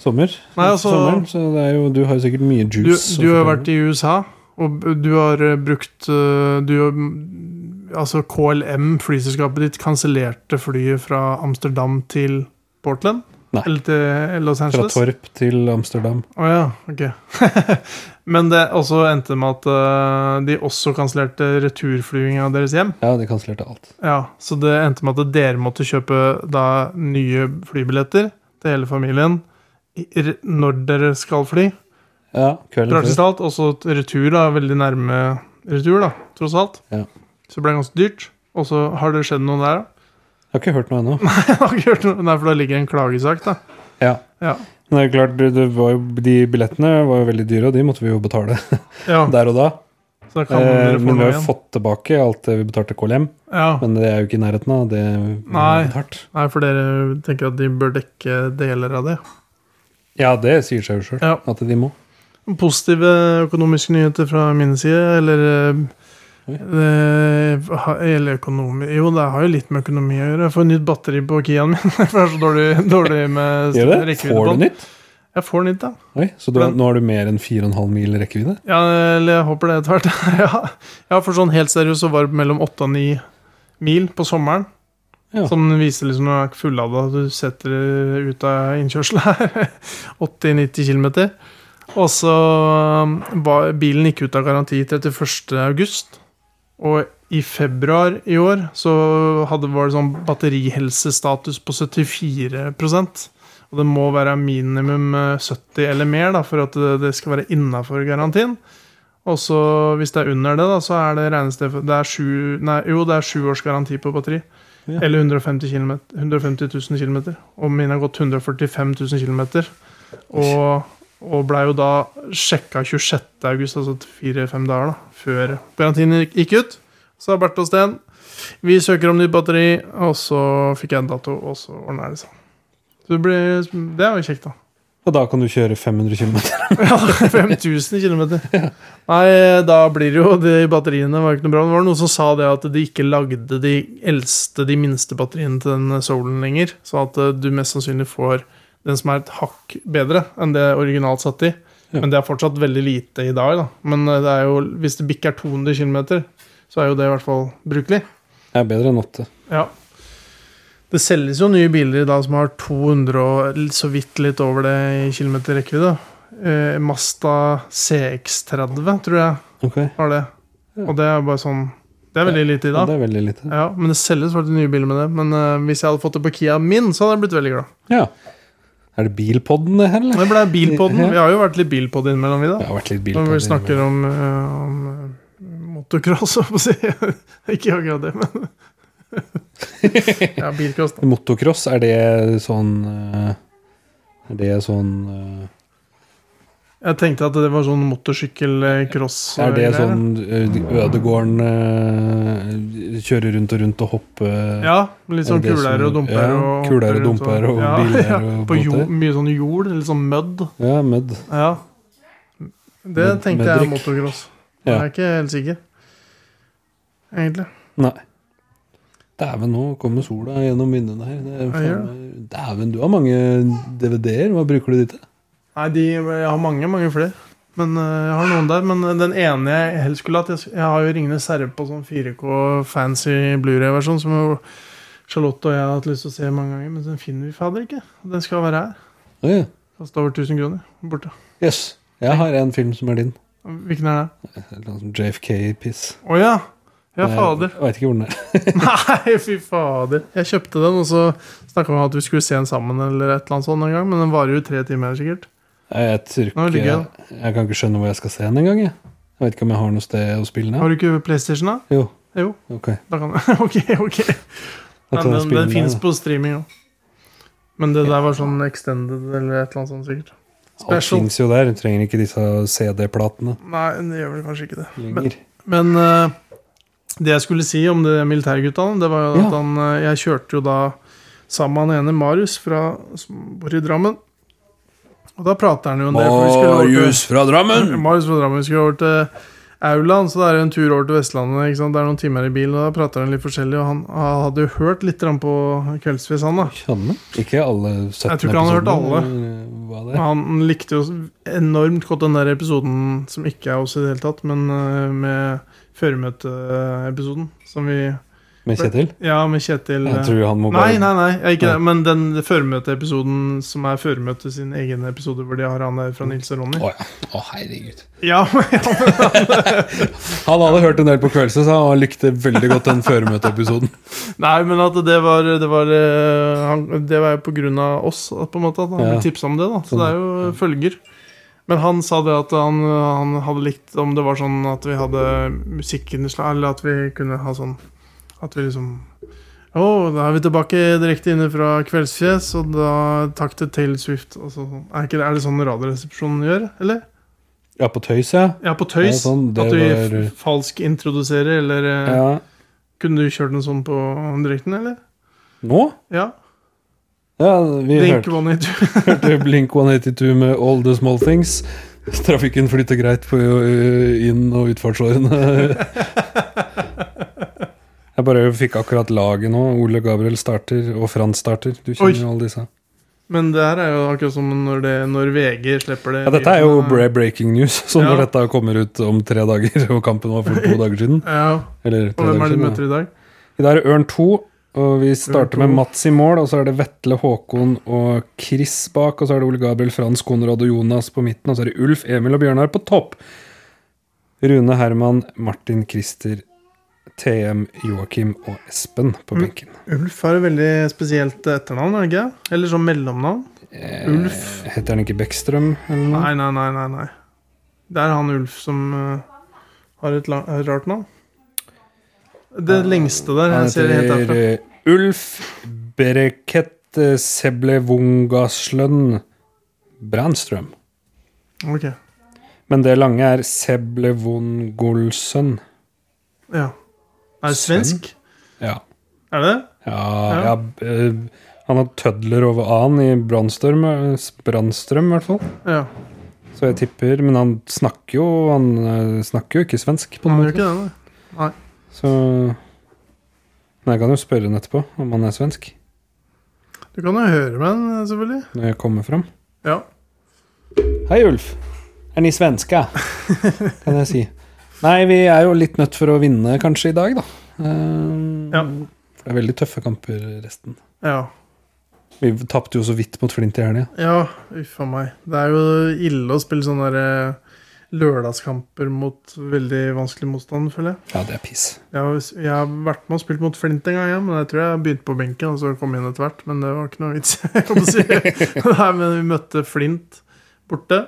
[SPEAKER 1] sommer.
[SPEAKER 2] Nei, altså-
[SPEAKER 1] Sommeren, så det er jo, du har jo sikkert mye
[SPEAKER 2] du,
[SPEAKER 1] juice.
[SPEAKER 2] du har jo vært i USA, og b- du har eh, brukt eh, du, har- mm, Altså KLM, flyselskapet ditt, kansellerte flyet fra Amsterdam til Portland?
[SPEAKER 1] Nei.
[SPEAKER 2] Eller til Los
[SPEAKER 1] Fra
[SPEAKER 2] Angeles?
[SPEAKER 1] Torp til Amsterdam.
[SPEAKER 2] Å ja, ok. Men det også endte med at eh, de også kansellerte returflyginga deres hjem.
[SPEAKER 1] Ja, de kansellerte alt.
[SPEAKER 2] Ja, Så det endte med at dere måtte kjøpe da nye flybilletter til hele familien i- r- når dere skal fly.
[SPEAKER 1] Ja, kvelden
[SPEAKER 2] Praktisk
[SPEAKER 1] før.
[SPEAKER 2] talt. Også et retur, da. Veldig nærme retur, da, tross alt.
[SPEAKER 1] Ja.
[SPEAKER 2] Så det ble ganske dyrt. Og så har det skjedd noe der, da.
[SPEAKER 1] Jeg har ikke hørt noe ennå.
[SPEAKER 2] Jeg har ikke hørt noe, Nei, for da ligger en klagesak, da.
[SPEAKER 1] Ja.
[SPEAKER 2] Ja.
[SPEAKER 1] Men det er klart, det- det var jo, de billettene var jo veldig dyre, og de måtte vi jo betale
[SPEAKER 2] ja
[SPEAKER 1] der og da.
[SPEAKER 2] så da kan
[SPEAKER 1] Eh,
[SPEAKER 2] dere få
[SPEAKER 1] men vi
[SPEAKER 2] noe
[SPEAKER 1] har jo
[SPEAKER 2] igjen.
[SPEAKER 1] fått tilbake alt det vi betalte KLM,
[SPEAKER 2] Ja.
[SPEAKER 1] men det er jo ikke i nærheten av det vi har
[SPEAKER 2] Nei.
[SPEAKER 1] betalt.
[SPEAKER 2] Nei, for dere tenker at de bør dekke deler av det.
[SPEAKER 1] Ja, det sier seg jo sjøl
[SPEAKER 2] Ja.
[SPEAKER 1] at de må.
[SPEAKER 2] Positive økonomiske nyheter fra min side, eller eh,
[SPEAKER 1] Oi.
[SPEAKER 2] eh, ha- Eller økonomi Jo, det har jo litt med økonomi å gjøre. Jeg får nytt batteri på Kiaen min. For det er så dårlig, dårlig med
[SPEAKER 1] Gjør det?
[SPEAKER 2] rekkevidde
[SPEAKER 1] Får
[SPEAKER 2] på
[SPEAKER 1] du
[SPEAKER 2] den.
[SPEAKER 1] nytt?
[SPEAKER 2] Jeg får nytt, ja.
[SPEAKER 1] Oi, så du, nå har du mer enn 4,5 mil rekkevidde?
[SPEAKER 2] ja. Eller jeg håper det etter hvert. ja. ja, for sånn helt seriøst så var det mellom åtte og ni mil på sommeren.
[SPEAKER 1] Ja.
[SPEAKER 2] Som viser liksom når det er fullada, du setter det ut av innkjørselen her. 80-90 km. Og så um, var bilen gikk ut av garanti 31. august. Og i februar i år så hadde, var det sånn batterihelsestatus på 74 Og det må være minimum eh, 70 eller mer da, for at det- det skal være innafor garantien. Og så hvis det er under det, da, så er det regnested for- det er sju, nei, Jo, det er sju års garanti på batteri.
[SPEAKER 1] Ja.
[SPEAKER 2] Eller 150, kilometer, 150 000 km. Og min har gått 145 000 km. Og, og blei jo da sjekka 26. august, altså fire-fem dager da, før garantien gikk- gikk ut. Så har Berthe og Sten Vi søker om nytt batteri, og så fikk jeg en dato, og så ordna det seg. Så det, blir, det er jo kjekt, da.
[SPEAKER 1] Og da kan du kjøre 500 km?
[SPEAKER 2] Ja, 5000 km. Nei, da blir det jo de batteriene var jo ikke noe bra. Det var noen som sa det at de ikke lagde de eldste, de minste batteriene til den Solen lenger. Så at eh, du mest sannsynlig får den som er et hakk bedre enn det originalt satt i.
[SPEAKER 1] Ja.
[SPEAKER 2] Men det er fortsatt veldig lite i dag, da. Men eh, det er jo, hvis det bikker 200 km, så er jo det i hvert fall brukelig.
[SPEAKER 1] Det er bedre enn 8.
[SPEAKER 2] Ja. Det selges jo nye biler i dag som har 200 og l- så vidt litt over det i kilometer rekkevidde. Eh, Masta CX30, tror jeg,
[SPEAKER 1] Ok,
[SPEAKER 2] har det.
[SPEAKER 1] Ja.
[SPEAKER 2] Og det er bare sånn Det er veldig lite i
[SPEAKER 1] ja,
[SPEAKER 2] dag.
[SPEAKER 1] Det er veldig lite.
[SPEAKER 2] Ja, men det selges faktisk nye biler med det. Men eh, hvis jeg hadde fått det på Kia min, så hadde jeg blitt veldig glad.
[SPEAKER 1] Ja. Er det bilpodden det her,
[SPEAKER 2] Men
[SPEAKER 1] eller?
[SPEAKER 2] Det ble bilpodden.
[SPEAKER 1] Ja.
[SPEAKER 2] Vi har jo vært litt bilpod innimellom, vi, da.
[SPEAKER 1] Det har vært litt
[SPEAKER 2] Når
[SPEAKER 1] bilpodden.
[SPEAKER 2] vi snakker om, eh, om eh, motocross, holdt jeg på å si. Ikke akkurat det, men Ja, bilcross, da.
[SPEAKER 1] Motocross, er det sånn eh, Er det sånn eh,
[SPEAKER 2] Jeg tenkte at det var sånn motorsykkel-cross.
[SPEAKER 1] Er det sånn eh, Ødegården eh, kjører rundt og rundt og hopper
[SPEAKER 2] Ja, litt sånn
[SPEAKER 1] Er det det
[SPEAKER 2] kuler
[SPEAKER 1] som-
[SPEAKER 2] og dumper.
[SPEAKER 1] ja,
[SPEAKER 2] og
[SPEAKER 1] kuler og
[SPEAKER 2] hopper rundt
[SPEAKER 1] dumper og
[SPEAKER 2] ja,
[SPEAKER 1] biler
[SPEAKER 2] ja,
[SPEAKER 1] og
[SPEAKER 2] På
[SPEAKER 1] båter.
[SPEAKER 2] jord, mye sånn jord, litt sånn mud.
[SPEAKER 1] Ja, mud.
[SPEAKER 2] Ja. Det
[SPEAKER 1] Mud-
[SPEAKER 2] tenkte jeg er
[SPEAKER 1] mudrykk.
[SPEAKER 2] motocross.
[SPEAKER 1] Ja.
[SPEAKER 2] Jeg er ikke helt sikker. Egentlig.
[SPEAKER 1] Nei. Dæven, nå kommer sola gjennom vinduene her. Det er
[SPEAKER 2] Ja, gjør
[SPEAKER 1] faen, meg- Dæven, du har mange DVD-er. Hva bruker du de til?
[SPEAKER 2] Nei, de, jeg har mange, mange flere. Men eh, jeg har noen der, men den ene jeg helst skulle hatt Jeg jeg har jo 'Ringenes herre' på sånn 4K fancy Blu-ray-versjon, som jo Charlotte og jeg har hatt lyst til å se mange ganger, men den finner vi fader ikke. Den skal være her.
[SPEAKER 1] Å, ja.
[SPEAKER 2] Kosta over 1000 kroner. Borte.
[SPEAKER 1] Jøss. Jeg har en film som er din.
[SPEAKER 2] Hvilken er det?
[SPEAKER 1] JFK-piss.
[SPEAKER 2] Å ja! Ja, fader.
[SPEAKER 1] Jeg vet ikke hvor den er.
[SPEAKER 2] Nei, fy fader. Jeg kjøpte den, og så snakka vi om at vi skulle se den sammen, eller et eller annet sånt en gang, men den varer jo tre timer sikkert.
[SPEAKER 1] Nei, Jeg, tror
[SPEAKER 2] Nå er det
[SPEAKER 1] ikke, jeg kan ikke skjønne hvor jeg skal se den engang. Jeg. jeg vet ikke om jeg har noe sted å spille den.
[SPEAKER 2] Har du ikke PlayStation, da?
[SPEAKER 1] Jo,
[SPEAKER 2] Jo,
[SPEAKER 1] ok.
[SPEAKER 2] da kan du Ok, ok.
[SPEAKER 1] Da
[SPEAKER 2] Nei,
[SPEAKER 1] tar jeg spillen
[SPEAKER 2] den den
[SPEAKER 1] der,
[SPEAKER 2] fins
[SPEAKER 1] da.
[SPEAKER 2] på streaming òg. Men det der var sånn extended eller et eller annet sånt, sikkert.
[SPEAKER 1] Alt
[SPEAKER 2] Special.
[SPEAKER 1] fins jo der. Du trenger ikke disse CD-platene
[SPEAKER 2] Nei, det gjør vel kanskje ikke det. Men,
[SPEAKER 1] lenger.
[SPEAKER 2] men eh, det jeg skulle si om det militærgutta, det var jo at
[SPEAKER 1] Ja.
[SPEAKER 2] han eh, Jeg kjørte jo da sammen med han ene, Marius, fra, som bor i Drammen. Og da prater han jo om det. for vi skulle over til-
[SPEAKER 1] fra Drammen!
[SPEAKER 2] Marius fra Drammen skulle over til Auland, så det er jo en tur over til Vestlandet. Ikke sant? Det er noen timer i bil, og da prater han litt forskjellig. Og han, han hadde jo hørt litt grann på Kveldsfjes, han da.
[SPEAKER 1] Kjanne? Ikke alle 17
[SPEAKER 2] Jeg tror ikke han har hørt
[SPEAKER 1] episodene,
[SPEAKER 2] alle.
[SPEAKER 1] eller eh, Hva det er.
[SPEAKER 2] Han likte jo enormt godt den der episoden som ikke er oss i det hele tatt, men eh, med føremøteepisoden som vi
[SPEAKER 1] Med Kjetil?
[SPEAKER 2] Ja, med Kjetil
[SPEAKER 1] Jeg
[SPEAKER 2] eh,
[SPEAKER 1] tror han må
[SPEAKER 2] Nei, nei,
[SPEAKER 1] bare
[SPEAKER 2] nei, jeg er ikke det. Men den føremøteepisoden som er føremøte sin egen episode, hvor de har han der fra Nils og Ronny.
[SPEAKER 1] Mm. Å ja. Å, herregud.
[SPEAKER 2] Ja, men
[SPEAKER 1] Han hadde hørt en del på Kveldse, så han likte veldig godt den føremøteepisoden.
[SPEAKER 2] Nei, men at det var Det var, eh, han, det var jo på grunn av oss, at på en måte, at han
[SPEAKER 1] Ja. Sånn,
[SPEAKER 2] ble tipsa om det. da Så det er jo følger. Men han sa det at han, han hadde likt om det var sånn at vi hadde musikkinnslag, eller at vi kunne ha sånn At vi liksom Å, da er vi tilbake direkte inne fra Kveldsfjes, og da takk til Taylor Swift. Og så, sånn. er, ikke, det- er det sånn Radioresepsjonen gjør, eller?
[SPEAKER 1] Ja, på tøys, ja.
[SPEAKER 2] Ja, på tøys.
[SPEAKER 1] Ja, sånn, det
[SPEAKER 2] at vi
[SPEAKER 1] var-
[SPEAKER 2] f- falsk introduserer, eller eh,
[SPEAKER 1] ja.
[SPEAKER 2] Kunne du kjørt den sånn på direkten, eller?
[SPEAKER 1] Nå?
[SPEAKER 2] Ja.
[SPEAKER 1] Ja, vi
[SPEAKER 2] Blink
[SPEAKER 1] hørte,
[SPEAKER 2] 182.
[SPEAKER 1] hørte Blink 182 med All The Small Things. Trafikken flytter greit på ø, inn- og utfartsårene. Jeg bare fikk akkurat laget nå. Ole Gabriel starter, og Frans starter. Du
[SPEAKER 2] Oi.
[SPEAKER 1] kjenner jo alle disse.
[SPEAKER 2] Men det her er jo akkurat som når, det, når VG slipper det eh,
[SPEAKER 1] Ja, dette er jo
[SPEAKER 2] nyhetene.
[SPEAKER 1] bre- breaking news, så når
[SPEAKER 2] Ja.
[SPEAKER 1] dette kommer ut om tre dager, og kampen var for to dager siden
[SPEAKER 2] Ja,
[SPEAKER 1] Eller
[SPEAKER 2] Og
[SPEAKER 1] tre
[SPEAKER 2] hvem er
[SPEAKER 1] dager
[SPEAKER 2] det du
[SPEAKER 1] siden. ja.
[SPEAKER 2] møter i dag?
[SPEAKER 1] I dag er det Ørn 2, og vi starter
[SPEAKER 2] Ørn
[SPEAKER 1] med
[SPEAKER 2] 2.
[SPEAKER 1] Mats i mål. Og så er det Vetle, Håkon og Chris bak. Og så er det Ole Gabriel, Frans, Konrad og Jonas på midten. Og så er det Ulf, Emil og Bjørnar på topp. Rune Herman, Martin, Christer, TM, Joakim og Espen
[SPEAKER 2] Mm.
[SPEAKER 1] på benken.
[SPEAKER 2] Ulf har et veldig spesielt etternavn, er det ikke? Eller sånn mellomnavn?
[SPEAKER 1] Eh.
[SPEAKER 2] Ulf?
[SPEAKER 1] Heter han ikke Bekkstrøm eller noe?
[SPEAKER 2] Nei, nei, nei, nei, nei. Det er han Ulf som eh, har et lang, et rart navn. Det lengste der.
[SPEAKER 1] Han
[SPEAKER 2] Jeg ser det helt
[SPEAKER 1] heter
[SPEAKER 2] derfra.
[SPEAKER 1] eh, Ulf Bereket eh, Seblevungaslønn Brandstrøm.
[SPEAKER 2] Ok,
[SPEAKER 1] Men det lange er Seblevungolsønn.
[SPEAKER 2] ja. Er det svensk?
[SPEAKER 1] Ja.
[SPEAKER 2] Er det det?
[SPEAKER 1] Ja, ja. eh, han har tødler over A-en i Brannstrøm, eh, Brannstrøm i hvert fall.
[SPEAKER 2] Ja.
[SPEAKER 1] Så jeg tipper Men han snakker jo Han eh, snakker jo ikke svensk, på
[SPEAKER 2] Han
[SPEAKER 1] en
[SPEAKER 2] gjør
[SPEAKER 1] måte.
[SPEAKER 2] ikke det, nei.
[SPEAKER 1] Så Men jeg kan jo spørre han etterpå om han er svensk,
[SPEAKER 2] Du kan jo høre med han, eh, selvfølgelig.
[SPEAKER 1] når jeg kommer fram.
[SPEAKER 2] Ja.
[SPEAKER 1] Hei, Ulf. Er ni svenska? Kan jeg si. Nei, vi er jo litt nødt for å vinne kanskje i dag, da. Eh,
[SPEAKER 2] Ja.
[SPEAKER 1] For det er veldig tøffe kamper, resten.
[SPEAKER 2] ja.
[SPEAKER 1] Vi tapte jo så vidt mot Flint i helga.
[SPEAKER 2] Ja, uff a meg. Det er jo ille å spille sånne der, eh, lørdagskamper mot veldig vanskelig motstand, føler jeg.
[SPEAKER 1] Ja, det er piss.
[SPEAKER 2] Jeg har, jeg har vært med og spilt mot Flint en gang, ja, men jeg tror jeg begynte på benken og så kom jeg inn etter hvert. Men det var ikke noe vits. jeg kan si. Nei, men vi møtte Flint borte,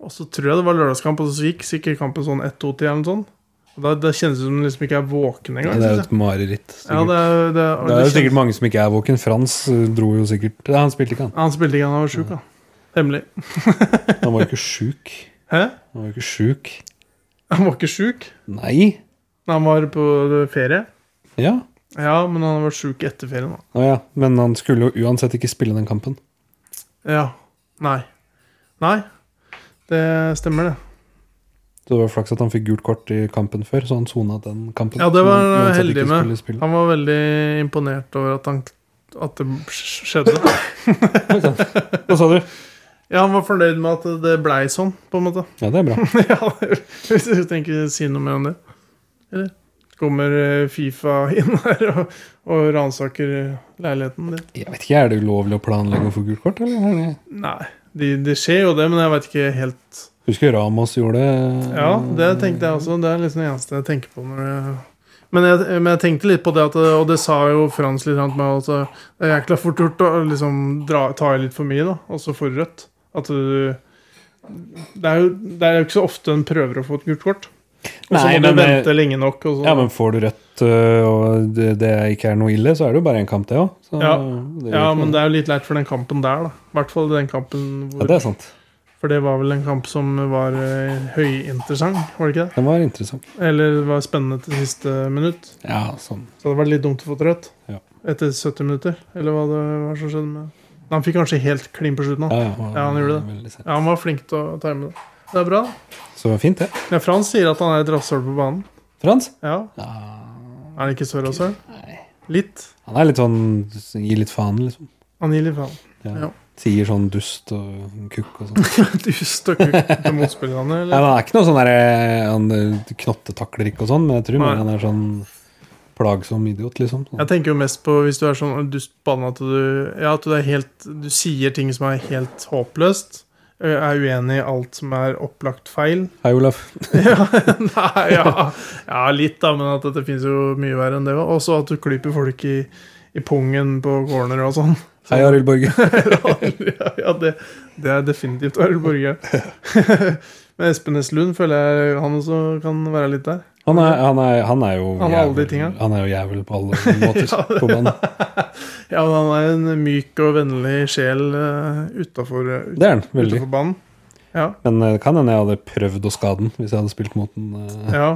[SPEAKER 2] og så tror jeg det var lørdagskamp, og så gikk sikkert kampen sånn 1-2-10 eller noe sånt. Og da, da kjennes det som om den liksom ikke er våken
[SPEAKER 1] Ja,
[SPEAKER 2] engang.
[SPEAKER 1] det er
[SPEAKER 2] synes
[SPEAKER 1] jo
[SPEAKER 2] jeg.
[SPEAKER 1] et mareritt.
[SPEAKER 2] Ja,
[SPEAKER 1] sikkert.
[SPEAKER 2] det er, det er,
[SPEAKER 1] Det er jo
[SPEAKER 2] det
[SPEAKER 1] sikkert
[SPEAKER 2] kjennes-
[SPEAKER 1] mange som ikke er våken. Frans eh, dro jo sikkert Nei, han spilte ikke, han.
[SPEAKER 2] Han spilte ikke, han var sjuk, da. Hemmelig.
[SPEAKER 1] Han var jo ikke sjuk.
[SPEAKER 2] Hæ?
[SPEAKER 1] Han var jo ikke sjuk.
[SPEAKER 2] Han var ikke sjuk?
[SPEAKER 1] Nei.
[SPEAKER 2] Han var på ferie.
[SPEAKER 1] Ja.
[SPEAKER 2] Ja, men han har vært sjuk etter ferien, da.
[SPEAKER 1] Å ja. Men han skulle jo uansett ikke spille den kampen.
[SPEAKER 2] Ja. Nei. Nei. Det stemmer, det.
[SPEAKER 1] Så det var flaks at han fikk gult kort i kampen før, så han sona den kampen.
[SPEAKER 2] Ja, det
[SPEAKER 1] som
[SPEAKER 2] var
[SPEAKER 1] han uansett
[SPEAKER 2] heldig
[SPEAKER 1] ikke
[SPEAKER 2] med.
[SPEAKER 1] skulle spille.
[SPEAKER 2] Han var veldig imponert over at, han, at det sk- skjedde.
[SPEAKER 1] Hva sa du?
[SPEAKER 2] Ja, han var fornøyd med at det blei sånn, på en måte.
[SPEAKER 1] Ja, det er bra.
[SPEAKER 2] ja, hvis du tenker å si noe mer om det. Eller kommer eh, Fifa inn her og, og ransaker leiligheten din?
[SPEAKER 1] Jeg vet ikke, Er det ulovlig å planlegge å få gult kort? eller? Er det?
[SPEAKER 2] Nei, det de skjer jo det, men jeg vet ikke helt
[SPEAKER 1] Husker Ramos gjorde det?
[SPEAKER 2] Ja, det tenkte jeg også. Det er liksom det eneste jeg tenker på. Når jeg men jeg, men jeg tenkte litt på det, at, og det sa jo Frans litt til meg også, Det er jækla fort gjort å liksom dra, ta i litt for mye, da, og så for rødt. At du det er, jo, det er jo ikke så ofte en prøver å få et gult kort. Og så
[SPEAKER 1] Nei,
[SPEAKER 2] må du
[SPEAKER 1] men-
[SPEAKER 2] vente lenge nok. Og så,
[SPEAKER 1] Ja, men får du rødt øh, og det, det ikke er noe ille, så er det jo bare en kamp, det òg.
[SPEAKER 2] Ja. Ja, men det er jo litt leit for den kampen der, da. I hvert fall den kampen hvor,
[SPEAKER 1] ja, det er sant.
[SPEAKER 2] For det var vel en kamp som var eh, høyinteressant, var det ikke det?
[SPEAKER 1] Den var interessant.
[SPEAKER 2] Eller det var spennende til siste minutt.
[SPEAKER 1] Ja, sånn.
[SPEAKER 2] Så det hadde vært litt dumt å få et rødt
[SPEAKER 1] Ja.
[SPEAKER 2] etter 70 minutter. Eller hva det var som skjedde med Nei, Han fikk kanskje helt klin på slutten.
[SPEAKER 1] Ja,
[SPEAKER 2] da.
[SPEAKER 1] ja,
[SPEAKER 2] Ja, han gjorde det.
[SPEAKER 1] Veldig sent.
[SPEAKER 2] Ja, han var flink til å time det. Det er bra. da.
[SPEAKER 1] Så fint, det.
[SPEAKER 2] Ja, Frans sier at han er et rasshøl på banen.
[SPEAKER 1] Frans?
[SPEAKER 2] Ja. Er han ikke så rasshøl? Litt.
[SPEAKER 1] Han er litt sånn Gir litt faen, liksom.
[SPEAKER 2] Han gir litt faen.
[SPEAKER 1] Sier sånn dust og kukk og sånn.
[SPEAKER 2] Du støkker ikke til motspillerne,
[SPEAKER 1] Nei,
[SPEAKER 2] eller?
[SPEAKER 1] men han er ikke noe sånn der eh, Han eh, knottetakler ikke og sånn, men jeg tror
[SPEAKER 2] Nei.
[SPEAKER 1] mer han er sånn plagsom idiot, liksom. Sånn.
[SPEAKER 2] Jeg tenker jo mest på hvis du er sånn dust på banen at du, ja, at du, er helt, du sier ting som er helt håpløst. ø, Er uenig i alt som er opplagt feil.
[SPEAKER 1] Hei, Olaf.
[SPEAKER 2] Nei, ja, ja, litt, da, men at det finnes jo mye verre enn det. Og så at du klyper folk i, i pungen på corner og sånn.
[SPEAKER 1] Hei, Arild Borge.
[SPEAKER 2] ja, ja, det, det er definitivt Arild Borge. men Espen S. Lund føler jeg han også kan være litt der.
[SPEAKER 1] Han er, han er, han er jo
[SPEAKER 2] Han har alle de tinga.
[SPEAKER 1] Han er jo jævel på alle måter på banen.
[SPEAKER 2] Ja, men han er en myk og vennlig sjel eh, utafor
[SPEAKER 1] Det er han, veldig.
[SPEAKER 2] banen. Ja.
[SPEAKER 1] Men eh, det kan hende jeg hadde prøvd å skade den hvis jeg hadde spilt mot den. eh.
[SPEAKER 2] Ja.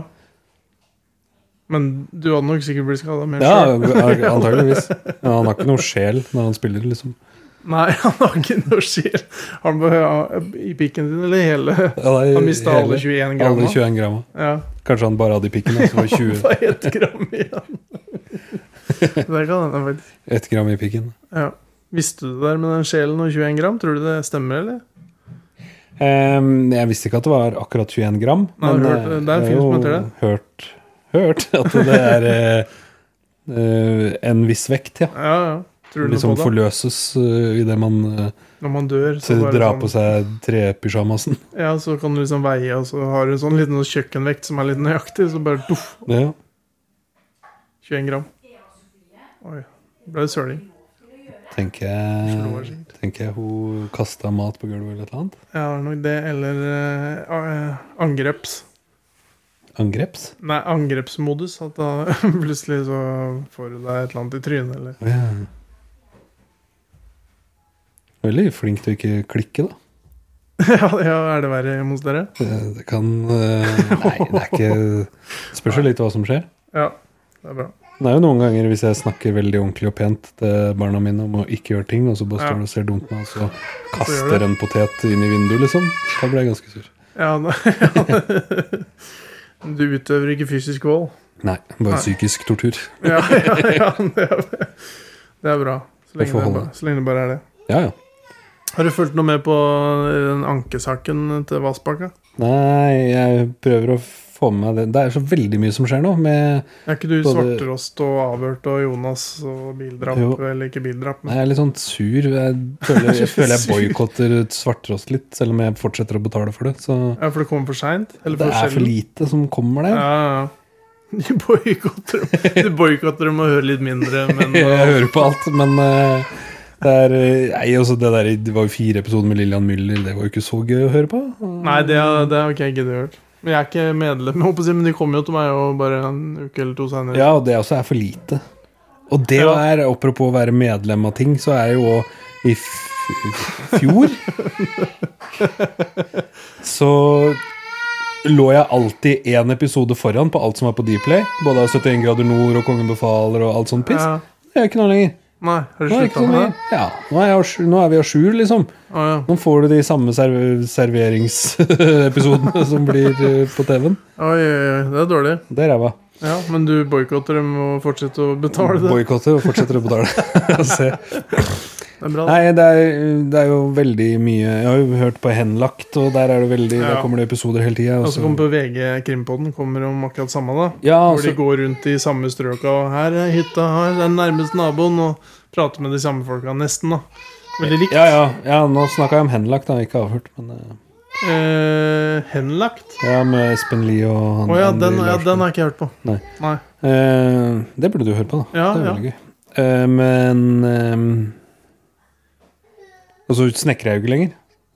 [SPEAKER 2] Men du hadde nok sikkert blitt skada mer
[SPEAKER 1] Ja,
[SPEAKER 2] selv.
[SPEAKER 1] antageligvis. Men han har ikke noe sjel når han spiller, liksom.
[SPEAKER 2] Nei, han har ikke noe sjel. Han bør ha i pikken din, eller hele
[SPEAKER 1] Ja, det er
[SPEAKER 2] Han mista
[SPEAKER 1] Eh, hele-
[SPEAKER 2] alle 21
[SPEAKER 1] alle
[SPEAKER 2] gramma.
[SPEAKER 1] 21 gramma.
[SPEAKER 2] Ja,
[SPEAKER 1] Kanskje han bare hadde i pikken, og så var det
[SPEAKER 2] det
[SPEAKER 1] 20
[SPEAKER 2] var ett gram igjen. det kan hende, faktisk.
[SPEAKER 1] ett gram i pikken.
[SPEAKER 2] Ja. Visste du det der med den sjelen og 21 gram? Tror du det stemmer, eller?
[SPEAKER 1] Em, Ehm, jeg visste ikke at det var akkurat 21 gram.
[SPEAKER 2] Nei, jeg har hørt-
[SPEAKER 1] eh,
[SPEAKER 2] det er en
[SPEAKER 1] jeg
[SPEAKER 2] film som
[SPEAKER 1] har
[SPEAKER 2] heter det.
[SPEAKER 1] jo Hørt, hørt at det er eh, eh, en viss vekt, ja.
[SPEAKER 2] Ja, ja. Tror du
[SPEAKER 1] Liksom
[SPEAKER 2] noe på det?
[SPEAKER 1] forløses uh, idet man eh,
[SPEAKER 2] Når man dør,
[SPEAKER 1] så
[SPEAKER 2] så, bare
[SPEAKER 1] drar
[SPEAKER 2] sånn-
[SPEAKER 1] på seg trepysjamasen.
[SPEAKER 2] ja, så kan du liksom veie, og så har du en sånn liten kjøkkenvekt som er litt nøyaktig, så bare duff,
[SPEAKER 1] Ja.
[SPEAKER 2] 21 gram. Oi. Ble det søling.
[SPEAKER 1] Tenker
[SPEAKER 2] Slår
[SPEAKER 1] jeg,
[SPEAKER 2] sikkert.
[SPEAKER 1] tenker jeg hun kasta mat på gulvet eller et eller annet.
[SPEAKER 2] Ja, det er nok det, eller eh, a- eh, angreps.
[SPEAKER 1] Angreps?
[SPEAKER 2] Nei, angrepsmodus. At da plutselig så får du deg et eller annet i trynet, eller
[SPEAKER 1] Å, ja. Veldig flink til å ikke klikke, da.
[SPEAKER 2] ja, ja, er det verre hjemme hos dere?
[SPEAKER 1] Det, det kan eh, Nei, det er ikke Spørs jo litt hva som skjer.
[SPEAKER 2] Ja, det er bra.
[SPEAKER 1] Det er jo noen ganger hvis jeg snakker veldig ordentlig og pent til barna mine om å ikke gjøre ting, og så bare
[SPEAKER 2] Ja.
[SPEAKER 1] står du og ser dumt på meg, og så
[SPEAKER 2] gjør
[SPEAKER 1] kaster
[SPEAKER 2] du.
[SPEAKER 1] en potet inn i vinduet, liksom. Da blir jeg ganske sur.
[SPEAKER 2] Ja, da, Du utøver ikke fysisk vold.
[SPEAKER 1] Nei, bare psykisk tortur.
[SPEAKER 2] Ja, ja, ja. Det er, det er bra. Så
[SPEAKER 1] Det
[SPEAKER 2] lenge
[SPEAKER 1] får
[SPEAKER 2] det,
[SPEAKER 1] holde.
[SPEAKER 2] bare, så lenge det bare er det.
[SPEAKER 1] Ja, ja.
[SPEAKER 2] Har du fulgt noe med på eh, den ankesaken til Vassbakka?
[SPEAKER 1] Nei, jeg prøver å få med meg det. Det er så veldig mye som skjer nå, med
[SPEAKER 2] Er ikke du
[SPEAKER 1] Både-
[SPEAKER 2] Svarterost og Avhørt og Jonas og bildrap?
[SPEAKER 1] Jo.
[SPEAKER 2] Eller ikke bildrap,
[SPEAKER 1] Nei,
[SPEAKER 2] men
[SPEAKER 1] jeg er litt sånn sur. Jeg føler jeg, føler jeg
[SPEAKER 2] Sur.
[SPEAKER 1] boikotter svartrost litt, selv om jeg fortsetter å betale for det. Så
[SPEAKER 2] ja, For det kommer for seint? Eller
[SPEAKER 1] det
[SPEAKER 2] for
[SPEAKER 1] er for
[SPEAKER 2] sjelden?
[SPEAKER 1] lite som kommer der.
[SPEAKER 2] Ja, ja. Du boikotter dem. Du boykotter dem og hører litt mindre, men
[SPEAKER 1] Jeg hører på alt, men eh, det er eh, Nei, altså, det der Det var jo fire episoder med Lillian Müller, det var jo ikke så gøy å høre på.
[SPEAKER 2] Nei, det har det har ikke jeg giddet å gjøre. Men jeg er ikke medlem, jeg håper å si, men de kommer jo til meg jo bare en uke eller to senere.
[SPEAKER 1] Ja, og det også er for lite. Og det
[SPEAKER 2] Ja.
[SPEAKER 1] er, apropos å være medlem av ting, så er jeg jo òg i f- fjor Så lå jeg alltid én episode foran på alt som var på Dplay. Både av 71 grader nord og Kongen befaler og alt sånt piss.
[SPEAKER 2] Ja.
[SPEAKER 1] Det er jo ikke noe lenger.
[SPEAKER 2] Nei, har du
[SPEAKER 1] Nå er, det
[SPEAKER 2] slutta
[SPEAKER 1] ikke
[SPEAKER 2] med
[SPEAKER 1] noe
[SPEAKER 2] det?
[SPEAKER 1] lenger. Ja, nå, er jeg, à jour- nå er vi à jour, liksom.
[SPEAKER 2] Å ja.
[SPEAKER 1] Nå får du de samme serv serveringsepisodene som blir eh, på TV-en.
[SPEAKER 2] Oi, oi, oi, det er dårlig.
[SPEAKER 1] Det er ræva.
[SPEAKER 2] Ja, Men du boikotter dem og fortsetter å betale det?
[SPEAKER 1] Boikotter og fortsetter å betale. Og se.
[SPEAKER 2] Det er bra. da.
[SPEAKER 1] Nei, det er, det er jo veldig mye Jeg har jo hørt på Henlagt, og der er det veldig Der
[SPEAKER 2] Ja.
[SPEAKER 1] kommer det episoder hele tida.
[SPEAKER 2] Og så kommer på VG Krimpodden kommer om akkurat samme. da
[SPEAKER 1] altså- Ja,
[SPEAKER 2] Hvor de
[SPEAKER 1] altså,
[SPEAKER 2] går rundt i samme strøka. Og her er hytta, her er den nærmeste naboen. Og prater med de samme folka, nesten. da Veldig likt.
[SPEAKER 1] ja, ja, ja, nå snakka jeg om Henlagt, da, ikke avhørt. Men eh,
[SPEAKER 2] Eh, henlagt.
[SPEAKER 1] ja, med Espen Lie og
[SPEAKER 2] Å
[SPEAKER 1] han
[SPEAKER 2] ja,
[SPEAKER 1] Andy
[SPEAKER 2] den, ja,
[SPEAKER 1] Larsen.
[SPEAKER 2] den har ikke jeg hørt på.
[SPEAKER 1] Nei. Eh, det burde du høre på, da.
[SPEAKER 2] Ja,
[SPEAKER 1] det er
[SPEAKER 2] ja.
[SPEAKER 1] veldig gøy. Eh, men eh, Og så snekrer jeg jo ikke lenger.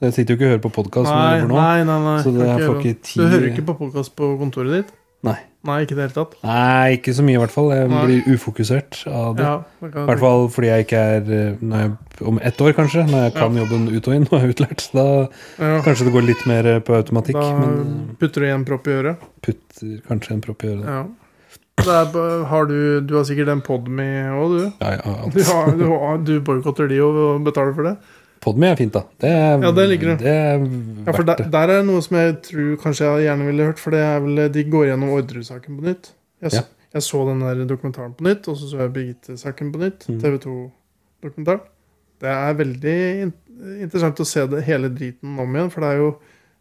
[SPEAKER 1] Jeg sitter jo ikke og hører på podkast
[SPEAKER 2] Nei,
[SPEAKER 1] for nå.
[SPEAKER 2] nei, nei, nei.
[SPEAKER 1] Så det
[SPEAKER 2] Kan
[SPEAKER 1] jeg får
[SPEAKER 2] gjøre
[SPEAKER 1] ikke
[SPEAKER 2] det.
[SPEAKER 1] tid-
[SPEAKER 2] Du hører ikke på podkast på kontoret ditt?
[SPEAKER 1] Nei.
[SPEAKER 2] Nei, ikke i det hele tatt?
[SPEAKER 1] Nei, ikke så mye i hvert fall. Jeg
[SPEAKER 2] Nei.
[SPEAKER 1] blir ufokusert av det.
[SPEAKER 2] Ja, det kan
[SPEAKER 1] I
[SPEAKER 2] jeg
[SPEAKER 1] hvert fall fordi jeg ikke er eh, når jeg, Om ett år, kanskje, når jeg kan jobben ut og inn og er utlært. så Da
[SPEAKER 2] tenke. ja,
[SPEAKER 1] kanskje det går litt mer eh, på automatikk.
[SPEAKER 2] da
[SPEAKER 1] Men
[SPEAKER 2] putter du en propp i øret.
[SPEAKER 1] eh, putter kanskje en propp i øret.
[SPEAKER 2] Ja. Det er, på- har du, du har sikkert en Podme òg, du.
[SPEAKER 1] Ja, ja,
[SPEAKER 2] Du,
[SPEAKER 1] alt.
[SPEAKER 2] har, du, har- du boikotter de og betaler for det?
[SPEAKER 1] Podme er fint, da. Det er,
[SPEAKER 2] Ja, det liker du.
[SPEAKER 1] det er
[SPEAKER 2] Ja, for
[SPEAKER 1] verdt
[SPEAKER 2] der,
[SPEAKER 1] det.
[SPEAKER 2] der er det noe som jeg tror kanskje jeg gjerne ville hørt. For det er vel, de går gjennom Orderud-saken på nytt. Jeg, s-
[SPEAKER 1] Ja.
[SPEAKER 2] jeg så den der dokumentaren på nytt, og så så jeg Birgitte-saken på nytt.
[SPEAKER 1] Mm.
[SPEAKER 2] TV 2-dokumentar. Det er veldig in interessant å se det hele driten om igjen, for det er jo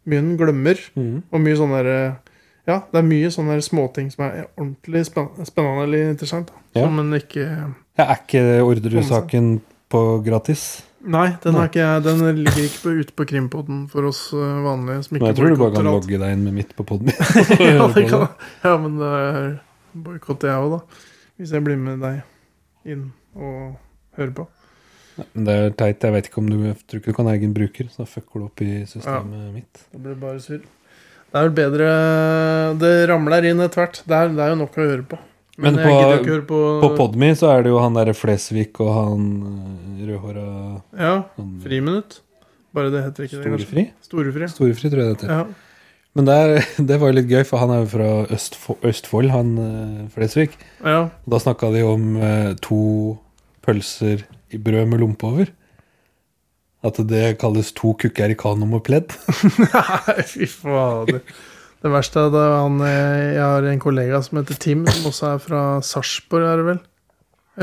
[SPEAKER 2] mye en glemmer.
[SPEAKER 1] Mhm.
[SPEAKER 2] Og mye sånne der, eh, Ja, det er mye sånne der småting som er ordentlig spen- spennende eller interessant. Da.
[SPEAKER 1] Ja.
[SPEAKER 2] Som en ikke
[SPEAKER 1] Ja, er ikke
[SPEAKER 2] sånn.
[SPEAKER 1] Orderud-saken på gratis?
[SPEAKER 2] Nei, den,
[SPEAKER 1] Nei.
[SPEAKER 2] Er ikke, jeg- den ligger ikke på, ute på Krimpodden for oss eh, vanlige. Som
[SPEAKER 1] Men
[SPEAKER 2] ikke
[SPEAKER 1] jeg tror du bare
[SPEAKER 2] boykotter
[SPEAKER 1] kan
[SPEAKER 2] alt.
[SPEAKER 1] logge deg inn med mitt på poden.
[SPEAKER 2] ja, det kan, ja, men det er boikott jeg òg, da. Hvis jeg blir med deg inn og hører på.
[SPEAKER 1] Men det er teit. Jeg vet ikke om du jeg tror ikke du kan ha egen bruker, så da fucker du opp i systemet mitt.
[SPEAKER 2] Det blir bare surr. Det er vel bedre Det ramler inn etter hvert. Det er, det er jo nok å høre på.
[SPEAKER 1] Men
[SPEAKER 2] Men, jeg
[SPEAKER 1] på-
[SPEAKER 2] gidder jo ikke høre på,
[SPEAKER 1] På Podme så er det jo han derre Flesvig og han eh, rødhåra
[SPEAKER 2] Ja,
[SPEAKER 1] han-
[SPEAKER 2] Friminutt. Bare det heter ikke det. kanskje.
[SPEAKER 1] Storefri?
[SPEAKER 2] Storefri.
[SPEAKER 1] Storefri, tror jeg det heter.
[SPEAKER 2] Ja.
[SPEAKER 1] Men der, det var jo litt gøy, for han er jo fra Østfo Østfold, han eh, Flesvig.
[SPEAKER 2] ja.
[SPEAKER 1] Og da snakka de om eh, to pølser i brød med lompe over. At det kalles to kukker i kanon med pledd.
[SPEAKER 2] Nei, fy fader. Det verste er at han, eh, jeg har en kollega som heter Tim, som også er fra Sarpsborg, er det vel?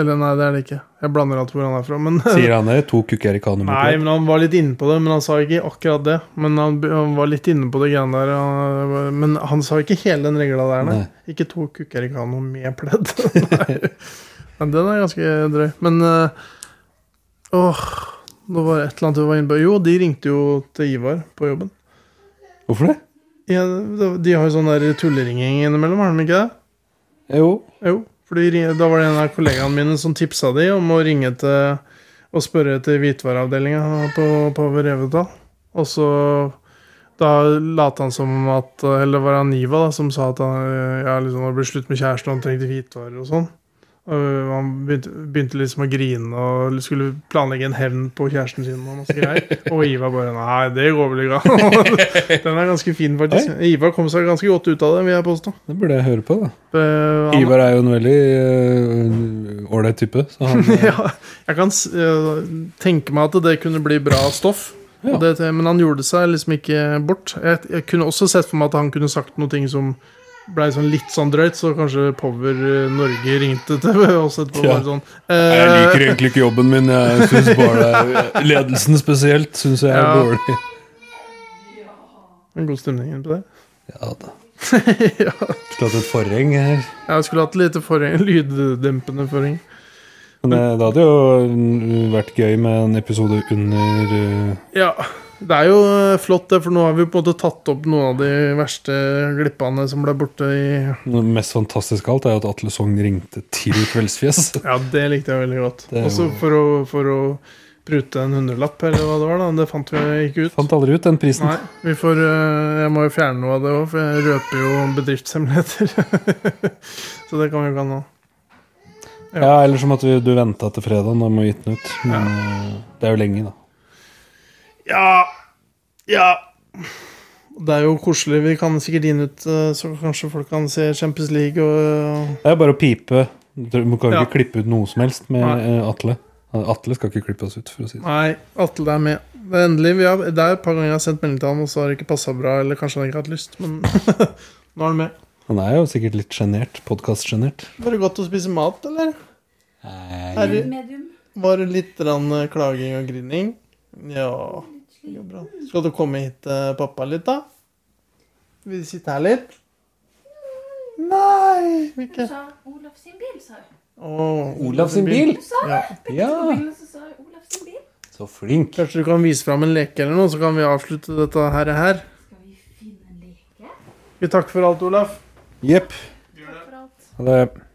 [SPEAKER 2] Eller nei, det er det ikke. Jeg blander alt hvor han er fra. Men,
[SPEAKER 1] Sier han det? To kukker i kanon med
[SPEAKER 2] nei,
[SPEAKER 1] pledd?
[SPEAKER 2] men han var litt inne på det, men han sa ikke akkurat det. Men han, han var litt inne på det greiene der. han- Men han sa ikke hele den regla der, nei.
[SPEAKER 1] Nei.
[SPEAKER 2] Ikke to kukker i kano med pledd. Nei. Men den er ganske drøy. Men eh, åh, nå var det et eller annet du var inne på. Jo, de ringte jo til Ivar på jobben.
[SPEAKER 1] Hvorfor det?
[SPEAKER 2] Ja, da- de har jo sånn der tulleringing innimellom, har de ikke det?
[SPEAKER 1] Jo.
[SPEAKER 2] Jo. Fordi ri- da var det en av kollegaene mine som tipsa de om å ringe til og spørre til hvitvareavdelinga på, på Revetal. Og så da lot han som at Eller var han Niva da, som sa at han øh, ja, liksom, det ble slutt med kjæresten og han trengte hvitvarer og sånn. Og øh, han begynte, begynte liksom å grine og skulle planlegge en hevn på kjæresten sin. Og masse greier Og Ivar bare Nei, det går vel ikke an. Den er ganske fin, faktisk. Ivar kom seg ganske godt ut av det, vil jeg påstå.
[SPEAKER 1] Det burde jeg høre på, da.
[SPEAKER 2] Eh, han-
[SPEAKER 1] Ivar er jo en veldig eh, ålreit type. Så han, eh,
[SPEAKER 2] ja, jeg kan s- øh, tenke meg at det kunne bli bra stoff.
[SPEAKER 1] Ja.
[SPEAKER 2] Og Det, men han gjorde seg liksom ikke bort. Jeg, jeg kunne også sett for meg at han kunne sagt noe ting som blei sånn litt sånn drøyt, så kanskje Power øh, Norge ringte til oss etterpå.
[SPEAKER 1] Ja.
[SPEAKER 2] Ja. Sånn,
[SPEAKER 1] jeg
[SPEAKER 2] eh,
[SPEAKER 1] liker egentlig ikke jobben min. Jeg synes bare Ledelsen spesielt syns jeg er
[SPEAKER 2] Ja.
[SPEAKER 1] dårlig.
[SPEAKER 2] en god stemning på det.
[SPEAKER 1] Ja da. Skulle hatt et forheng her.
[SPEAKER 2] Jeg skulle hatt lite forheng, lyddempende forheng.
[SPEAKER 1] Men eh, det hadde jo mm, vært gøy med en episode under eh,
[SPEAKER 2] Ja, det er jo øh, flott, det, for nå har vi på en måte tatt opp noen av de verste glippene som ble borte i
[SPEAKER 1] Det mest fantastiske av alt er jo at Atle Sogn ringte til Kveldsfjes.
[SPEAKER 2] Ja, det likte jeg veldig godt.
[SPEAKER 1] Det er jo-
[SPEAKER 2] Også for å, for å prute en hundrelapp, eller hva det var. da Det fant vi ikke ut.
[SPEAKER 1] Fant aldri ut den prisen.
[SPEAKER 2] Nei, vi får, øh, jeg må jo fjerne noe av det òg, for jeg røper jo bedriftshemmeligheter. Så det kan vi jo ikke ha nå.
[SPEAKER 1] ja. Eller som at vi, du venta til fredagen da med å gi den ut. Men eh, det er jo lenge, da.
[SPEAKER 2] Ja. Ja. Det er jo koselig. Vi kan sikkert gi den ut, øh, så kanskje folk kan se Champions League og
[SPEAKER 1] Det er bare å pipe. Du du kan jo
[SPEAKER 2] Ja.
[SPEAKER 1] ikke klippe ut noe som helst med eh,
[SPEAKER 2] Nei.
[SPEAKER 1] Atle. Atle skal ikke klippe oss ut, for å si det
[SPEAKER 2] Nei, Atle er med. Det er endelig. Vi har, det er et par ganger jeg har sendt melding til han, og så har det ikke passa bra, eller kanskje han ikke har hatt lyst, men nå er han med.
[SPEAKER 1] Han er jo sikkert litt sjenert. Podkast-sjenert. Eh,
[SPEAKER 2] Var det godt å spise mat, eller? Er det-
[SPEAKER 6] Medium.
[SPEAKER 2] Var det litt grann eh, klaging og grining? Ja, det går bra. Skal du komme hit til pappa litt, da? Vil du sitte her litt? Nei! vil
[SPEAKER 6] Hun
[SPEAKER 2] ikke.
[SPEAKER 6] sa Olaf sin bil, sa hun.
[SPEAKER 2] Åh,
[SPEAKER 1] Olav sin bil!
[SPEAKER 6] Hun sa
[SPEAKER 2] Ja.
[SPEAKER 6] pekte på
[SPEAKER 1] Ja,
[SPEAKER 6] bilen, og så sa hun Olaf sin bil.
[SPEAKER 1] så flink.
[SPEAKER 2] Kanskje du kan vise fram en leke eller noe, så kan vi avslutte dette her. her.
[SPEAKER 6] Skal vi finne en leke?
[SPEAKER 2] Vi takker for alt, Olaf.
[SPEAKER 1] Jepp.
[SPEAKER 6] Takk for alt.
[SPEAKER 1] Ha det.